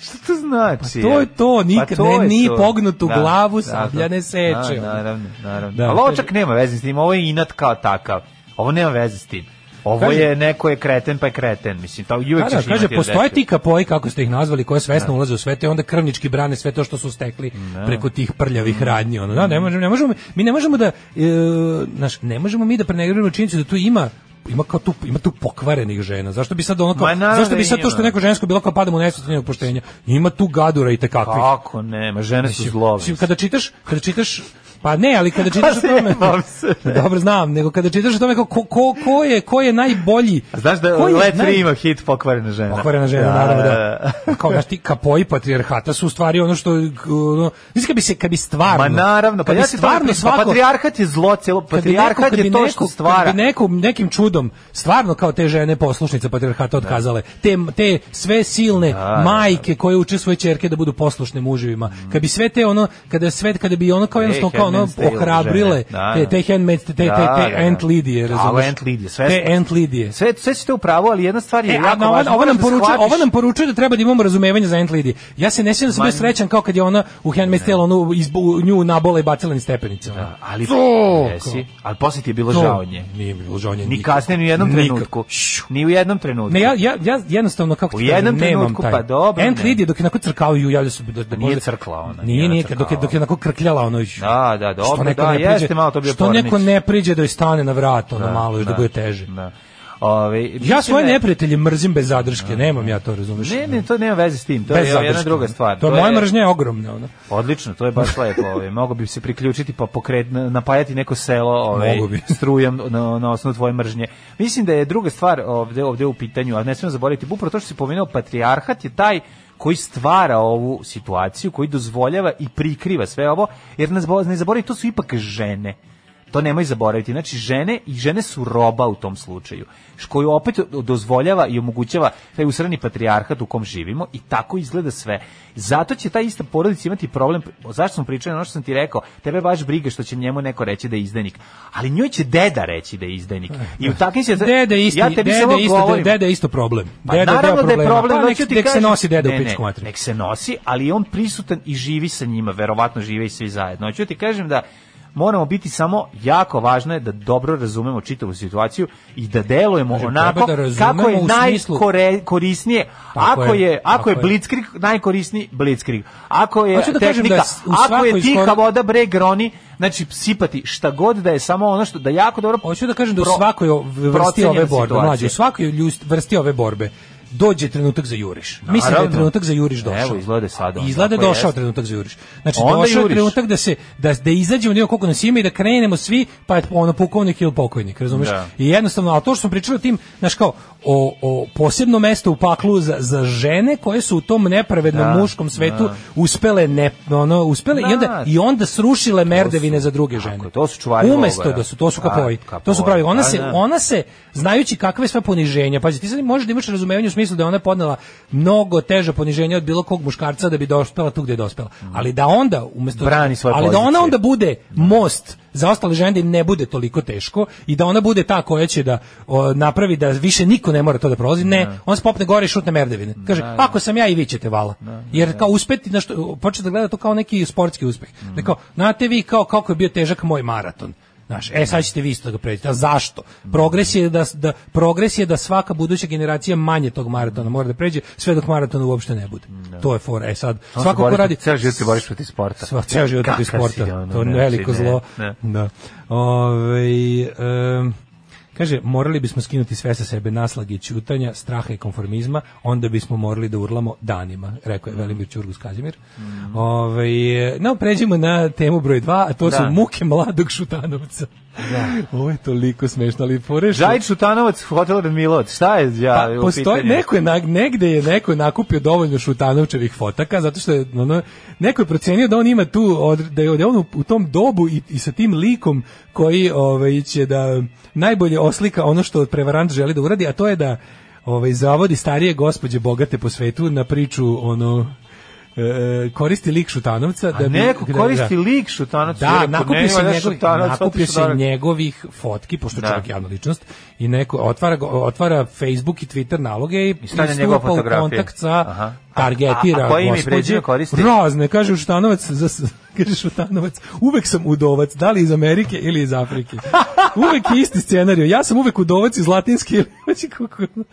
F: Šta to znači?
G: Pa to je to, nikad
F: to
G: ne-
F: je
G: ni
F: to.
G: pognutu glavu
F: da,
G: sablja
F: da.
G: ne seče.
F: Da, naravno, naravno.
G: Da,
F: Ali ovo
G: kaže-
F: čak nema veze s tim, ovo je inat kao takav. Ovo nema veze s tim. Ovo
G: Kaže-
F: je neko je kreten pa je kreten, mislim, to uvijek
G: Da, da,
F: ćeš
G: kaže,
F: imati
G: postoje
F: određen.
G: ti kapoji, kako ste ih nazvali, koje svesno
F: Da.
G: ulaze u sve te, onda krvnički brane sve to što su stekli preko tih prljavih radnji. Ono. Da, ne možemo, ne možemo, mi ne možemo da, e, znaš, ne možemo mi da prenegriramo činjenicu da tu ima ima kao tu ima tu pokvarenih žena. Zašto bi sad ono kao,
F: Ma, naravno
G: zašto bi
F: da
G: sad to što je
F: ima.
G: neko žensko bilo kao padamo u nesvest njenog poštenja. Ima tu gadura i takakvih.
F: Kako nema, žene su
G: Mislim,
F: zlove.
G: mislim, kada čitaš, kada čitaš Pa ne, ali kada čitaš o tome...
F: Zajebam se, ne.
G: Dobro, znam, nego kada čitaš o tome ko, ko, ko, ko je, ko je najbolji...
F: A znaš da
G: ko je
F: Let
G: naj-
F: 3 ima hit pokvarena žena.
G: Pokvarena žena, naravno, da. Kao, znaš ti, kapoji patrijarhata su u stvari ono što... Ono, znaš, kad bi se, kad bi stvarno...
F: Ma naravno, pa
G: kad bi
F: ja ti stvarno svako... Pa patrijarhat je zlo, cijelo,
G: kad bi neko-
F: patrijarhat
G: kad bi
F: je to
G: neko-
F: što stvara.
G: Kad bi neko, nekim čudom, stvarno kao te žene poslušnice patrijarhata otkazale, te, te sve silne majke koje uče svoje čerke da budu poslušne muževima, kad bi sve te ono, kada, sve, kada bi ono kao
F: Mm. Te
G: jednostavno kao ono
F: handmaid's tale
G: ohrabrile,
F: žene, da,
G: te,
F: da.
G: te handmaids, te, te, te,
F: Da,
G: te
F: da, da.
G: ant lidije,
F: Da,
G: razumeš?
F: ant lidije, sve-
G: Te ant lidije.
F: Sve, sve ste u pravu, ali jedna stvar je
G: E,
F: jako
G: a na ova,
F: važna.
G: ova,
F: moram
G: nam
F: da
G: poručuje,
F: shvatiš-
G: ova nam poručuje da treba da imamo razumevanje za Ant Lady. Ja se ne sjećam da sam
F: Ma-
G: bio srećan kao kad je ona u Handmaid's Tale onu izbu, nju nabola i bacila niz stepenice. Da,
F: ali jesi, ali posle ti je bilo
G: To-
F: žao nje.
G: Nije mi bilo žao nje
F: Ni
G: nikako.
F: kasnije, ni u jednom
G: Nikako.
F: trenutku. Ni u jednom trenutku.
G: Ne, ja, ja, ja jednostavno kako
F: U
G: ti kažem,
F: jednom
G: nemam
F: trenutku,
G: taj.
F: pa dobro,
G: Ant
F: ne. Pa
G: Lady dok je onako crkao ju javlja se da, da
F: Nije
G: možda-
F: crkla ona,
G: Nije,
F: nije
G: nije,
F: crkala.
G: dok je, dok je onako krkljala ono iš.
F: Da, da,
G: što
F: dobro,
G: neko
F: da,
G: ne priđe-
F: jeste malo to bio
G: Što
F: pornić.
G: neko ne priđe da joj stane na vrat ono
F: Da,
G: malo još da,
F: da.
G: bude teže.
F: Da. Ovaj, Ove,
G: Ja svoje
F: ne-
G: neprijatelje mrzim bez zadrške, nemam ja to, razumeš?
F: Ne, ne, to nema veze s tim, to je jedna druga stvar.
G: To, je moja mržnja je ono. ogromna, ona.
F: Odlično, to je baš lepo. Ovaj. Mogu bi se priključiti pa pokret, napajati neko selo ovaj,
G: Mogu bi.
F: strujom na, na osnovu tvoje mržnje. Mislim da je druga stvar ovde, ovde u pitanju, a ne smemo zaboraviti, upravo to što si pomenuo, patrijarhat je taj koji stvara ovu situaciju, koji dozvoljava i prikriva sve ovo, jer ne zabo- ne zaboravi, to su ipak žene. To nemoj zaboraviti. Znači, žene i žene su roba u tom slučaju, š- koju opet dozvoljava i omogućava taj usrani patrijarhat u kom živimo i tako izgleda sve. Zato će ta ista porodica imati problem. Zašto smo pričali ono što sam ti rekao? Tebe baš briga što će njemu neko reći da je izdajnik. Ali njoj će deda reći da je izdajnik. I u takvim će...
G: Dede isto,
F: ja tebi
G: dede
F: samo
G: isto,
F: govorim.
G: dede isto problem.
F: Pa
G: Deda je
F: naravno
G: deo
F: da je
G: problema.
F: problem,
G: pa,
F: hoću
G: nek,
F: ti
G: nek se
F: kažem-
G: nosi deda
F: Ne,
G: u
F: ne,
G: pičku materiju.
F: Nek se nosi, ali je on prisutan i živi sa njima, verovatno žive i svi zajedno. Hoću ti kažem da moramo biti samo jako važno je da dobro razumemo čitavu situaciju i da delujemo
G: Kažem,
F: onako
G: treba da razumemo
F: kako je
G: u smislu-
F: najkorisnije.
G: Tako
F: Ako
G: je,
F: je, ako je
G: tako je.
F: blitzkrieg, najkorisniji blitzkrieg. Ako je
G: Hoću da kažem da
F: tehnika,
G: s- u
F: ako
G: svakoj
F: je tiha
G: skoro-
F: voda bre groni, znači sipati šta god da je samo ono što da jako dobro
G: Hoću da kažem da u
F: pro-
G: svakoj o- vrsti
F: procenjena
G: ove borbe,
F: situacija.
G: mlađe, u svakoj ljust- vrsti ove borbe dođe trenutak za juriš. Mislim da je
F: Naravno.
G: trenutak za juriš došao.
F: Evo, izgleda je sad on,
G: Izgleda je
F: tako
G: došao
F: jest.
G: trenutak za juriš. Znači,
F: Onda
G: došao je
F: juriš.
G: trenutak da se da da izađemo nego koliko nas ima i da krenemo svi, pa je ono pukovnik ili pokojnik, razumeš?
F: Da.
G: I jednostavno, ali to što sam pričao o tim, znaš kao, o, o posebno mesto u paklu za, za žene koje su u tom nepravednom
F: Da,
G: muškom svetu
F: da.
G: uspele ne, ono, uspele i onda,
F: Da.
G: i onda srušile merdevine za druge žene.
F: Tako je, to su čuvari
G: Umesto
F: logora.
G: da su, to su
F: Da,
G: kapoji. To su
F: kapoi,
G: pravi. Ona
F: da,
G: se,
F: da.
G: ona se, znajući kakve sve poniženja, pazi, ti sad možeš da imaš razumevanje u smislu da je ona podnela mnogo teže poniženja od bilo kog muškarca da bi dospela tu gde je dospela. Ali da onda, umesto...
F: Brani svoje
G: Ali da ona
F: pozicije.
G: onda bude most za ostale žene da im ne bude toliko teško i da ona bude ta koja će da o, napravi da više niko ne mora to da prolazi. Ne, on se popne gore i šutne merdevine. Kaže, ako sam ja i vi ćete vala. Jer kao uspeti, na što, počne da gleda to kao neki sportski uspeh.
F: Mm.
G: Da kao, znate vi kao kako je bio težak moj maraton. Znaš, e sad ćete vi isto da ga pređete. A zašto?
F: Mm.
G: Progres je da, da, progres je da svaka buduća generacija manje tog maratona mora da pređe, sve dok maratona uopšte ne bude. To je fora. E sad,
F: Samo se
G: svako ko
F: boriš
G: radi...
F: protiv- ceo život se boriš protiv sporta.
G: Sva, ceo život protiv
F: Kakav si
G: sporta.
F: ono,
G: to je
F: znači,
G: veliko
F: ne,
G: zlo.
F: ne.
G: Da. Ovaj, em, Kaže, morali bismo skinuti sve sa sebe naslage ćutanja, straha i konformizma, onda bismo morali da urlamo danima, rekao
F: Mm.
G: je Velimir Ćurgus Kazimir. Ovaj, no, pređemo na temu broj 2, a to su
F: Da.
G: muke mladog Šutanovca. Ovo je toliko smešno, ali fore što-
F: Žaj Šutanovac, hotel Radmilovac, šta je ja,
G: Pa, postoji, neko je, na- negde je neko je nakupio dovoljno Šutanovčevih fotaka, zato što je, ono, neko je procenio da on ima tu, od, da je da je on u, u tom dobu i, i sa tim likom koji ovaj, će da najbolje oslika ono što prevarant želi da uradi, a to je da ovaj, zavodi starije gospođe bogate po svetu na priču ono, e, koristi lik Šutanovca.
F: A
G: da bi-
F: neko
G: da-
F: koristi lik Šutanovac,
G: da,
F: rekao,
G: nakupio
F: nema
G: se,
F: da
G: njegovih,
F: Šutanovac
G: nakupio
F: otišao
G: se
F: da radi.
G: njegovih fotki, pošto
F: Da.
G: je čovjek javna ličnost, i neko otvara, go- otvara Facebook i Twitter naloge i,
F: I stavlja
G: stupa
F: njegove
G: u
F: fotografije.
G: kontakt sa
F: Aha.
G: targetira
F: A- a- a koje ime i
G: gospođe.
F: prezime koristi?
G: Razne, kaže Šutanovac, za, kaže Šutanovac, uvek sam udovac, da li iz Amerike ili iz Afrike. Uvek je isti scenarij, ja sam uvek udovac iz latinske ili znači kako- kaže ovako,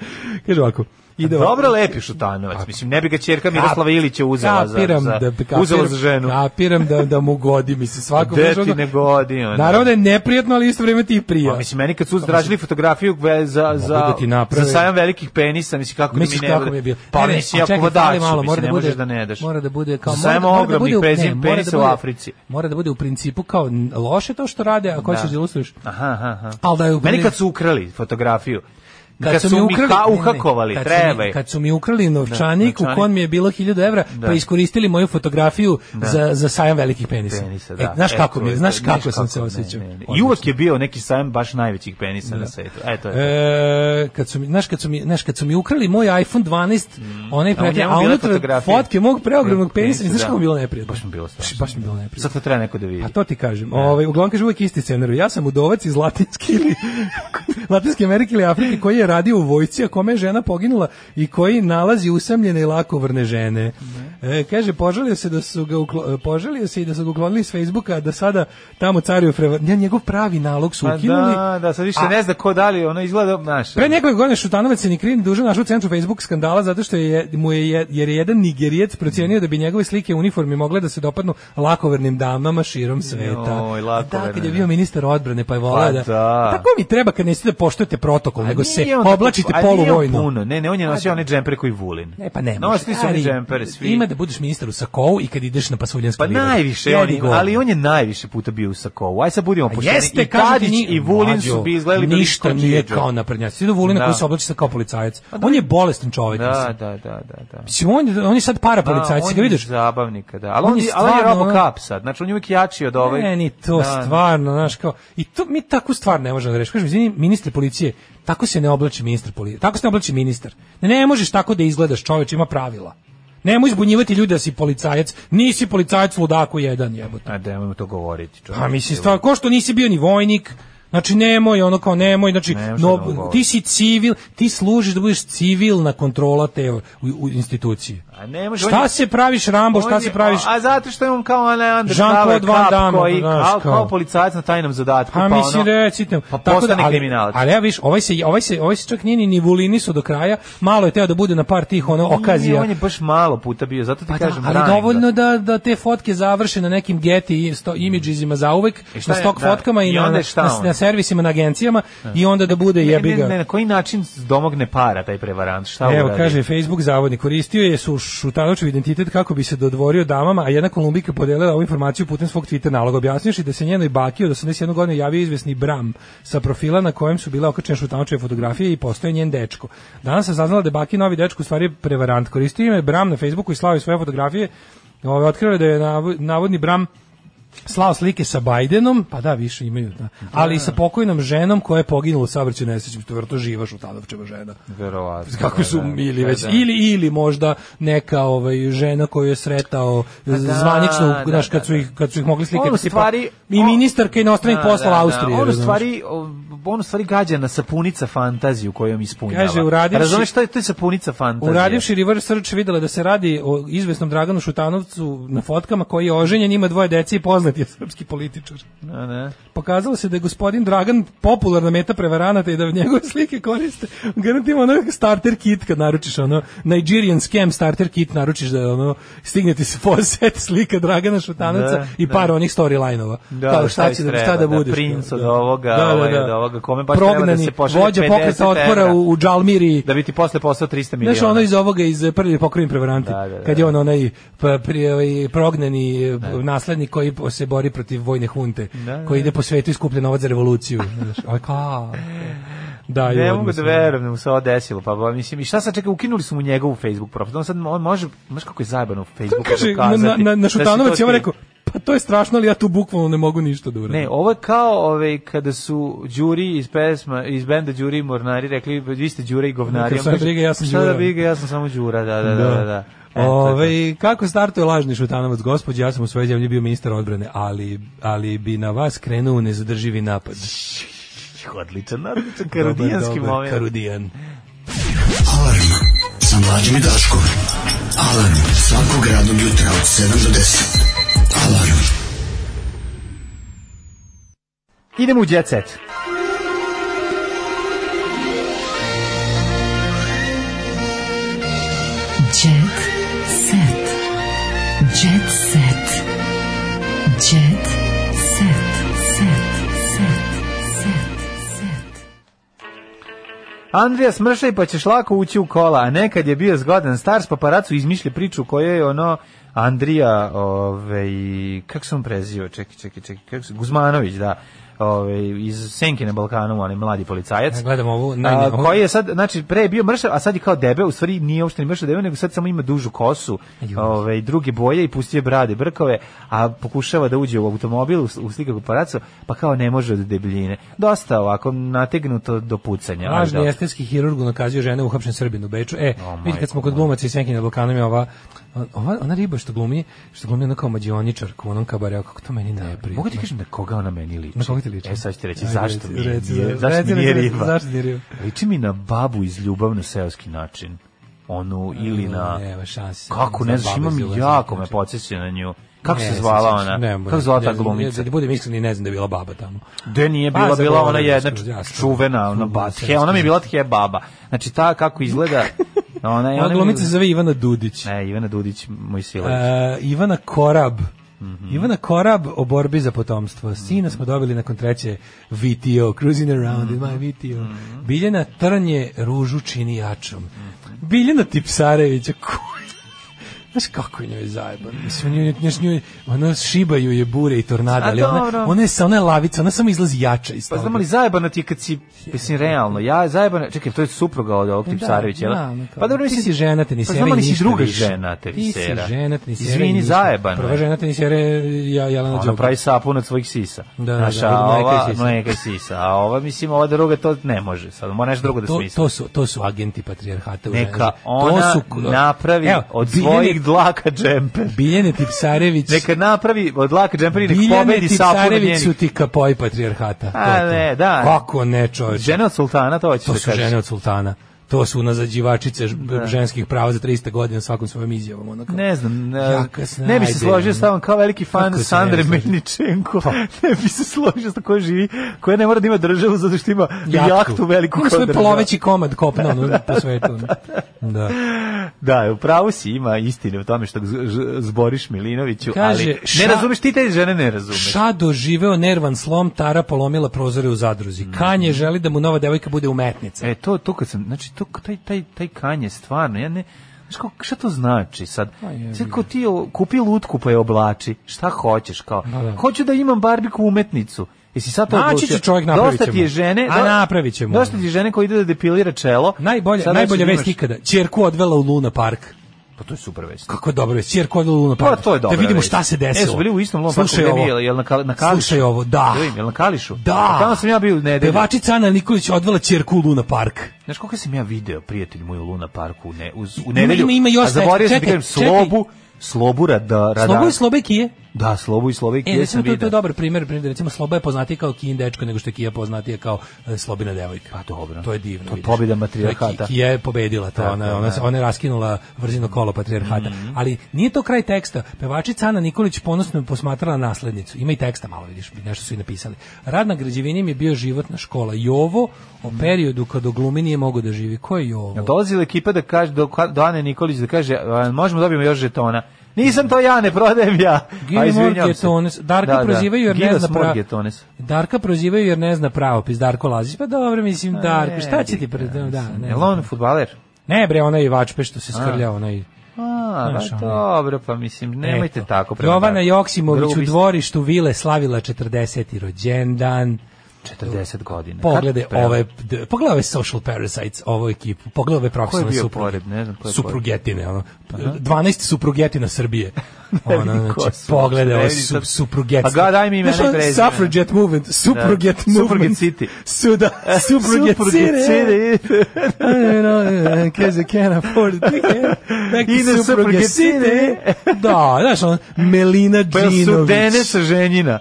G: ide ovako.
F: Pa Dobro lepi Šutanovac, mislim, ne bi ga čerka Miroslava Ilića uzela za,
G: Kapiram
F: za,
G: da, kapiram,
F: uzela za ženu.
G: Kapiram da, da mu godi, mislim, svako
F: Gde
G: može
F: ti
G: ono-
F: ne godi, ono?
G: Naravno da je neprijatno, ali isto vrijeme ti prija.
F: Pa, mislim, meni kad su zdražili fotografiju ve- za, za,
G: da ti naprave.
F: za sajam velikih penisa, mislim, kako
G: Misliš
F: mi ne...
G: kako mi je bilo?
F: Pa,
G: Ne, ne,
F: mislim,
G: a
F: jako
G: čekaj,
F: vodaču,
G: fali malo, mora
F: mislim,
G: da
F: ne
G: bude-
F: možeš da ne daš.
G: mora da bude kao-
F: Za
G: mora da-
F: sajam
G: mora da
F: ogromnih
G: bude u- ne,
F: prezim
G: mora da
F: penisa u
G: bude-
F: Africi.
G: Mora da bude u principu kao n- loše to što rade, ako
F: Da.
G: ćeš da ilustruješ.
F: Aha, aha, aha.
G: Al da je u-
F: Meni kad su ukrali fotografiju, kad, su, mi
G: ukrali-
F: ha-
G: ne, ne,
F: uhakovali,
G: kad su mi-
F: treba je.
G: Kad su mi ukrali novčanik, u
F: novčanik.
G: kon mi je bilo 1000 evra,
F: Da.
G: pa iskoristili moju fotografiju za, za sajam velikih penisa.
F: penisa,
G: E,
F: da.
G: znaš
F: E,
G: kako
F: to
G: mi je,
F: je
G: znaš
F: to,
G: kako sam se
F: ne,
G: osjećao.
F: ne, ne. I uvek je bio neki sajam baš najvećih penisa na svetu. E, to je. to.
G: E, kad su mi, znaš, kad su mi, znaš, kad su mi ukrali moj iPhone 12, onaj
F: A Mm. u
G: pregled,
F: njemu
G: a
F: bile
G: unutra
F: fotografije.
G: fotke mog preogromnog penisa,
F: Penisa,
G: znaš
F: da.
G: kako mi je bilo neprijatno.
F: Baš mi je bilo strašno.
G: Baš mi je bilo neprijatno.
F: Sad to treba neko da vidi.
G: A to ti kažem. Ovaj uglavnom kaže uvek isti scenarij. Ja sam udovac iz Latinske ili Latinske Amerike ili Afrike koji je radio u vojsci, a kome je žena poginula i koji nalazi usamljene i lakovrne žene. E, kaže požalio se da su ga uklo- e, požalio se i da su ga uklonili s Facebooka, a da sada tamo caruje freva. Ja, njegov pravi nalog su
F: Pa
G: ukinuli.
F: da, da, sad više
G: a-
F: ne zna ko da li, ono izgleda, znaš.
G: Pre nekoliko godina Šutanovac se ni kriv ni dužan našao u centru Facebook skandala zato što je mu je je- jer je jedan Nigerijec procenio da bi njegove slike u uniformi mogle da se dopadnu lakovernim damama širom sveta. E,
F: Joj, lakoverne,
G: da, kad je
F: da.
G: bio ministar odbrane pa je volao
F: Pa
G: da,
F: da.
G: Tako mi treba kad niste da poštujete protokol, nego se
F: Nije on tako-
G: oblačite
F: a nije on
G: poluvojno.
F: puno. Ne, ne, on je nosio one džempere koji vulin.
G: Ne, pa ne. može.
F: Nosili su oni
G: Ali
F: džempere svi.
G: Ima da budeš ministar u sakovu i kad ideš na pasuljanski
F: Pa
G: livadu.
F: najviše,
G: Jedi
F: on, je-
G: govno.
F: ali on je najviše puta bio u Sakovu. Aj sad budimo
G: Pa
F: pošteni.
G: jeste,
F: I
G: kažem ti,
F: Tadić
G: nije-
F: i Vulin su
G: Mlađo,
F: bi izgledali bili
G: Ništa
F: skočiđe.
G: nije kao naprednjaci. Svi do Vulina
F: Da. Pa
G: koji se oblači se kao policajac. On je bolestan čovjek. mislim.
F: Da, da, da, da, da.
G: Mislim, on, je- on je sad para policajac,
F: on
G: ga
F: je
G: vidiš?
F: Zabavnika, da. Ali
G: On
F: on,
G: je
F: je, ali on je
G: stvarno, ono-
F: Robocop sad. Znači, on je uvijek jači od ove...
G: Ne, E, ni to stvarno, znaš, kao, i to, mi takvu stvar ne možemo da rešimo. Kažem, izvini, ministar policije, tako se ne oblači ministar policije, tako se ne oblači ministar. Ne, ne možeš tako da izgledaš, čoveč, ima pravila. Nemoj izbunjivati ljude da si policajac, nisi policajac ludaku jedan, jebote.
F: A da, to govoriti. čovječe.
G: A mislim, stvarno, ko što nisi bio ni vojnik, Znači nemoj, ono kao nemoj, znači
F: Ne, šta
G: no,
F: da vam govorim.
G: ti si civil, ti služiš da budeš civilna kontrola te u, u instituciji.
F: A ne može, on
G: Šta
F: je-
G: se praviš Rambo, šta
F: on
G: se
F: je-
G: praviš?
F: A zato što je on kao onaj
G: Jean-Claude
F: undercover
G: Van
F: cop
G: Damme,
F: koji,
G: pa znaš,
F: kao,
G: kao
F: kao policajac na tajnom zadatku.
G: Pa, mislim
F: ono-
G: recite.
F: Pa
G: Tako da,
F: postane
G: ali-
F: kriminalac.
G: Ali ja viš, ovaj se ovaj se ovaj se čak nije ni ni vulini su do kraja. Malo je teo da bude na par tih ono
F: Nije,
G: okazija.
F: on je baš malo puta bio, zato ti
G: Pa da,
F: kažem,
G: ali
F: branim
G: dovoljno da, da te fotke završe na nekim Getty i sto, imidžizima za uvek,
F: Mm. I šta
G: na
F: je,
G: stok
F: da,
G: fotkama i,
F: i
G: na,
F: onda
G: na,
F: je šta onda?
G: na servisima, na agencijama i onda da bude
F: Ne,
G: jebiga.
F: ne, ne, na koji način domogne para taj prevarant? Šta
G: Evo,
F: uradi?
G: kaže, Facebook zavodnik koristio je su Šutanovićev identitet kako bi se dodvorio damama, a jedna Kolumbika podelila ovu informaciju putem svog Twitter naloga. Objasniš i da se njenoj baki od 81 godine javio izvesni Bram sa profila na kojem su bila okačene Šutanovićeve fotografije i postoje njen dečko. Danas se saznala da je baki novi dečko u stvari je prevarant. Koristio ime Bram na Facebooku i slao je svoje fotografije. Ove, otkrio je da je nav- navodni Bram slao slike sa Bajdenom, pa da, više imaju, da. ali i sa pokojnom ženom koja je poginula u saobraćaju nesreći, to je vrlo živa Šutanovčeva žena.
F: Verovatno.
G: Kako su
F: da, da.
G: ili već
F: Da, da.
G: ili ili možda neka ovaj žena koju je sretao
F: Pa
G: eh,
F: da,
G: zvanično
F: da,
G: znaš kad
F: da,
G: su ih kad su ih mogli slikati
F: On u
G: tipa,
F: Ono stvari-
G: pa i
F: on-
G: ministarka inostranih
F: Da,
G: poslova
F: da, da.
G: Austrije
F: On u
G: razumeš?
F: stvari, on u stvari gađa na sapunica fantaziju kojom ispunjava.
G: Kaže, uradivši-
F: Razumeš šta je to je sapunica fantazije?
G: Uradivši reverse search videla da se radi o izvesnom Draganu Šutanovcu na fotkama koji je oženjen, ima dvoje dece i poznat je srpski političar. Pokazalo se da je gospodin Dragan popularna meta prevaranata i da njegove slike koriste. Garantim ono starter kit kad naručiš ono Nigerian scam starter kit naručiš da ono stigne ti se poset slika Dragana Šutanovca
F: Da,
G: i par
F: da.
G: onih storylineova.
F: Da,
G: Kao
F: šta
G: šta
F: ti
G: će da
F: treba,
G: šta da
F: da,
G: budeš.
F: princ od ovoga, ovaj od ovoga, kome baš treba da
G: Prognani,
F: se pošalje
G: vođa
F: 50
G: pokreta otpora
F: evra.
G: u, u Džalmiri
F: Da bi ti posle poslao 300 miliona.
G: Znaš ono iz ovoga, iz prvi pokrovim prevaranti,
F: Da, da, da.
G: kad je on onaj pa, pri, ovaj, prognani eh, naslednik koji po- se bori protiv vojne hunte,
F: Da,
G: koji
F: da.
G: ide po svetu i skuplja novac za revoluciju. Znaš, aj ka. Da, i
F: ne
G: odmah
F: mogu da
G: sam-
F: verujem da mu se ovo desilo. Pa, ba, mislim, i šta sad čekaj, ukinuli su mu njegovu Facebook profil. On sad on može, znaš kako je zajebano u Facebooku
G: Kaže, na,
F: dokazati
G: na, na,
F: da
G: na
F: si to
G: Šutanovac je on
F: ti.
G: rekao, pa to je strašno, ali ja tu bukvalno ne mogu ništa da uradim.
F: Ne, ovo je kao ovaj, kada su Đuri iz pesma, iz benda Đuri i Mornari rekli, vi ste Đure i govnari.
G: Neka
F: On
G: sad
F: kaže,
G: briga, ja sam
F: šta
G: Đura. Ovaj-
F: da briga, ja sam samo Đura, da, da, da. da, da. E, to je to.
G: Ove, kako startuje lažni šutanovac, gospođo, ja sam u svojoj zemlji bio ministar odbrane, ali, ali bi na vas krenuo nezadrživi napad.
F: Odličan, odličan, karudijanski
G: dobar,
F: moment.
G: Karudijan.
E: Alarm sa mlađom i Daškom. Alarm svakog radnog jutra od 7 do 10. Alarm.
F: Idemo u Jet Set.
E: Jet set. Jet set. Jet set. Set. Set. Set. Set.
F: Andrija smršaj pa ćeš lako ući u kola, a nekad je bio zgodan star s paparacu izmišlja priču u kojoj je ono Andrija, ovaj, kako se on prezio, čekaj, čekaj, čekaj, kako se, Guzmanović, da, ovaj, iz Senke na Balkanu, onaj mladi policajac.
G: Ja gledam ovu, naj,
F: A,
G: ovu-
F: koji je sad, znači, pre je bio mršav, a sad je kao debel, u stvari nije uopšte ni mršav debel, nego sad samo ima dužu kosu, ovaj, druge boje i pustio je brade, brkove, a pokušava da uđe u automobil, u, u slika paparacu, pa kao ne može od debljine. Dosta ovako nategnuto do pucanja. ali
G: Lažni
F: dobro.
G: estetski hirurg unakazio žene uhapšen Srbin u Beču. E,
F: O,
G: vidi
F: majko
G: kad smo kod glumaca i Senke na Balkanu, ima ova, ova, ona riba što glumi, što glumi ona kao mađioničarka u onom kabareu, kako to meni ne prije.
F: Mogu ti kažem na koga ona meni liči?
G: Na koga ti liči?
F: E, sad ću ti reći,
G: Ajde,
F: zašto
G: reci,
F: mi
G: reci,
F: nije,
G: reci,
F: zašto mi
G: reci,
F: nije
G: reci,
F: riba?
G: zašto nije riba?
F: Liči mi na babu iz ljubavno-seoski način. Onu, ili na...
G: Nema šanse.
F: Kako, ne znaš,
G: Za babu
F: imam
G: iz Ljubljane.
F: jako me podsjeća na nju. Kako
G: Ne,
F: se zvala
G: ne
F: ona?
G: sjećam. Ne,
F: Kako se zvala
G: ne,
F: ta
G: ne,
F: glumica?
G: Da budem iskren, i ne znam da je bila baba tamo.
F: Gde nije
G: Pa,
F: bila, bila
G: zaboravio
F: ona jedna
G: sam, ja sam.
F: čuvena, ona
G: Ljubavno
F: bathe,
G: seoski
F: ona mi je bila tje baba. Znači, ta kako izgleda... Ona, je-
G: Ona
F: ona
G: glumica se zove Ivana Dudić.
F: Ne, Ivana Dudić, moj silac.
G: E, Ivana Korab.
F: Mhm.
G: Ivana Korab o borbi za potomstvo. Sina smo dobili nakon treće VTO, Cruising Around in
F: Mhm.
G: my VTO. Biljana Trnje ružu čini jačom. Biljana Tipsarević, kuj. Znaš kako je njoj zajeban. Mislim, nju, nju, nju, ona šibaju ono, je bure i tornada,
F: A
G: ali ona,
F: dobro.
G: ona je sa ona je lavica, ona samo izlazi jača iz
F: Pa
G: toga.
F: znam ali zajebano ti je kad si, mislim, realno, ja zajebano, čekaj, to je supruga od ovog Tipsarević, jel?
G: E, da, ono kao,
F: Pa dobro,
G: ti
F: mislim,
G: si žena, te ni
F: pa
G: sere
F: znam,
G: i
F: ali si
G: ništa
F: druga
G: više.
F: žena, te
G: Ti si
F: visera.
G: žena, te ni sere i
F: Izvini,
G: ništa.
F: zajebano
G: Prva
F: je.
G: žena te ni sere, ja, Jelena
F: Ona
G: Đoković.
F: pravi sapun od svojih sisa.
G: Da, da,
F: Znaš,
G: da,
F: a
G: od mleka i
F: ova,
G: sisa.
F: mleka i sisa. A ova, mislim, ova druga to ne može. Sad mora nešto drugo da
G: to,
F: smisli.
G: to su to su agenti patrijarhata u
F: Neka
G: ženi.
F: ona napravi od svojih dlaka džemper.
G: Biljane Tipsarević.
F: Neka napravi od laka džemperi, nek
G: Biljane
F: pobedi sapun od
G: Tipsarević su
F: njenih.
G: ti kapoji patrijarhata.
F: A,
G: To je to.
F: ne, da.
G: Kako ne, čoveče.
F: Žene od sultana, to hoćeš
G: To
F: da
G: su
F: kažeš.
G: žene od sultana. To su nazađivačice ž- ženskih prava za 300 godina svakom svojom izjavom. Ono kao.
F: Ne znam, ne,
G: Jaka
F: ne bi se
G: snajder,
F: složio
G: ono.
F: s tobom kao veliki fan
G: Kako se
F: Sandre
G: ne Pa. bi složio?
F: Melničenko. Ne bi se složio s koja živi, koja ne mora da ima državu zato što ima
G: Jahtu.
F: jahtu veliku kao
G: Ima svoj
F: država.
G: Ono ploveći komad kopna ono, po svetu. ono. Da.
F: Da, u pravu si, ima istine u tome što z- z- zboriš Milinoviću,
G: Kaže,
F: ali
G: ša-
F: ne razumeš, ti te žene ne razumeš.
G: Ša doživeo nervan slom, Tara polomila prozore u zadruzi.
F: Mhm.
G: Kanje želi da mu nova devojka bude umetnica.
F: E, to, to kad sam, znači, to, taj, taj, taj kanje, stvarno, ja ne, znaš, kao, šta to znači sad?
G: jebi
F: Sad kao ti o, kupi lutku pa je oblači, šta hoćeš, kao,
G: Da, da.
F: hoću da imam barbiku umetnicu. Jesi sad to
G: Naći će
F: odlučio?
G: čovjek, napravit
F: Dosta ti je
G: ćemo.
F: žene,
G: A,
F: do-
G: napravit ćemo.
F: Dosta ti je žene koja ide da depilira čelo.
G: Najbolja,
F: Sad
G: najbolja
F: hoćeš da
G: vest
F: imaš-
G: ikada. Čerku odvela u Luna Park.
F: Pa to je super vest.
G: Kako je dobro vest. Čerku odvela u Luna
F: Pa
G: Park.
F: to je dobro.
G: Da vidimo šta se desilo.
F: E, su bili u istom Lom Parku,
G: Slušaj
F: gde mi
G: ovo.
F: je, jel na, Kal- na Kališu?
G: Slušaj ovo, da.
F: Jel, jel na Kališu?
G: Da.
F: A Tamo sam ja bio u nedelju.
G: Pevačica Ana Nikolić odvela ćerku u Luna Park.
F: Znaš koliko sam ja video prijatelj moj u Luna parku u, ne, uz, u
G: Ima,
F: nedelju,
G: ima, ima još
F: a zaboravio sam ti
G: tekst.
F: kažem
G: Čekaj, čekaj.
F: slobu, slobu rada, rada.
G: Slobo je Slobekije.
F: Da, Slobu i Slovik
G: E,
F: je
G: recimo,
F: sam
G: to, to je
F: vidio.
G: dobar primjer, primjer, recimo, Sloba je poznatija kao kin dečko nego što je Kija poznatija kao e, Slobina devojka. Pa dobro. To je divno.
F: To je
G: vidiš.
F: pobjeda
G: To je
F: matrijarhata.
G: Ki- Kija je pobedila to,
F: Tako je,
G: ona, ona,
F: da. Mhm.
G: ona je raskinula vrzino kolo patrijarhata. Ali nije to kraj teksta. Pevačica Ana Nikolić ponosno je posmatrala naslednicu. Ima i teksta malo, vidiš, nešto su i napisali. Rad na građevini mi je bio životna škola. Jovo o
F: Mhm.
G: periodu kad o glumi nije mogo da živi. Ko je Jovo?
F: Jel Dolazila ekipa da kaže, do, do Ane Nikolić da kaže, "A, možemo dobijemo još žetona. Nisam to ja, ne prodajem ja. A
G: Gini
F: izvinjam se.
G: Morgetones. Darka prozivaju jer ne
F: Ginos
G: zna pravo.
F: Morgetones.
G: Darka prozivaju jer ne zna pravopis. Darko Lazić, pa dobro, mislim, Darko, šta će ti pred... Da, ne.
F: Jel on futbaler?
G: Ne bre, onaj vačpe što se
F: A.
G: skrlja, onaj...
F: A,
G: Znaš,
F: pa
G: ono-
F: dobro, pa mislim, nemojte
G: Eto.
F: tako. prema
G: Jovana
F: Darku.
G: Joksimović u
F: Grubi ste.
G: dvorištu vile slavila 40. rođendan.
F: 40 godina.
G: Pogledaj
F: Kako prelep.
G: ove, d- pogledaj ove Social Parasites, ovu ekipu. Pogledaj ove profesionalne
F: bio
G: supruge.
F: pored? Ne znam ko je
G: Suprugetine, ono.
F: Aha.
G: 12 suprugetina Srbije.
F: Ne
G: Ono,
F: vidim ko
G: znači,
F: su.
G: pogledaj
F: Ne
G: ove
F: vidim
G: su,
F: sad.
G: suprugetine.
F: Pa ga, daj mi imena i prezime.
G: ono Suffragette movement, supruget
F: Da.
G: movement.
F: Suffragette City.
G: Suda, supruget
F: Suffragette
G: city. e.
F: City.
G: You know, Because I can't afford it. Back
F: Ide
G: to
F: supruget
G: supruget city. Da, znaš, on, Melina
F: Pa jel
G: Đinović.
F: su dene sa ženjina?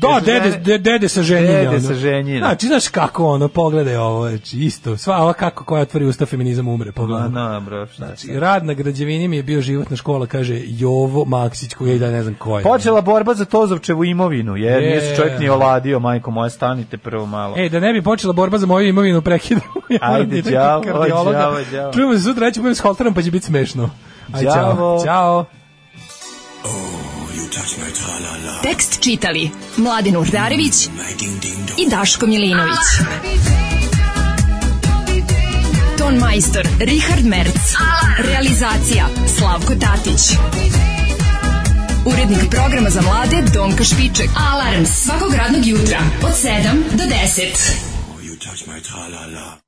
G: Da,
F: Jesu
G: dede,
F: žene-
G: de- dede sa ženjina.
F: Dede
G: ono.
F: sa ženjina.
G: Znači, znaš kako ono, pogledaj ovo, znači, isto, sva ova kako koja otvori usta feminizam umre,
F: Ma,
G: pogledaj.
F: Pa,
G: Znači,
F: na, bro, šta sad?
G: Rad na građevini mi je bio životna škola, kaže Jovo Maksić, koji ja i da ne znam ko je.
F: Počela borba za Tozovčevu imovinu, jer
G: e. Je.
F: nije se čovjek ni oladio, majko moja, stanite prvo malo.
G: E, da ne bi počela borba za moju imovinu, prekidamo. Ja moram
F: Ajde,
G: direkt
F: đavo,
G: kod kardiologa.
F: đavo, đavo.
G: Čujemo se sutra, ja ću budem s Holterom, pa će biti smešno. Aj,
F: Đavo.
G: čao. Ćao.
E: Tekst čitali Mladin Urdarević i Daško Milinović. Ton majstor Richard Merc. Realizacija Slavko Tatić. Urednik programa za mlade Donka Špiček. Alarms svakog radnog jutra od 7 do 10.
M: touch my tra-la-la.